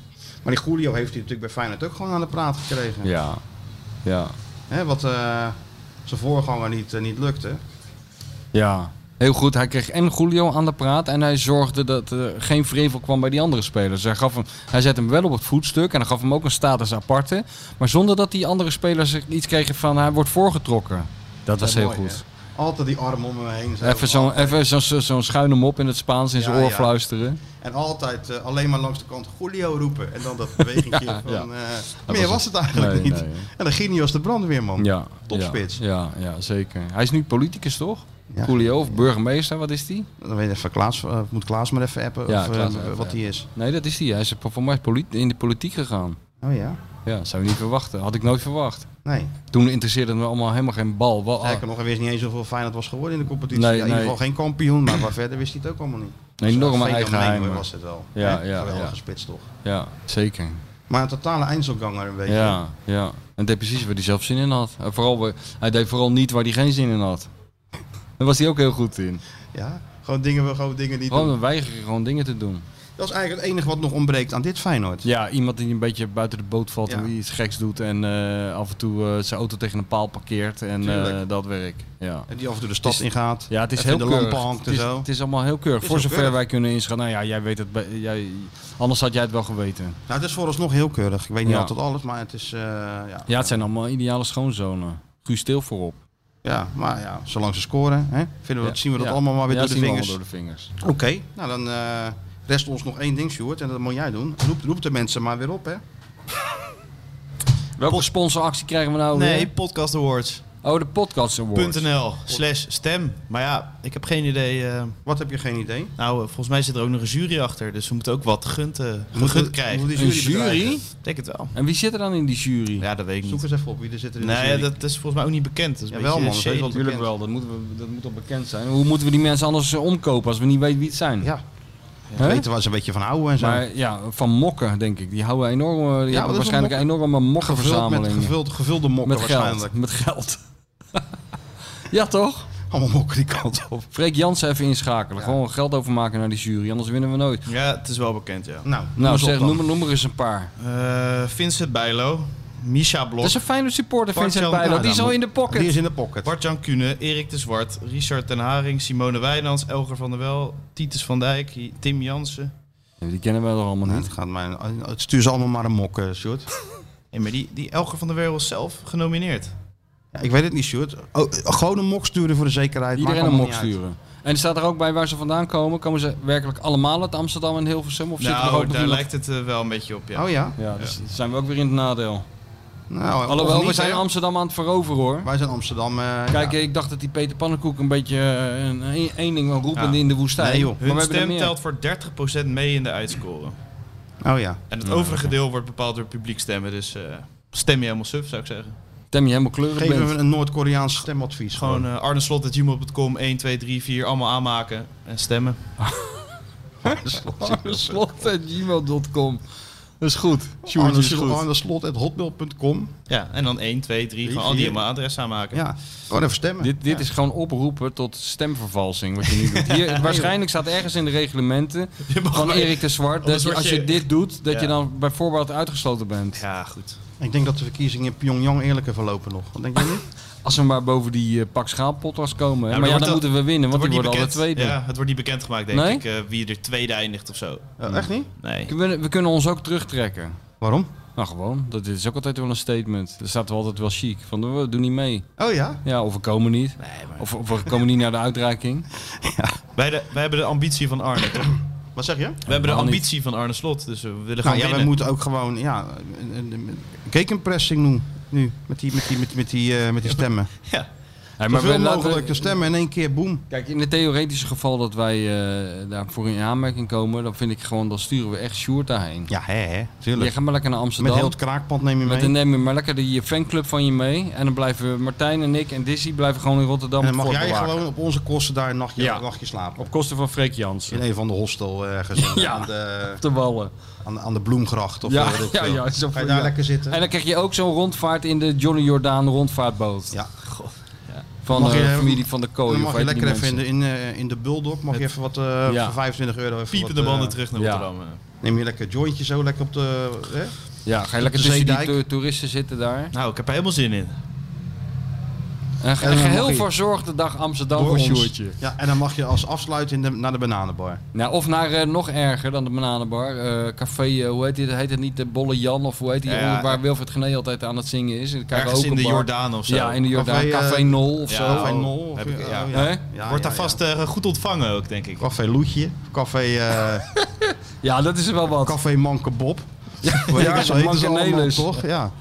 Maar die Julio heeft hij natuurlijk bij Feyenoord ook gewoon aan de praat gekregen. Ja. Ja. Hè, wat eh, zijn voorganger niet, eh, niet lukte. Ja. Heel goed, hij kreeg en Julio aan de praat en hij zorgde dat er geen vrevel kwam bij die andere spelers. Hij, gaf hem, hij zette hem wel op het voetstuk en hij gaf hem ook een status aparte. Maar zonder dat die andere spelers er iets kregen van hij wordt voorgetrokken. Dat was Ja, heel mooi, goed. hè. Altijd die arm om hem heen. zo. Even zo'n even zo'n zo'n schuine mop in het Spaans in zijn Ja, oor ja. fluisteren. En altijd eh, alleen maar langs de kant Julio roepen. En dan dat bewegingje Ja, van... ja. eh, was meer het. was het eigenlijk Nee, niet. nee, hè. En dan ging hij als de brandweerman. Ja, Topspits. Ja, ja, ja, zeker. Hij is nu politicus toch? Ja. Julio of burgemeester, wat is die? Dan weet je even, Klaas, eh, moet Klaas maar even appen Ja, of, eh, Klaas even wat appen. hij is. Nee, dat is die. Hij is voor mij polit- in de politiek gegaan. Oh ja? Ja, zou je niet verwachten. Had ik nooit verwacht. Nee. Toen interesseerde het me allemaal helemaal geen bal. Wel, ah, Sterker nog, hij wist niet eens hoeveel Feyenoord was geworden in de competitie. Oh. Nee, Ja, in ieder nee. geval geen kampioen, maar waar verder wist hij het ook allemaal niet. Een enorme Zo'n fenomeen eigenheimer. was het wel. Ja, Hè? ja, Geweldige ja. spits toch. Ja, zeker. Maar een totale eindselganger een beetje. Ja, ja. En het deed precies waar hij zelf zin in had. En vooral, waar- hij deed vooral niet waar hij geen zin in had. Daar was hij ook heel goed in. Ja, Gewoon dingen, gewoon dingen die Gewoon doen. een weigeren gewoon dingen te doen. Dat is eigenlijk het enige wat nog ontbreekt aan dit Feyenoord. Ja, iemand die een beetje buiten de boot valt en Ja. die iets geks doet. En eh, af en toe eh, zijn auto tegen een paal parkeert. En eh, Tuurlijk. dat werk. Ja. En die af en toe de stad Het is- ingaat. Ja, het is even heel de keurig. lampen hangt het, en is, zo. het is allemaal heel keurig. is Voor heel zover keurig. wij kunnen inschat. Nou ja, jij weet het. be- Jij, anders had jij het wel geweten. Nou, het is vooralsnog heel keurig. Ik weet niet Ja. altijd alles, maar het is... eh, ja. Ja, het zijn allemaal ideale schoonzonen. Guus stil voorop. ja, maar ja, zolang ze scoren, hè, vinden we dat, Ja. zien we dat Ja. allemaal maar weer Ja, door de zien we vingers. allemaal door de Oké, vingers. nou dan eh, rest ons nog één ding, Sjoerd. En dat moet jij doen. Roep, roep de mensen maar weer op, hè. Welke sponsoractie krijgen we nou Nee, weer? Podcast Awards. Oh, Oh, de podcast awards. .nl slash stem. Maar ja, ik heb geen idee. eh, Wat heb je geen idee? nou, eh, volgens mij zit er ook nog een jury achter. Dus we moeten ook wat gegund, eh, Moeten gegund we- krijgen. moeten we Een die jury? jury? bedreigen? Ik denk het wel. En wie zit er dan in die jury? Ja, dat weet ik Zoek niet. eens even op wie er zit er in de Nee, jury. dat is volgens mij ook niet bekend. Dat is een Jawel, beetje man, dat is shady. wel- Natuurlijk bekend. wel, dat, moeten we, dat moet al bekend zijn. Hoe moeten we die mensen anders eh, omkopen als we niet weten wie het zijn? Ja. Hè? Weten waar ze een beetje van houden en zo. Maar ja, van mokken denk ik. Die houden enorm, eh, die dat is hebben een waarschijnlijk een enorme gevuld met mokkenverzameling. gevuld, gevulde mokken Met waarschijnlijk. geld. Met geld. ja, toch? Allemaal mokken die kant op. Freek Jansen even inschakelen. Gewoon geld overmaken naar die jury, anders winnen we nooit. Ja, het is wel bekend, ja. Nou, noem Nou, eens op zeg, dan. noem, noem er eens een paar. Eh, Vincent Bijlo, Misha Blok, Dat is een fijne supporter, Bart Vincent Jan Bijlo. Die Adam. is al in de pocket. Die is in de pocket. Bart-Jan Kuhne, Erik de Zwart, Richard ten Haring, Simone Wijnands, Elger van der Wel, Titus van Dijk, Tim Jansen. Ja, die kennen we toch allemaal Nee, niet. het, gaat mij, het stuur ze allemaal maar een mok, eh, Sjoerd. Hey, maar die, die Elger van der Wel was zelf genomineerd. Ja, ik weet het niet, Sjoerd. Oh, gewoon een mok sturen voor de zekerheid. Iedereen Maakt een allemaal mok niet uit. sturen. En er staat er ook bij waar ze vandaan komen. Komen ze werkelijk allemaal uit Amsterdam en Hilversum? Of zitten er ook nou, nog daar iemand- lijkt het eh, wel een beetje op, ja. Oh ja? Ja, dus zijn we ook weer in het nadeel. Nou, of Alhoewel, we niet, zijn hè? Amsterdam aan het veroveren hoor. Wij zijn Amsterdam. eh, Kijk, ja. ik dacht dat die Peter Pannenkoek een beetje eh, een een- één ding wil roepen in de woestijn. Nee, joh. Maar we Hun hebben er stem meer. telt voor 30% mee in de uitscore. Oh ja. En het overige deel wordt bepaald door publiekstemmen, dus eh, stem je helemaal suf, zou ik zeggen. Tem je helemaal kleuren Geef bent. hem een Noord-Koreaans stemadvies. Gewoon eh arneslot.gmail.com, 1, 2, 3, 4, allemaal aanmaken en stemmen. Slot.gmail.com. Dat is goed. Sjoerd Arne is Slot- goed. Arne Slot at hotmail.com. Ja, en dan 1, 2, 3, Drie, gewoon al die vier. helemaal adres aanmaken. Ja, gewoon even stemmen. Dit, dit is gewoon oproepen tot stemvervalsing. Wat je nu doet. Hier, waarschijnlijk staat ergens in de reglementen van Erik de Zwart dat anders je, word als je je- dit doet, dat Ja. je dan bij voorbaat uitgesloten bent. Ja, goed. Ik denk dat de verkiezingen in Pyongyang eerlijker verlopen nog. Wat denk je niet? Als we maar boven die eh, pak schaalpotras komen. hè. Ja, maar maar ja, wordt dan dat- moeten we winnen, want die niet worden alle tweede. Ja, het wordt niet bekendgemaakt, denk Nee? ik, eh, wie er tweede eindigt of zo. Mm. Eh, echt niet? Nee. We, we kunnen ons ook terugtrekken. Waarom? Nou, gewoon. Dat is ook altijd wel een statement. Er staat wel altijd wel chic. Van, we doen niet mee. Oh ja? Ja, of we komen niet. of, of we komen niet naar de uitreiking. Wij, de, wij hebben de ambitie van Arne, toch? Wat zeg je? We hebben de niet. ambitie van Arne Slot, dus we willen gaan Nou ja, winnen. wij moeten ook gewoon ja, een- een- een- kekenpressing doen. Nu, met die, met die, met, met die, eh, met die stemmen. Ja. Hey, Maar we- Zoveel laten we- mogelijk te stemmen in één keer, boem. Kijk, in het theoretische geval dat wij eh, daarvoor in aanmerking komen, dan vind ik gewoon, dan sturen we echt Sjoerd daarheen. Ja, hè, hè. Jij Tuurlijk. gaat maar lekker naar Met Amsterdam. heel het kraakpand neem je mee. Met een neem je maar lekker die fanclub van je mee. En dan blijven Martijn en ik en Dizzy blijven gewoon in Rotterdam. en dan mag het jij fort bewaken. gewoon op onze kosten daar een nachtje, Ja. een nachtje slapen. Op kosten van Freek In Jansen. een van de hostel eh, ergens. Ja. Aan, de, Op de wallen. aan, de- aan de Bloemgracht of Ja, eh, weet ik ja, veel. ja, zo Ga je voel daar je. lekker zitten? En dan krijg je ook zo'n rondvaart in de Johnny Jordaan rondvaartboot. Ja. Van Mag de je- familie van de Dan kooi. mag je lekker even in de, in, eh, in de buldok, mag je even wat eh, Ja. voor 25 euro even Piepende wat, eh, banden terug naar ja. Rotterdam. eh. Neem je lekker een jointje zo lekker op de... eh, Hè? Ja, ga je lekker de tussen die zeedijk. to- toeristen zitten daar. Nou, ik heb er helemaal zin in. Een ge- En dan geheel mag je- verzorgde dag Amsterdam Door voor ons. Sjoerdje. Ja, en dan mag je als afsluit in de, naar de bananenbar. Nou, of naar eh, nog erger dan de bananenbar. eh, café, eh, hoe heet dit? Heet het niet de Bolle Jan of hoe heet die? Ja, jongen ja. waar Wilfred Gené altijd aan het zingen is. En dan krijgen we Ergens ook in een de bar. Jordaan of zo. Ja, in de Jordaan. Café, Café, eh, Nol of ja, zo. Café Nol. of- heb ik- ja. Hè? Oh, ja, Wordt daar ja, vast eh, goed ontvangen ook, denk ik. ja. Café Loetje. Café, eh Ja, dat is wel wat. café Manke Bob. Ja, ja, zo heet ze allemaal, Mankenelis. toch? Ja.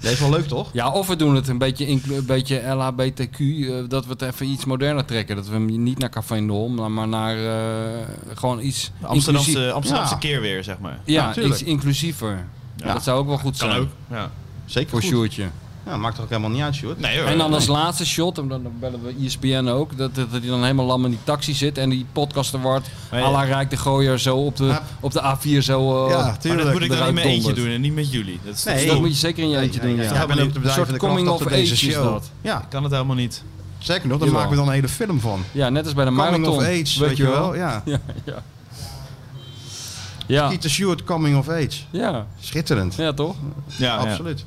Dat is wel leuk, toch? Ja, of we doen het een beetje, inclu- een beetje LHBTQ, eh, dat we het even iets moderner trekken. Dat we hem niet naar Café Nol, maar maar naar eh, gewoon iets... De Amsterdamse, inclusie- Amsterdamse Ja. keer weer, zeg maar. Ja, natuurlijk. iets inclusiever. Ja. Dat zou ook wel goed Kan zijn ook. Ja. Zeker voor goed. Sjoerdje. Ja, maakt toch ook helemaal niet uit, Sjoerd? Nee hoor. En dan als laatste shot, en dan bellen we E ESPN ook, dat dat hij dan helemaal lam in die taxi zit en die podcaster wordt Maar ja. à la Rijk de Gooier zo op de, Ja. op de A4 zo... eh, Ja, maar dat tuurlijk. moet ik dan in eruit mijn eentje dondert. doen en niet met jullie. Dat is Nee. nee. dat moet je zeker in je eentje doen, Ja, ja. ik ben ook de Een bedrijf soort van de coming coming of over deze age is show. dat. Ja, kan het helemaal niet. zeker nog. Daar Jawel. maken we dan een hele film van. Ja, net als bij de Coming marathon. of age, weet, je wel. Ja. Ja, ja. Ja, Pieter Stewart, coming of age. ja, Schitterend. ja toch? Ja, Absoluut. Absoluut.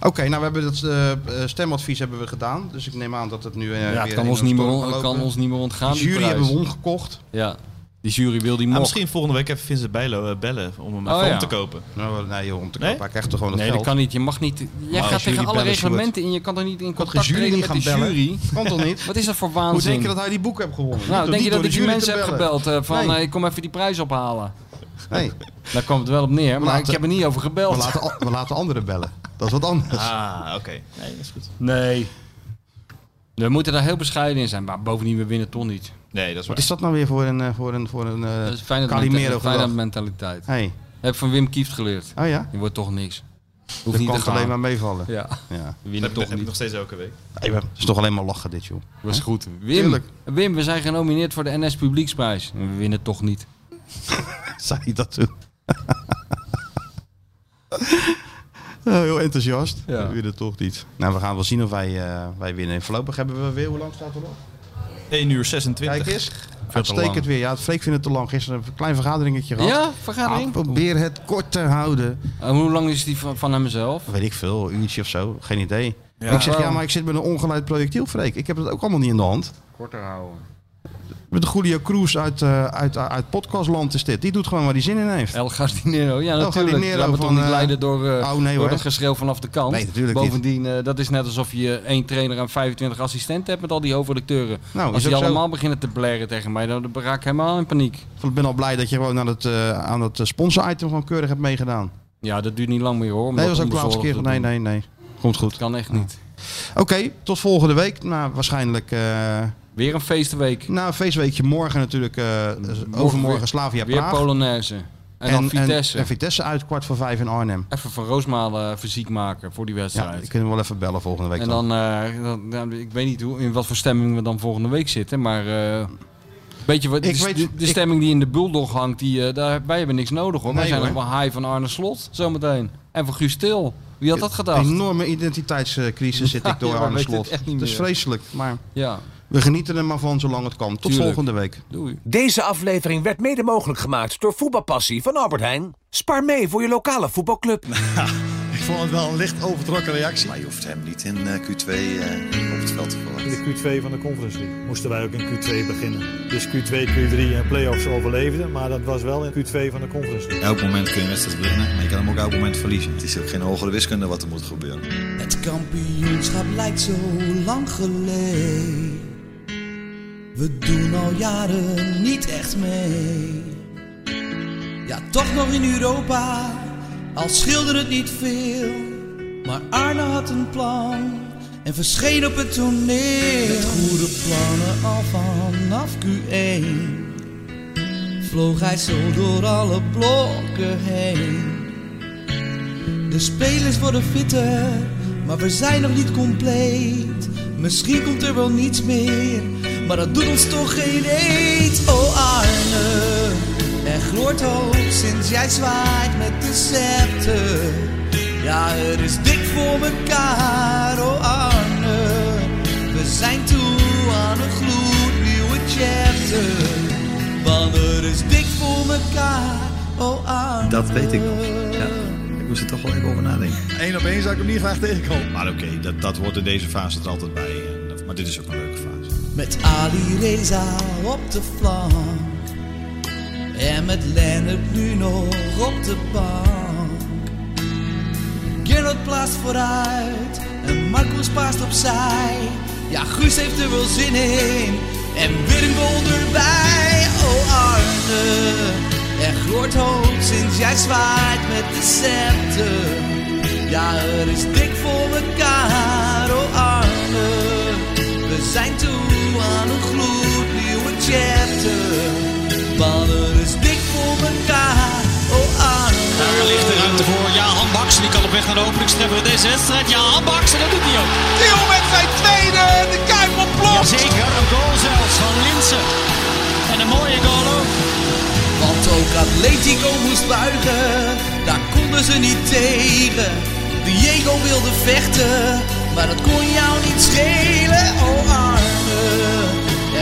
Oké, nou we hebben dat eh, eh, stemadvies hebben we gedaan. Dus ik neem aan dat het nu eh, Ja, het weer kan in ons, de niet meer, storm on- gaat kan lopen. ons niet meer ontgaan. De die jury prijs. hebben we omgekocht. Ja, die jury wil die Ah, mok. misschien volgende week even Vincent Bijlo eh, bellen om hem Oh, even ja. om te kopen. Nou, nee joh, om te Nee? kopen. Hij krijgt toch gewoon het Nee, dat geld. kan niet. Je mag niet. Jij als gaat jullie tegen alle bellen, reglementen in. Je kan toch niet kan geen in contact jury treden niet met gaan de bellen. jury? Kan toch niet? Wat is dat voor Hoe waanzin? denk je dat hij die boek heeft gewonnen? nou, Doet denk je niet dat door ik de die jury te mensen heb bellen. gebeld? eh, van Nee. eh, ik kom even die prijs ophalen. Nee, Daar kwam het wel op neer, maar ik laten- heb er niet over we gebeld. laten, al- we laten anderen bellen. Dat is wat anders. Ah, oké. Nee, dat is goed. Nee. We moeten daar heel bescheiden in zijn, maar bovendien, we winnen toch niet. Nee, dat is waar. Wat is dat nou weer voor een, eh, voor een, voor een eh, Dat is fijne Calimero gedrag? mentaliteit. Hey. Heb van Wim Kieft geleerd. Oh ja? Je wordt toch niks. Dat Hoeft niet kan te het gaan. alleen maar meevallen. Ja, Ja. we Dat winnen heb, toch heb ik niet. nog steeds elke week. Hey, maar het is toch alleen maar lachen dit, joh. Was goed. Wim, Tuurlijk. Wim, we zijn genomineerd voor de NS Publieksprijs. En We winnen toch niet. Zei je dat toen? Oh, heel enthousiast. Ja. We winnen toch niet. Nou, we gaan wel zien of wij, eh, wij winnen. En voorlopig hebben we weer, hoe lang staat er nog? 1 uur 26. Kijk eens. Uitstekend weer. Ja, het Freek vindt het te lang. Gisteren hebben we een klein vergaderingetje gehad. Ja, Ah, vergadering. probeer het kort te houden. En Eh, hoe lang is die van, van hemzelf? Weet ik veel, een uurtje of zo. Geen idee. Ik zeg, ja, maar ik zit met een ongeleid projectiel, Freek. Ik heb het ook allemaal niet in de hand. Korter houden. Met de Julio Cruz uit, eh, uit, uit podcastland is dit. Die doet gewoon waar hij zin in heeft. El Gardinero, ja natuurlijk. Gardinero Laten we toch van, niet eh, leiden door, eh, oh, nee, door hoor. dat geschreeuw vanaf de kant. Nee, natuurlijk niet. Bovendien, eh, dat is net alsof je één trainer en 25 assistenten hebt met al die hoofdredacteuren. Nou, Als is die ook zo. allemaal beginnen te blaren tegen mij, dan raak ik helemaal in paniek. Ik ben al blij dat je gewoon aan het, eh, aan het eh, sponsor-item gewoon keurig hebt meegedaan. Ja, dat duurt niet lang meer hoor. om Nee, dat dat was ook de laatste onbezorgd keer. te Nee, doen. nee, nee. Komt goed. Dat kan echt niet. Oké, tot volgende week. Nou, waarschijnlijk. eh Weer een feestweek. na een feestweekje morgen natuurlijk. eh, weer- overmorgen Slavia Weer Praag. Polonaise. En, dan Vitesse. En, Vitesse uit kwart voor vijf in Arnhem. even van Roosmalen eh, fysiek maken voor die Ja, wedstrijd. ik kunnen we wel even bellen volgende week. en dan. dan, eh, dan- nou, ik weet niet hoe, in wat voor stemming we dan volgende week zitten, maar... eh Beetje wat, Ik de, weet- de- de ik- stemming die in de Bulldog hangt, die, eh, daar, wij hebben niks nodig hoor. wij Nee, zijn hoor. op een high van Arne Slot zometeen. En van Guus Til. Wie had dat gedacht? Een enorme identiteitscrisis zit ik door Ja, we aan de weten het slot. echt niet Het is meer. vreselijk, maar Ja, we genieten er maar van zolang het kan. Tot Tuurlijk. volgende week. doei. Deze aflevering werd mede mogelijk gemaakt door Voetbalpassie van Albert Heijn. Spaar mee voor je lokale voetbalclub. Ik vond het wel een licht overtrokken reactie. Maar je hoeft hem niet in eh, Q2 eh, op het veld te verwachten. In de Q2 van de Conference League moesten wij ook in Q2 beginnen. Dus Q2, Q3 en playoffs overleefden, maar dat was wel in Q2 van de Conference League. Elk moment kun je een wedstrijd winnen, maar je kan hem ook elk moment verliezen. Het is ook geen hogere wiskunde wat er moet gebeuren. Het kampioenschap lijkt zo lang geleden. We doen al jaren niet echt mee. Ja, toch nog in Europa, al schilderde het niet veel. Maar Arne had een plan en verscheen op het toneel. Met goede plannen al vanaf Q1 vloog hij zo door alle blokken heen. De spelers worden fitter, maar we zijn nog niet compleet. Misschien komt er wel niets meer, maar dat doet ons toch geen eet. Oh Arne, er gloort hoop sinds jij zwaait met de scepter. Ja, het is dik voor mekaar, oh Arne. We zijn toe aan een gloednieuwe chapter. Want het is dik voor mekaar, oh Arne. Dat weet ik nog. Ja. Ik moest er toch wel even over nadenken. Eén op één zou ik hem niet graag tegenkomen. Maar oké, dat, dat hoort in deze fase er altijd bij. En dat- Maar dit is ook een leuke fase. Met Ali Reza op de flank. En met Lennart nu nog op de bank. Gerard plaatst vooruit. En Marcus paast opzij. Ja, Guus heeft er wel zin in. En Willem erbij. Oh Arne, er gloort hoop sinds jij zwaait met de scepter. Ja, er is dik voor elkaar, oh Arne. We zijn toe aan een gloednieuwe chapter. Want er is dik voor elkaar, oh Arne. Daar ligt de ruimte voor. Ja, Baks, die kan op weg naar de openingstreffer in deze wedstrijd. Ja, Baks, en dat doet hij ook. Tiel met zijn tweede, de Kuip ontploft. Jazeker, een goal zelfs van Linsen. En een mooie goal ook. Want ook Atletico moest buigen, daar konden ze niet tegen. Diego wilde vechten, maar dat kon jou niet schelen, oh arme.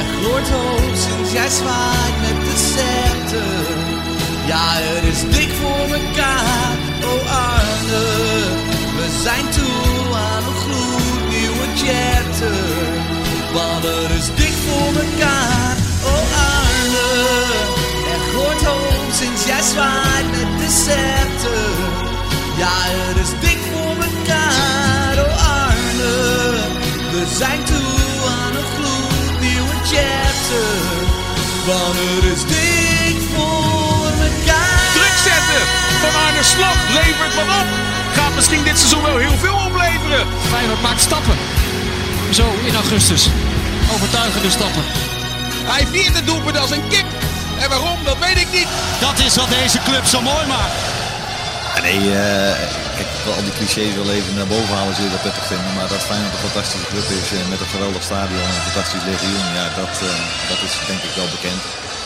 Er gloort hoop sinds jij zwaait met de scepter. Ja, het is dik voor elkaar, oh arme. We zijn toe aan een gloednieuwe chapter. Want er is dik voor elkaar, oh arme. Er gloort hoop sinds jij zwaait met de scepter. Ja, het is dik voor elkaar, oh Arne. We zijn toe aan een gloednieuwe chapter. Want het is dik voor elkaar. Druk zetten van Arne Slot levert wat op. Gaat misschien dit seizoen wel heel veel opleveren. Feyenoord maakt stappen. zo in augustus. Overtuigende stappen. Hij viert het doelpunt als een kip. En waarom, dat weet ik niet. Dat is wat deze club zo mooi maakt. Ja, nee, eh, kijk, ik wil al die clichés wel even naar boven halen, zul je dat prettig vinden. Maar dat Feyenoord een fantastische club is eh, met een geweldig stadion en een fantastisch legioen, ja, dat, eh, dat is denk ik wel bekend.